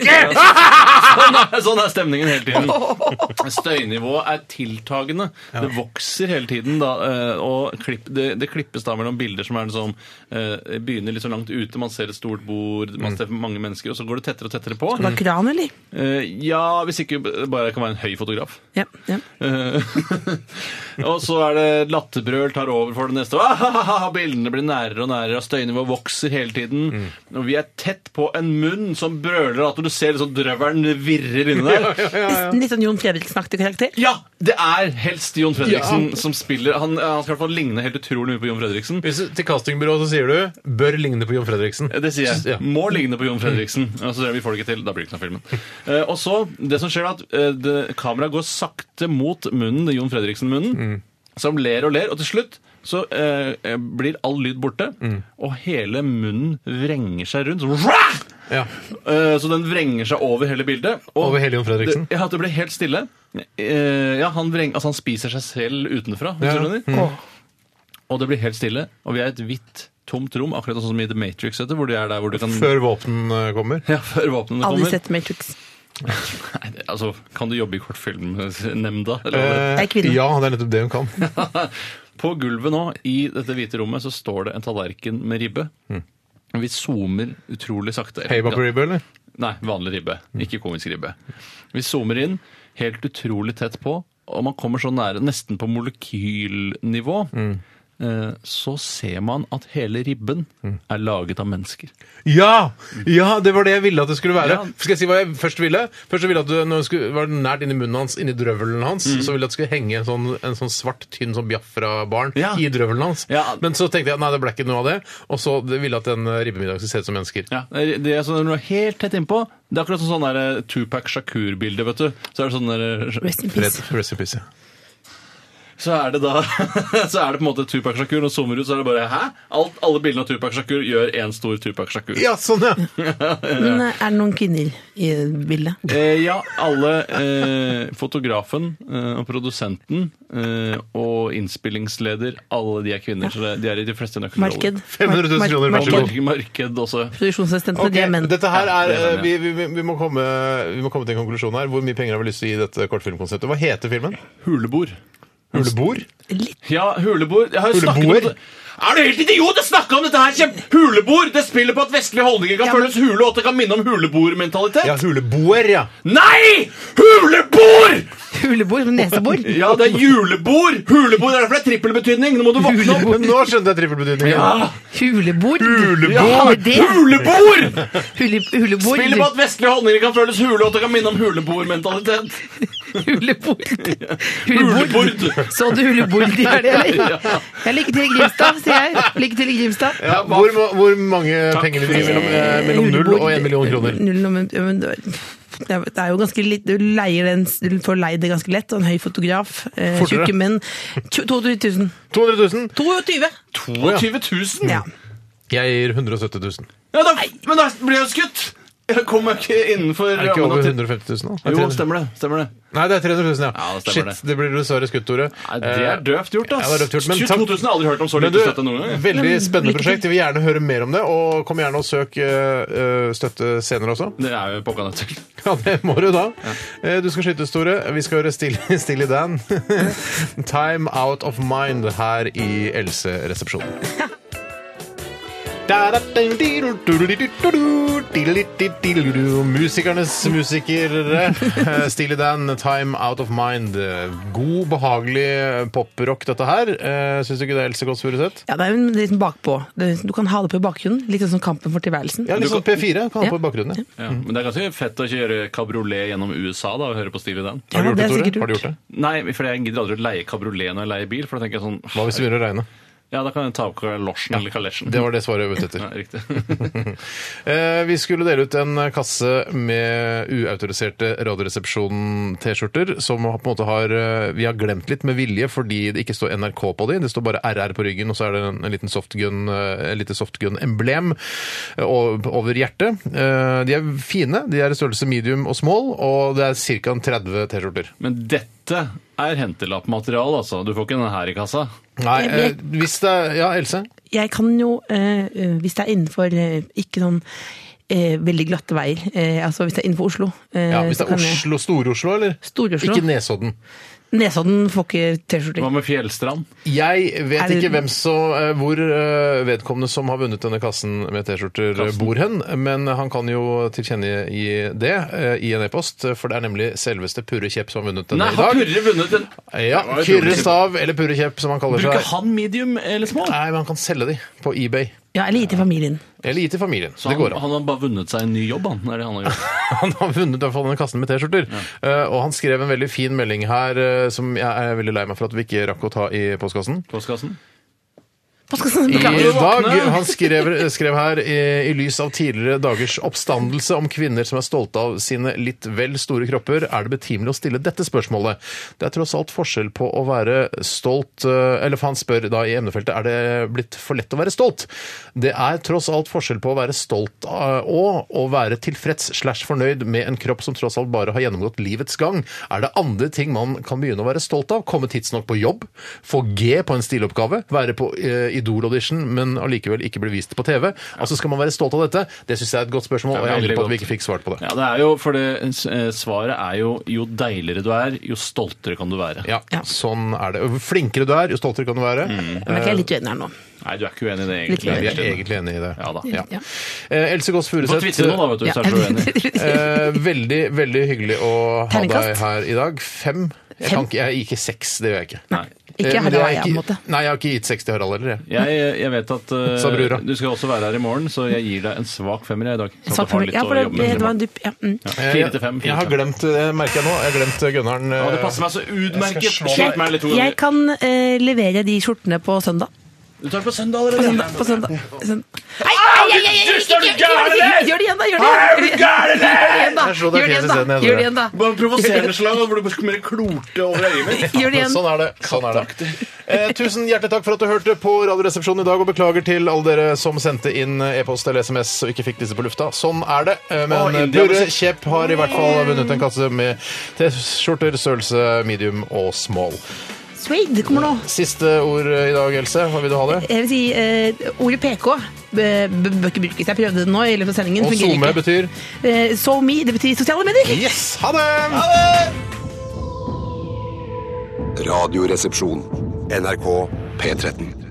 I: Sånn er, sånn er stemningen hele tiden. Støynivået er tiltagende. Det vokser hele tiden. Da, eh, og klipp, det, det klippes da mellom bilder som er liksom, eh, begynner litt så langt ute. Man ser et stort bord, man ser mange mennesker, og så går det tettere og tettere på.
D: Det var kran, eller?
I: Eh, ja, hvis ikke bare jeg kan være en høy fotograf.
D: Ja. ja.
I: Eh, og så er det latterbrøl tar over for det neste. Ah, Mm. bildene blir nærere og nærere, og støynivået vokser hele tiden. Og vi er tett på en munn som brøler føler at når du ser liksom drøvelen virrer inni der
D: Nesten litt sånn Jon Fredriksen-aktig karakter.
I: Ja! Det er helst Jon Fredriksen
H: Ja.
I: som spiller. Han, han skal i hvert fall ligne helt utrolig mye på Jon Fredriksen.
H: Hvis du, til castingbyrået så sier du 'bør ligne på Jon Fredriksen'.
I: Det sier jeg.
H: Ja.
I: Må ligne på Jon Fredriksen. Og så ser vi får det ikke til. Da blir det ikke noe av filmen. Eh, og så, det som skjer er at eh, det- kameraet går sakte mot munnen, det Jon Fredriksen-munnen,
H: Mm.
I: som ler og ler, og til slutt så eh, eh, blir all lyd borte,
H: Mm.
I: og hele munnen vrenger seg rundt. Så,
H: Ja.
I: Eh, så den vrenger seg over hele bildet. og-
H: Over hele Jon Fredriksen?
I: Det, ja, det blir helt stille. Eh, ja, han, vreng, altså, han spiser seg selv utenfra, hvis
H: Ja. mm.
I: du skjønner. Og det blir helt stille, og vi er i et hvitt, tomt rom, akkurat sånn som i The Matrix, vet du, hvor det er der hvor du kan...
H: Før våpen eh, kommer.
I: Ja, før våpnene
D: Aldri
I: kommer.
D: sett Matrix.
I: Nei, det- altså, kan du jobbe i kortfilmnemnda? eller hva det
H: Eh,
D: Jeg er kvinne.
H: ja, det er nettopp det hun kan.
I: På gulvet nå, i dette hvite rommet, så står det en tallerken med ribbe.
H: Mm.
I: Vi zoomer utrolig sakte.
H: Payback
I: Ja,
H: Ribble, eller?
I: Nei, vanlig ribbe. Ikke komisk ribbe. Vi zoomer inn helt utrolig tett på, og man kommer så nære, nesten på molekylnivå. eh, Så ser man at hele ribben er laget av mennesker.
H: Ja! ja! Det var det jeg ville at det skulle være.
I: Ja.
H: Skal jeg si hva jeg først ville? Først så ville jeg at du, når du skulle, var nært inni munnen hans, inni drøvelen hans,
I: Mm.
H: så ville jeg at det skulle henge en sånn, en sånn svart, tynn sånn Biafra-barn
I: Ja.
H: i drøvelen hans.
I: Ja.
H: Men så tenkte jeg nei, det ble ikke noe av det. Og så ville jeg at den eh, ribbemiddagen skulle se ut som mennesker.
I: Ja, det er sånn når du er helt tett innpå. Det er akkurat sånn sånn der eh, Tupac Shakur-bilde, vet du. Så er det sånn der
D: Rest in
H: Fred,
D: peace.
H: rest in peace, ja.
I: Så er det da Så er det på en måte Tupac Shakur, og zoomer ut, så er det bare Hæ? Alt, alle bildene av Tupac Shakur gjør én stor Tupac Shakur.
H: Ja, sånn, ja!
D: Men eh, er det noen kvinner i bildet?
I: Eh, ja, alle eh, Fotografen eh, og produsenten eh, og innspillingsleder, alle de er kvinner. Så det, de er i de fleste nøkkelroller.
D: Marked.
H: 500 000 kroner, vær
I: Og
H: så god.
I: mark- marked også.
D: Produksjonsassistentene,
H: Ok,
D: de er menn.
H: Dette her
I: Ja,
H: er,
I: det er menn,
H: eh, vi, vi, vi, må komme, vi må komme til en konklusjon her. Hvor mye penger har vi lyst til å gi dette kortfilmkonseptet? Hva heter filmen?
I: Hulebord.
H: Hulebord?
D: Litt
I: Ja, hulebord. Jeg har jo snakket om
H: Huleboer?
I: det. Er du helt idiot? Jeg snakka om dette her! Kjempe. Hulebord! Det spiller på at vestlige holdninger kan
D: Ja, men-
I: føles hule, og at det kan minne om huleboermentalitet.
H: Ja, huleboer, ja.
I: Nei! Hulebord!
D: hulebord, men nesebord.
I: Ja, det er julebord! Hulebord er derfor det er trippelbetydning! Nå må du våkne opp!
H: Men nå skjønte jeg trippelbetydningen.
I: Ja,
D: Hulebord. det
H: Hulebord.
D: er det.
I: hulebord!
D: Hule, hulebord.
I: Spiller på at vestlige holdninger kan føles hule, og at det kan minne om huleboermentalitet.
D: Hulebord. Hulebord.
I: Hulebord.
D: Så du hulebord de er det, eller? Ja, lykke til i Grimstad, sier jeg. Lykke til i Grimstad.
H: Ja, hvor, ma- hvor mange penger vil du gi mellom, eh, mellom null og en million kroner?
D: Eh, Null og en, ja, men det er- det er jo ganske litt, Du leier den, du får leid det ganske lett. Og en høy fotograf. Eh,
H: Fortere.
D: Tjukke menn. Tju- 22 000.
H: 200 000?
D: 22 000!
I: 22 000?
D: Ja.
H: Jeg gir 170 000.
I: Ja, da, men da ble jeg jo skutt! Jeg kom meg ikke innenfor
H: Er det ikke
I: rammen av
H: over
I: til-
H: 150 000 nå?
I: Jo, stemmer det. stemmer det.
H: Nei, det er 300 000,
I: Ja,
H: ja.
I: det stemmer
H: Shit, det blir dessverre skutt, Tore.
I: Nei, Eh, det er døvt gjort, ass.
H: Ja, det er døvt gjort, men
I: 22
H: takk-
I: 000 har jeg aldri hørt om så
H: Men
I: lite
H: du,
I: støtte noen gang. jeg.
H: Veldig spennende
D: lykke til.
H: prosjekt. Jeg vil gjerne høre mer om det. Og kom gjerne og søk eh, eh, støtte senere også.
I: Det er jo pokka nødt til.
H: Ja, det må du da. Eh, Du skal skytes, Tore. Vi skal høre Still- Stille Dan. Time Out of Mind her i Else-resepsjonen. Musikernes musikere. Eh, Steely Dan, Time Out of Mind. God, behagelig poprock, dette her. Eh, Syns du ikke det, Else Kåss Furuseth?
D: ja, det er jo en- litt sånn bakpå. Det- Du kan ha det på i bakgrunnen. Litt sånn som Kampen for tilværelsen.
H: Ja, litt sånn P4 kan ha på i
D: Ja.
H: bakgrunnen. ja.
I: Ja, men det er ganske fett å kjøre kabriolet gjennom USA da, og høre på Stevie Dan.
H: Har du
D: Ja, det
H: gjort det,
D: er
H: Tore?
D: sikkert
H: Har du
D: lurt.
H: gjort det?
I: Nei, for jeg gidder aldri å leie kabriolet når jeg leier bil. For da tenker jeg sånn
H: Hva hvis det begynner å regne?
I: Ja, da kan jeg ta opp kalosjen eller kalesjen.
H: Det var det svaret jeg var ute etter.
I: ja, riktig.
H: Eh, Vi skulle dele ut en kasse med uautoriserte Radioresepsjonen-T-skjorter, som har- på en måte har, eh, vi har glemt litt med vilje fordi det ikke står NRK på de. Det står bare RR på ryggen, og så er det en, en liten softgun, eh, en lite softgun-emblem eh, o- over hjertet. Eh, De er fine. De er i størrelse medium og small, og det er ca. 30 T-skjorter.
I: Men dette er hentelappmateriale, altså. Du får ikke den her i kassa.
H: Nei,
D: Jeg vet-
H: eh, hvis det er Ja, Else?
D: Jeg kan jo, eh, eh, hvis det er innenfor eh, ikke sånn eh, veldig glatte veier, eh, altså hvis det er innenfor Oslo eh,
H: Ja, hvis det
D: så
H: er
D: kan jeg-
H: Oslo, Stor-Oslo, eller?
D: Stor-Oslo.
H: Ikke Nesodden.
D: Nesodden får ikke T-skjorter.
I: Hva med Fjellstrand?
H: Jeg vet
D: Er det-
H: ikke hvem så, eh, hvor eh, vedkommende som har vunnet denne kassen med T-skjorter, eh, bor hen, men han kan jo tilkjennegi det eh, i en e-post, eh, for det er nemlig selveste Purre Kjepp som har vunnet denne
I: Nei,
H: i
I: har
H: dag. Altså,
I: Purre vunnet en
H: Ja,
I: Det var utrolig.
H: Kyrre Stav, eller Purre Kjepp som han kaller
I: Bruker
H: seg.
I: han medium eller small?
H: Nei, men han kan selge de på eBay.
D: Ja, eller gi til familien.
H: Eller gi til familien.
I: Så
H: det
I: han,
H: går an.
I: han har bare vunnet seg en ny jobb, han. Er det han har gjort.
H: Han har vunnet i hvert fall denne kassen med T-skjorter. Eh, og han skrev en veldig fin melding her eh, som jeg er veldig lei meg for at vi ikke rakk å ta i postkassen.
I: Postkassen.
D: Postkassen,
H: I
D: beklager.
H: dag, Han skrev, skrev her i, i lys av tidligere dagers oppstandelse om kvinner som er stolte av sine litt vel store kropper, er det betimelig å stille dette spørsmålet. Det er tross alt forskjell på å være stolt eh, Eller for han spør da i emnefeltet er det blitt for lett å være stolt. Det er tross alt forskjell på å være stolt eh, og å være tilfreds slash fornøyd med en kropp som tross alt bare har gjennomgått livets gang. Er det andre ting man kan begynne å være stolt av? Komme tidsnok på jobb? Få G på en stiloppgave? Være på eh, Idol-audition, men allikevel ikke bli vist på TV? Altså, Skal man være stolt av dette? Det syns jeg er et godt spørsmål,
I: Ja,
H: og jeg
I: veldig
H: angrer på at vi
I: godt.
H: ikke fikk svart på det.
I: Ja, det er jo, for det eh, svaret er jo jo deiligere du er, jo stoltere kan du være.
H: Ja,
D: Ja.
H: sånn er det. Jo flinkere du er, jo stoltere kan du være.
I: Mm.
D: Jeg merker jeg er litt uenig her nå.
I: Nei, du er ikke uenig i det,
D: Litt
I: egentlig.
H: Vi er
I: Egentlig.
H: egentlig enige i det.
I: Ja da.
H: Ja.
D: Ja.
H: Eh, Else Gåss
I: Få tvitre nå, da,
H: Furuseth.
I: vet du, hvis du er så uenig.
H: Eh, veldig, veldig hyggelig å ha deg
D: Terningkast?
H: her i dag. Fem? Jeg,
D: Fem?
H: kan ikke, jeg gir ikke seks, det gjør jeg ikke.
I: Nei.
H: Eh,
D: Ikke
H: men
D: Harald
H: jeg har
D: Eia, på en måte.
H: ikke- Nei, jeg har ikke gitt seks til Harald heller, jeg.
I: Jeg, jeg vet at eh,
H: Sa brura.
I: du skal også være her i morgen, så jeg gir deg en svak femmer jeg, i dag.
D: Svak
I: Så du har
D: familie.
I: litt
D: Ja,
I: å
D: for det,
I: jobbe med
D: det
I: i
D: var
I: morgen.
D: en dypp. Ja. Mm.
H: Eh,
I: Fire til fem.
H: Jeg har
I: fire til fem.
H: glemt, det merker jeg nå, jeg har glemt Gunnaren.
I: Ja, det
H: eh,
I: passer meg så utmerket.
H: slå
I: Skyt meg litt to
D: Jeg
I: ganger.
D: kan eh, levere de skjortene på søndag.
I: Du tar det på søndag
D: På
I: allerede.
D: søndag. På søndag. Søndag. Ei, ei, ei, ei, ei,
I: Du står
D: ikke-
I: gæren, eller?
D: Gjør det igjen, da! Gjør det igjen, gjør det igjen, da!
H: Jeg slo deg
D: Gjør det
H: fjeset
D: igjen, da!
H: isteden, jeg så
D: Gjør det
H: det.
D: igjen, da!
I: Bare provoserende slag, hvor du bare mer klorte over øyet mitt.
D: Gjør det igjen.
H: Sånn er det. Sånn er det. Eh, tusen hjertelig takk for at du hørte på Radioresepsjonen i dag, og beklager til alle dere som sendte inn eh, e-post eller SMS og ikke fikk disse på lufta. Sånn er det.
I: Å,
H: Eh, Men eh,
I: India
H: Burre
I: besøk-
H: Kjepp har i hvert fall vunnet en kasse med T-skjorter, størrelse medium og small.
D: Suede kommer nå.
H: Siste ord eh, i dag, Else. Hva vil du ha det?
D: Jeg vil si eh, ordet PK b- b- bør ikke brukes. Jeg prøvde det nå i løpet av sendingen.
H: Og
D: fungerer
H: SoMe
D: ikke.
H: betyr
D: Eh, so me, det betyr sosiale medier.
H: Yes! Ha det!
A: Radioresepsjon. NRK P13.